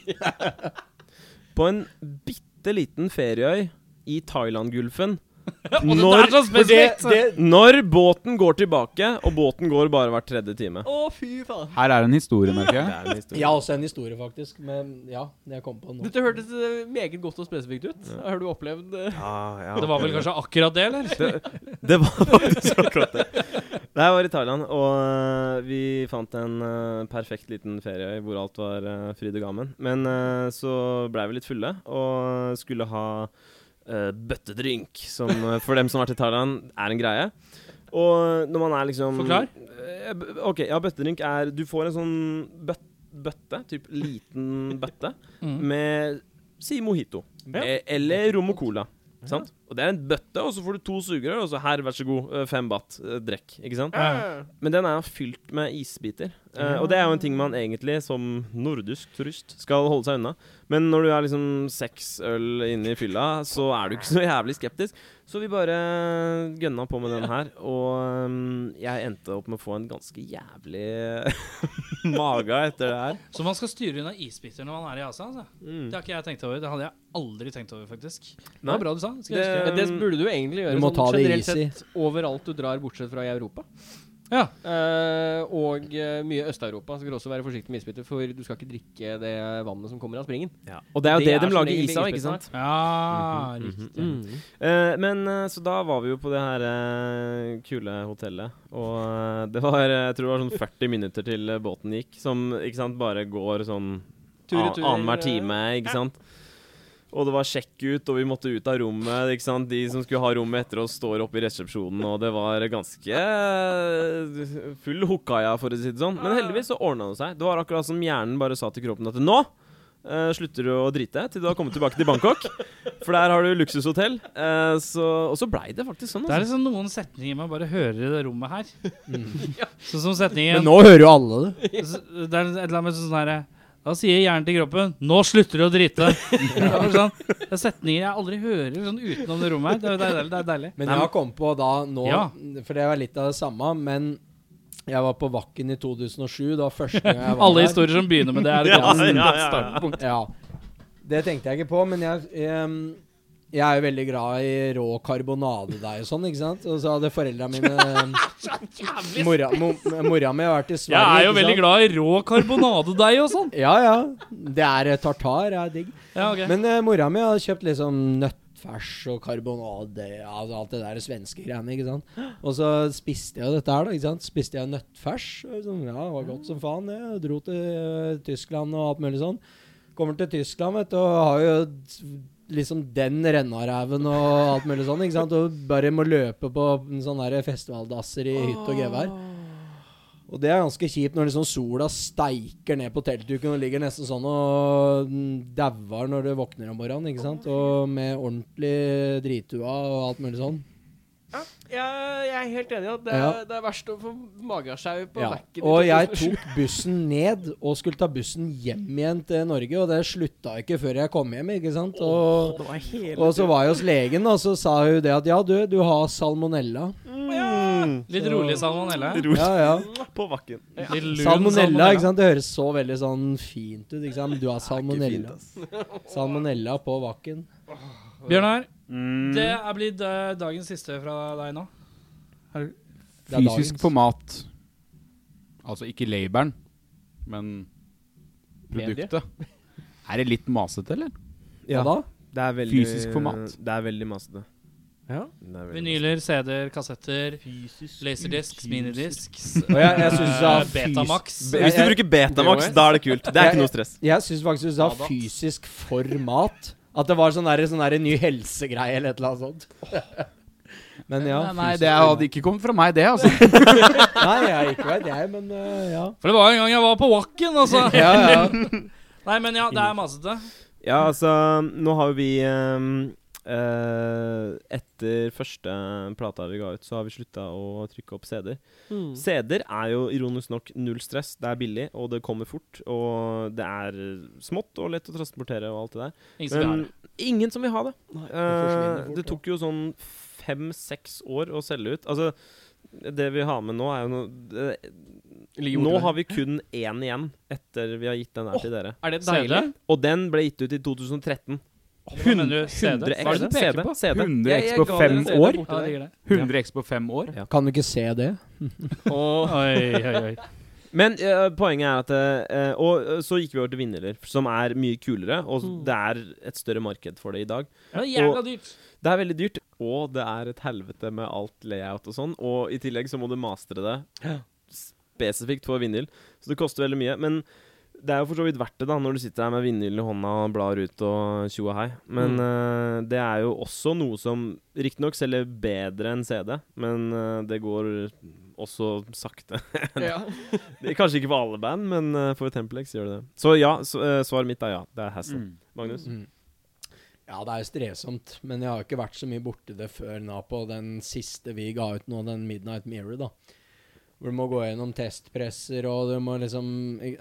E: På en bitte liten ferieøy i Thailand-gulfen
B: Og det
E: Når-
B: er så
E: For det-
B: spesielt!
E: det- Når båten går tilbake, og båten går bare hvert tredje time.
A: Å, fy faen!
C: Her er en historie, merker jeg.
E: er en historie.
F: Jeg har også en historie, faktisk. Men ja, jeg kom på nå.
A: Dette hørtes eh, meget godt og spesifikt ut. Har du opplevd eh,
E: Ja, Ah, ja.
B: Det var vel kanskje akkurat det, eller?
E: Det var faktisk akkurat det. Det her var i Thailand, og øh, vi fant en øh, perfekt liten ferieøy hvor alt var øh, fryd og gammen. Men øh, så blei vi litt fulle og skulle ha øh, bøttedrink, som øh, for dem som har vært i Thailand, er en greie. Og når man er liksom
B: Forklar.
E: Eh, b- OK, ja, bøttedrink er Du får en sånn bøt, bøtte, typ liten bøtte,
B: Mm.
E: med si mojito.
A: Ja.
E: Eh, Eller rom og cola. Sant? Og det er en bøtte, og så får du to sugerør, og så her, vær så god, eh, fem batt, eh, drekk. Ikke sant? Men den er fylt med isbiter. Eh, og det er jo en ting man egentlig, som nordisk turist, skal holde seg unna. Men når du er liksom seks øl inne i fylla, så er du ikke så jævlig skeptisk. Så vi bare gønna på med den her, og ehm, jeg endte opp med å få en ganske jævlig mage etter det her.
B: Så man skal styre unna isbiter når man er i Asia? Altså. Det har ikke jeg tenkt over. Det hadde jeg aldri tenkt over, faktisk. Det
E: Mm. Nei.
B: var bra du sa. Skal
E: Det-
B: jeg
A: Ja, Det burde du egentlig gjøre
F: Du må
A: sånn
F: ta det
A: generelt
F: easy.
A: sett overalt du drar, bortsett fra i Europa.
B: Ja.
A: Eh, og eh, mye Øst-Europa. Skal du også være forsiktig med isbiter, for du skal ikke drikke det vannet som kommer av springen.
E: Og det er jo det,
A: Det er
E: de
A: som
E: lager
A: regel
E: is av,
A: isbiter
E: ikke sant?
B: huske. Ja,
E: Mhm.
B: riktig.
A: Mm.
E: Eh, men eh, så da var vi jo på det her eh, kule hotellet. Og eh, det var eh, jeg tror det var sånn 40 minutter til eh, båten gikk, som ikke sant, bare går sånn
A: Tur i
E: an-
A: tur,
E: annenhver
A: eh,
E: time, ikke sant. Og det var sjekk-ut, og vi måtte ut av rommet. ikke sant? De som skulle ha rommet etter oss, står oppe i resepsjonen, og det var ganske eh, full hokkaja, for å si det
A: Ah.
E: sånn. Men heldigvis så ordna det seg. Det var akkurat som hjernen bare sa til kroppen at nå eh, slutter du å drite til du har kommet tilbake til Bangkok. For der har du luksushotell. Eh, så, og så blei det faktisk sånn.
B: Det er
E: Altså.
B: liksom noen setninger man bare hører i det rommet her.
E: Mhm.
B: Sånn som setningen
F: Men nå hører jo alle det.
B: Det er et eller annet med sånn her Da sier hjernen til kroppen 'Nå slutter du å drite'. Det er sånn, det er setninger jeg aldri hører sånn utenom det rommet her. Det er, det er deilig. Det er deilig.
F: Men jeg har kommet på da nå,
B: Ja.
F: for det var litt av det samme, men jeg var på Vakken i 2007. Da første gang jeg var
B: Alle
F: der.
B: historier som begynner med det, er et
E: Ja,
B: godt
E: ja, ja, ja.
B: startpunkt.
F: Ja. Det tenkte jeg ikke på, men jeg, em, jeg er jo veldig glad i rå karbonadedeig og sånn, ikke sant? Og så hadde foreldra mine em, Mora, mo, mora mi har vært i
B: Jeg
F: Sverige.
B: er jo
F: ikke
B: veldig
F: sant?
B: glad i rå karbonadedeig og sånn.
F: Ja, ja. Det er eh, tartar, er digg.
B: Ja, ok.
F: Men eh, mora mi hadde kjøpt liksom nøttfers og karbonade altså alt det der svenske greiene, ikke sant. Og så spiste jeg jo dette her, da. ikke sant? Spiste jeg nøttfers. og Sånn, ja, det var godt som faen, det. Og Dro til eh, Tyskland og alt mulig sånn. Kommer til Tyskland, vet du, og har jo s- liksom den rennaræven og alt mulig sånn, ikke sant. Og bare må løpe på sånne der festivaldasser i hytt og gevær. Og det er ganske kjipt når liksom sola steiker ned på teltduken og ligger nesten sånn og mm, dauer når du våkner om morgenen. ikke sant? Og med ordentlig dritua og alt mulig sånn.
A: Jeg, jeg er helt enig i at det,
F: Ja.
A: det er verst å få magesjau på
F: Ja.
A: Mac-en. i
F: Og jeg
A: 2007.
F: tok bussen ned og skulle ta bussen hjem igjen til Norge, og det slutta ikke før jeg kom hjem, ikke sant? Og, og så var jeg hos legen, og så sa hun det at ja, du, du har salmonella.
B: Litt rolig salmonella.
F: Ja, ja.
E: På bakken.
B: Litt lun
F: Salmonella, ikke sant? Det høres så veldig sånn fint ut, ikke sant? Du har salmonella. Salmonella på vakken.
B: Bjørnar,
C: Mm.
B: det er blitt eh, dagens siste fra deg nå.
F: Det er
C: Fysisk
F: dagens.
C: format. Altså ikke laboren, men produktet. Er det litt masete, eller?
F: Hva da?
E: Det er veldig,
C: Fysisk format.
E: Det er veldig masete.
A: Ja.
E: Det er veldig
B: Vinyler, CD-er, kassetter, laserdisks, minidisks
F: Og jeg, jeg synes det er
B: eh, Betamax.
E: masete. Hvis du bruker Betamax,
A: Det
E: da er det kult. Det er ikke noe stress.
F: Jeg syns faktisk du sa fysisk format. At det var sånn der, sånn der ny helsegreie eller et eller annet sånt. Men ja.
B: Nei, nei,
F: fysisk
C: Det hadde ikke kommet fra meg, det. altså
F: format. Nei, jeg er ikke veit, jeg, men øh, ja.
B: For det var en gang jeg var på Wacken, altså.
F: Ja, ja.
B: Nei, men ja, det er masete.
E: Ja, altså, nå har jo vi ehm, eh, Etter første plata vi ga ut, så har vi slutta å trykke opp CD-er. Mm.
A: Mm.
E: CD-er er jo ironisk nok null stress. Det er billig, og det kommer fort. Og det er smått og lett å transportere og alt det
B: Ingen som vil ha
E: der. Men
B: det.
E: ingen som vil ha det.
F: forsvinner
E: Eh,
F: fort,
E: det tok jo sånn fem-seks år å selge ut. Altså, det vi har med nå, er jo noe det, Nå har vi kun én igjen etter vi har gitt den her til dere.
A: Er det
B: CD?
A: deilig?
E: Og den ble gitt ut i 2013.
B: Hva mener du? CD? Hva
E: 100
B: er
E: X.
B: det du peker på?
E: CD.
C: 100
E: Jeg-
C: X
E: jeg
C: på
E: ga dere
C: fem
E: en CD
C: år?
E: borti
B: Ja, det
E: der.
B: ligger det.
C: 100 X på fem år?
F: Kan du ikke se det?
E: Og,
B: Oi, oi, oi.
E: men eh, poenget er at eh, Og eh, så gikk vi over til vinnerler, som er mye kulere, og det er et større marked for det i dag.
B: Det er jævla dyrt.
E: Det er veldig dyrt, og det er et helvete med alt layout og sånn. Og i tillegg så må du mastre det spesifikt for vinyl, så det koster veldig mye. Men det er jo for så vidt verdt det, da, når du sitter her med vinyl i hånda og blar ut og tjo og hei. Men eh, det er jo også noe som riktignok selger bedre enn CD, men eh, det går også sakte.
A: Ja.
E: Det er Kanskje ikke for alle band, men eh, for Templex gjør det det. Så ja, så, eh, svaret mitt er ja. Det er
C: Mm.
E: hassle. Magnus?
F: Mm. Ja, det er strevsomt, men jeg har ikke vært så mye borti det før nå på den siste vi ga ut nå, den Midnight Mirror, da. Hvor du må gå gjennom testpresser, og du må liksom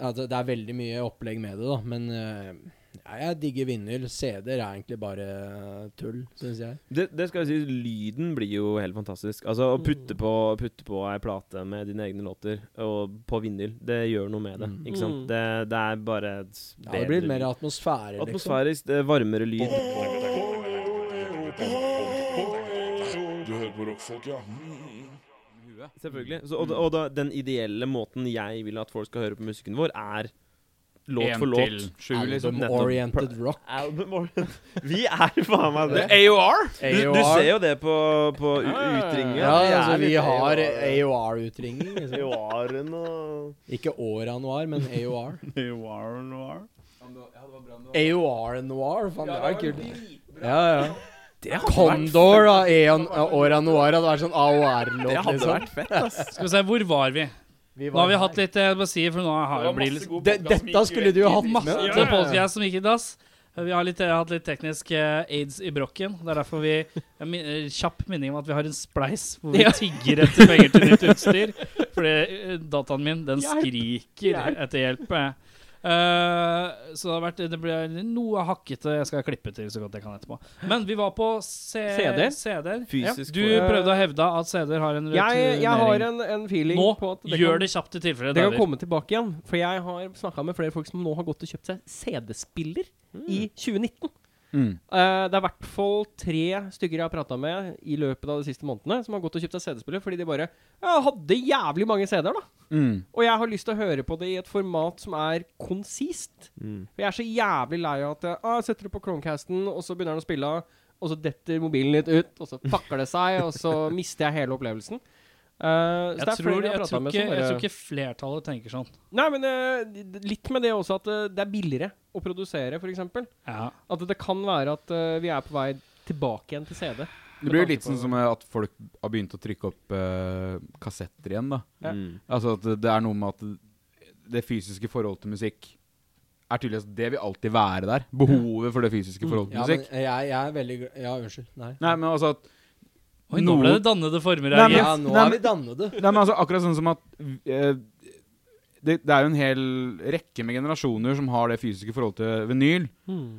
F: altså, Det er veldig mye opplegg med det, da, men øh, ja, jeg digger vinyl. CD-er er egentlig bare eh, tull, syns jeg.
E: Det, det skal jeg si, lyden blir jo helt fantastisk. Altså Å putte
F: Mm.
E: på, putte på ei plate med dine egne låter, og på vinyl, det gjør noe med det.
F: Mm.
E: Ikke sant?
A: Mm.
E: Det, det er bare et
F: Ja, det blir
E: bedre
F: mer
E: lyd.
F: atmosfære, liksom.
E: Atmosfærisk, det er varmere lyd.
D: Du hører på rockfolk, ja. Mm.
E: Selvfølgelig. Så, og da, og da, den ideelle måten jeg vil at folk skal høre på musikken vår, er låt for låt.
F: Album-oriented rock.
E: Album or- Vi er faen meg det.
C: AOR?
E: Du, du ser jo det på, på u- utringen.
F: Ja,
E: Vi er
F: altså, vi
E: litt
F: har
E: AOR.
F: AOR-utringning. Liksom.
E: AOR-en og
F: Ikke Åra Noir, men AOR.
B: Nei,
F: AOR Noir, faen, det var kult. Ja, ja. Condor og Eon Åra Noir hadde vært sånn
E: Det
F: AOR-låt,
E: hadde
F: liksom.
E: vært fett, ass.
B: Skal vi se, hvor var vi?
F: Vi
B: Nå har vi hatt litt eh, Jeg må si, for nå har det blitt litt
F: De, Dette skulle du jo hatt med.
B: masse
F: Ja, ja, ja.
B: podcast som gikk i dass. Vi har litt, eh, hatt litt teknisk eh, aids i brokken. Det er derfor vi jeg min- eh, Kjapp minning om at vi har en spleis hvor vi tigger etter penger til nytt utstyr. Fordi eh, dataen min, den skriker etter hjelp. eh. Eh, så det har vært Det ble noe hakkete. Jeg skal klippe til så godt jeg kan etterpå. Men vi var på
A: CD-er.
B: CD-er.
E: Fysisk
B: Du
A: form.
B: prøvde å hevde at CD-er har en
A: Jeg, jeg har
B: returnering.
A: en, en feeling
B: Nå
A: på at det
B: gjør
A: kan,
B: det kjapt i tilfelle.
A: det kan
B: David.
A: komme tilbake igjen. For jeg har snakka med flere folk som nå har gått og kjøpt seg CD-spiller
F: Mm.
A: i 2019.
C: Mm.
A: Eh, det er i hvert fall tre stykker jeg har prata med i løpet av de siste månedene, som har gått og kjøpt seg CD-spiller fordi de bare Jeg hadde jævlig mange CD-er, da.
C: Mm.
A: Og jeg har lyst til å høre på det i et format som er konsist.
B: Mm.
A: For jeg er så jævlig lei av at jeg, ah, jeg setter det på Chromecasten, og så begynner den å spille, og så detter mobilen litt ut, og så fucker det seg, og så mister jeg hele opplevelsen. Eh, så det
B: Jeg
A: er
B: tror,
A: flere jeg har
B: jeg,
A: pratet
B: tror
A: med
B: ikke,
A: som
B: jeg
A: bare-
B: tror ikke flertallet tenker sånn.
A: Nei, men eh, d- litt med det også at eh, det er billigere å produsere, f.eks.
B: Ja.
A: At det kan være at eh, vi er på vei tilbake igjen til CD.
C: Det blir jo litt sånn som eh, at folk har begynt å trykke opp eh, kassetter igjen, da.
A: Ja.
E: Mm.
C: Altså at det er noe med at det fysiske forholdet til musikk er tydeligvis Det vil alltid være der. Behovet for det fysiske forholdet til
F: Ja, men
C: musikk.
F: jeg, jeg er veldig gl- Ja, unnskyld. Nei.
C: Nei, men altså at
B: Oi, nå ble det dannede former her.
C: Nei, men-
B: gitt.
F: Ja, nå
C: Nei,
F: er
C: men-
F: vi dannede.
C: Nei, men altså, akkurat sånn som at eh, det, det er jo en hel rekke med generasjoner som har det fysiske forholdet til vinyl.
B: Hmm.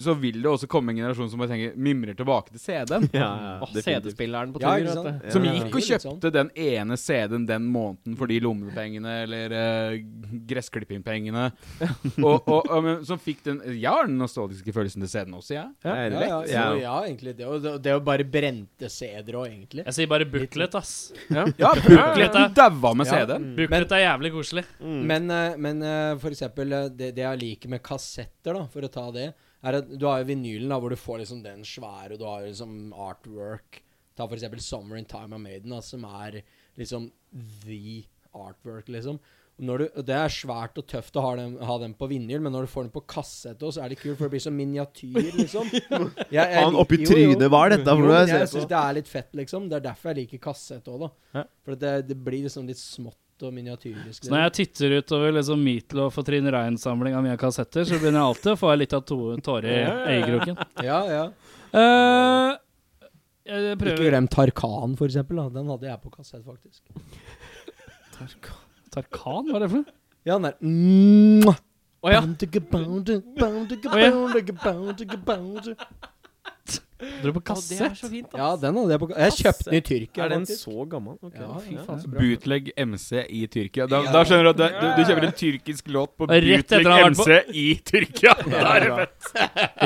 C: Så vil det også komme en generasjon som bare tenker mimrer tilbake til CD-en.
A: Åh, CD-spilleren på tur.
F: Ja, ikke
A: vet
F: sant?
A: du.
C: Som
F: Ja,
C: gikk og
F: det er litt sånn.
C: kjøpte den ene CD-en den måneden for de lommepengene eller eh, gressklippingpengene. og, og, og, men, som fikk den Jeg har den nostalgiske følelsen til CD-en også, jeg.
E: Ja,
F: Ja, ja, så, ja, egentlig. Det, og det, og det å bare brente ceder òg, egentlig.
B: Jeg sier bare booklet, ass.
C: Ja, ja Brooklyn daua med
F: Ja.
C: CD-en.
B: Booklet er jævlig koselig.
F: Men, eh, men eh, for eksempel eh, det, det jeg liker med kassetter, da, for å ta det, er at du har jo vinylen da, hvor du får liksom den svære, og du har liksom artwork. Ta for eksempel 'Summer in Time of Maiden', da, som er liksom the artwork, liksom. Og Når du, og det er svært og tøft å ha den, ha den på vinyl, men når du får den på kassett, også, så er det kult, for det blir så miniatyr, liksom. Jeg- jeg
H: Faen,
F: liker-
H: oppi
F: jo, jo.
H: trynet, hva er dette for
F: Jo,
H: noe
F: men
H: jeg
F: jeg
H: ser
F: syns
H: på?
F: det er litt fett, liksom. Det er derfor jeg liker kassett òg, da.
C: Ja.
F: For det, det blir liksom litt smått og miniatyrisk.
B: Så når jeg titter utover liksom Meatloaf og Trine Rein-samling av mine kassetter, så begynner jeg alltid å få litt av to- tårer i øyekroken.
F: Ja, ja.
B: Eh, jeg
F: Ikke
B: prøver
F: glem Tarkan, for eksempel. Da. Den hadde jeg på kassett, faktisk.
B: Tarkan, hva er det for noe?
F: Ja, den der Mwah!
B: Å ja.
F: Boundige, boundige, boundige,
B: Å ja.
F: boundige, boundige, boundige.
B: Dro på
A: Å, det er
B: kassett?
A: så fint, da.
F: Ja, den hadde jeg på kassett. Jeg kjøpte den i Tyrkia,
E: Er den
F: faktisk.
E: så gammel? Ok,
F: Ja, fy
E: ja.
F: faen, så bra.
C: Bootleg MC i Tyrkia. Da, da skjønner du at det, du, du kjøper en tyrkisk låt på
B: Rett etter
C: bootleg
B: han har vært
C: MC i Tyrkia. Det er det fett.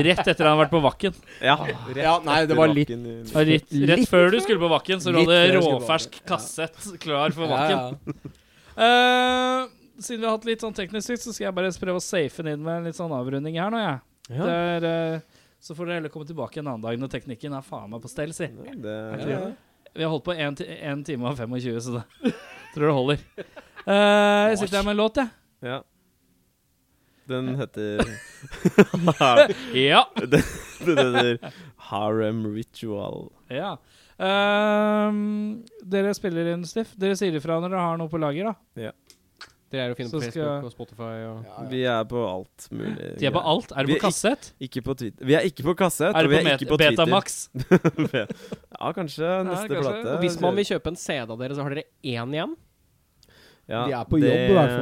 B: Rett etter han har vært på Vakken.
E: Ja.
F: Ja, nei, det var litt
B: Og Rett, rett
F: Litt
B: før du skulle på Vakken, så lå
F: Litt
B: det
F: før jeg skulle på
B: råfersk kassett klar for
F: ja,
B: Vakken.
F: ja.
B: Eh, siden vi har hatt litt sånn teknisk svikt, så skal jeg bare prøve å safe den inn med en litt sånn avrunding her nå, jeg.
E: Ja.
B: Det er, eh, så får dere heller komme tilbake en annen dag når teknikken er faen meg på stell, si.
E: Det,
F: Ja, ja.
B: Vi har holdt på 1 time og 25, så det tror det holder. Eh, jeg sitter her med en låt, jeg.
E: ja. Den heter
B: Ja.
E: Den heter Harem Ritual.
B: ja. Ehm, dere spiller inn stiff. Dere sier ifra når dere har noe på lager, da.
A: Dere er å finne på
B: Så skal jeg-
A: Facebook og Spotify og
F: Ja, ja.
E: Vi er på alt mulig.
B: De er på
E: greier.
B: alt. Er
E: Vi
B: det
E: er
B: på kassett?
E: Ikke på Twitter. Vi er ikke på kassett,
B: Er
E: og vi
B: det
E: er
B: på,
E: ikke
B: på
E: på Twitter.
B: Betamax?
E: Ja, kanskje neste
B: kanskje.
E: plate.
B: Og
A: Hvis man vil kjøpe en CD av dere, så har dere én igjen.
E: Ja,
F: Vi er på jobb, i hvert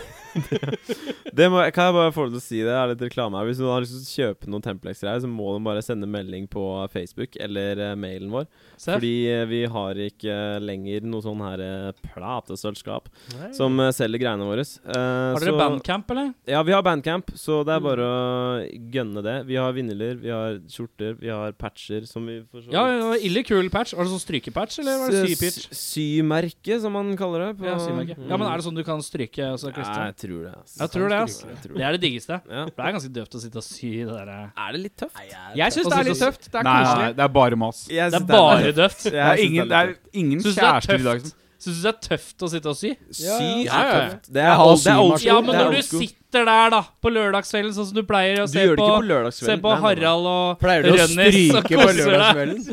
F: fall.
E: det må, kan jeg bare få lov til å si det? Det er litt reklame her. Hvis noen har lyst til å kjøpe noen Templex-greier, så må de bare sende melding på Facebook eller eh, mailen vår.
B: Se.
E: Fordi eh, vi har ikke eh, lenger noe sånn her eh, platestølskap som eh, selger greiene våre. Eh,
B: Har dere
E: så-
B: bandcamp, Mm. eller?
E: Ja, vi har bandcamp, så det er bare å gønne det. Vi har vinyler, vi har skjorter, vi har patcher som vi for så
B: Ja, det var ille kul patch. Var det sånn strykepatch, eller var det sypitch?
E: S- Symerke, som man kaller det. på-
B: Ja, symerke. ja, men er det sånn du kan stryke og så
E: Nei,
B: klistre?
E: jeg tror det. ass.
B: Jeg tror det, ass.
E: Jeg tror
B: Det
E: det.
B: er det diggeste.
E: Ja.
B: For Det er ganske døvt å sitte og sy det eh. derre
E: Er det litt tøft?
A: Jeg syns det er litt tøft. Det er
C: Nei, nei,
A: koselig.
C: det er bare mas.
E: Jeg
B: Det
E: synes
B: er bare
E: litt-
B: døvt.
E: Jeg
C: Det er
E: synes
C: ingen, det
E: litt
C: er ingen
B: Syns du det er
C: kjærester i dag som
B: Syns du det er tøft å sitte og sy?
E: tøft. Sy
B: Ja, ja, ja.
E: er tøft. Det er
F: halv
E: old- det er old
F: symaskin.
B: Ja,
E: school,
B: men
E: det er
B: når du
E: old school.
B: sitter der, da, på lørdagskvelden, sånn som du pleier å
E: Du
B: se
E: gjør det
B: på,
E: ikke på lørdagskvelden.
B: se på
E: Nei, nei, nei.
B: Harald og
F: Pleier du å
B: Rønnis og
F: stryke på
B: koser deg.
F: lørdagskvelden?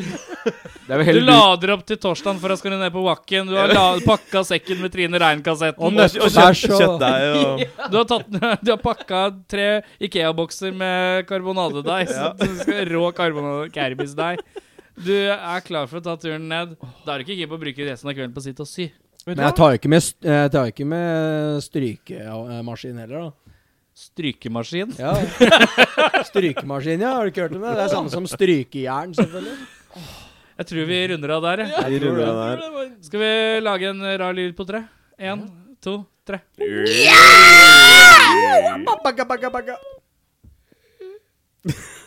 C: Det
B: Du
C: er jo heller du-
B: lader opp til torsdagen for å skal ned på Wacken. Du har la pakka sekken med Trine
F: Og
B: Rein-kassetten.
F: nøtter der, så
E: Kjøttdeig og
B: Du har, tatt, du har pakka tre Ikea-bokser med karbonadedeig. så du skal Rå karbonadedeig. Du er klar for å ta turen ned. Da er du ikke keen på å bruke resten av kvelden på å sitte og sy.
F: Men jeg tar jo ikke med, st- jeg tar jo ikke med strykemaskin heller, da.
B: Strykemaskin.
F: Ja. Strykemaskin, ja. Har du ikke hørt om det? Det er samme som strykejern, selvfølgelig.
B: Jeg tror vi runder av der, jeg.
E: Vi runder den der.
B: Skal vi lage en rar lyd på tre? Én, to, tre.
G: Oh,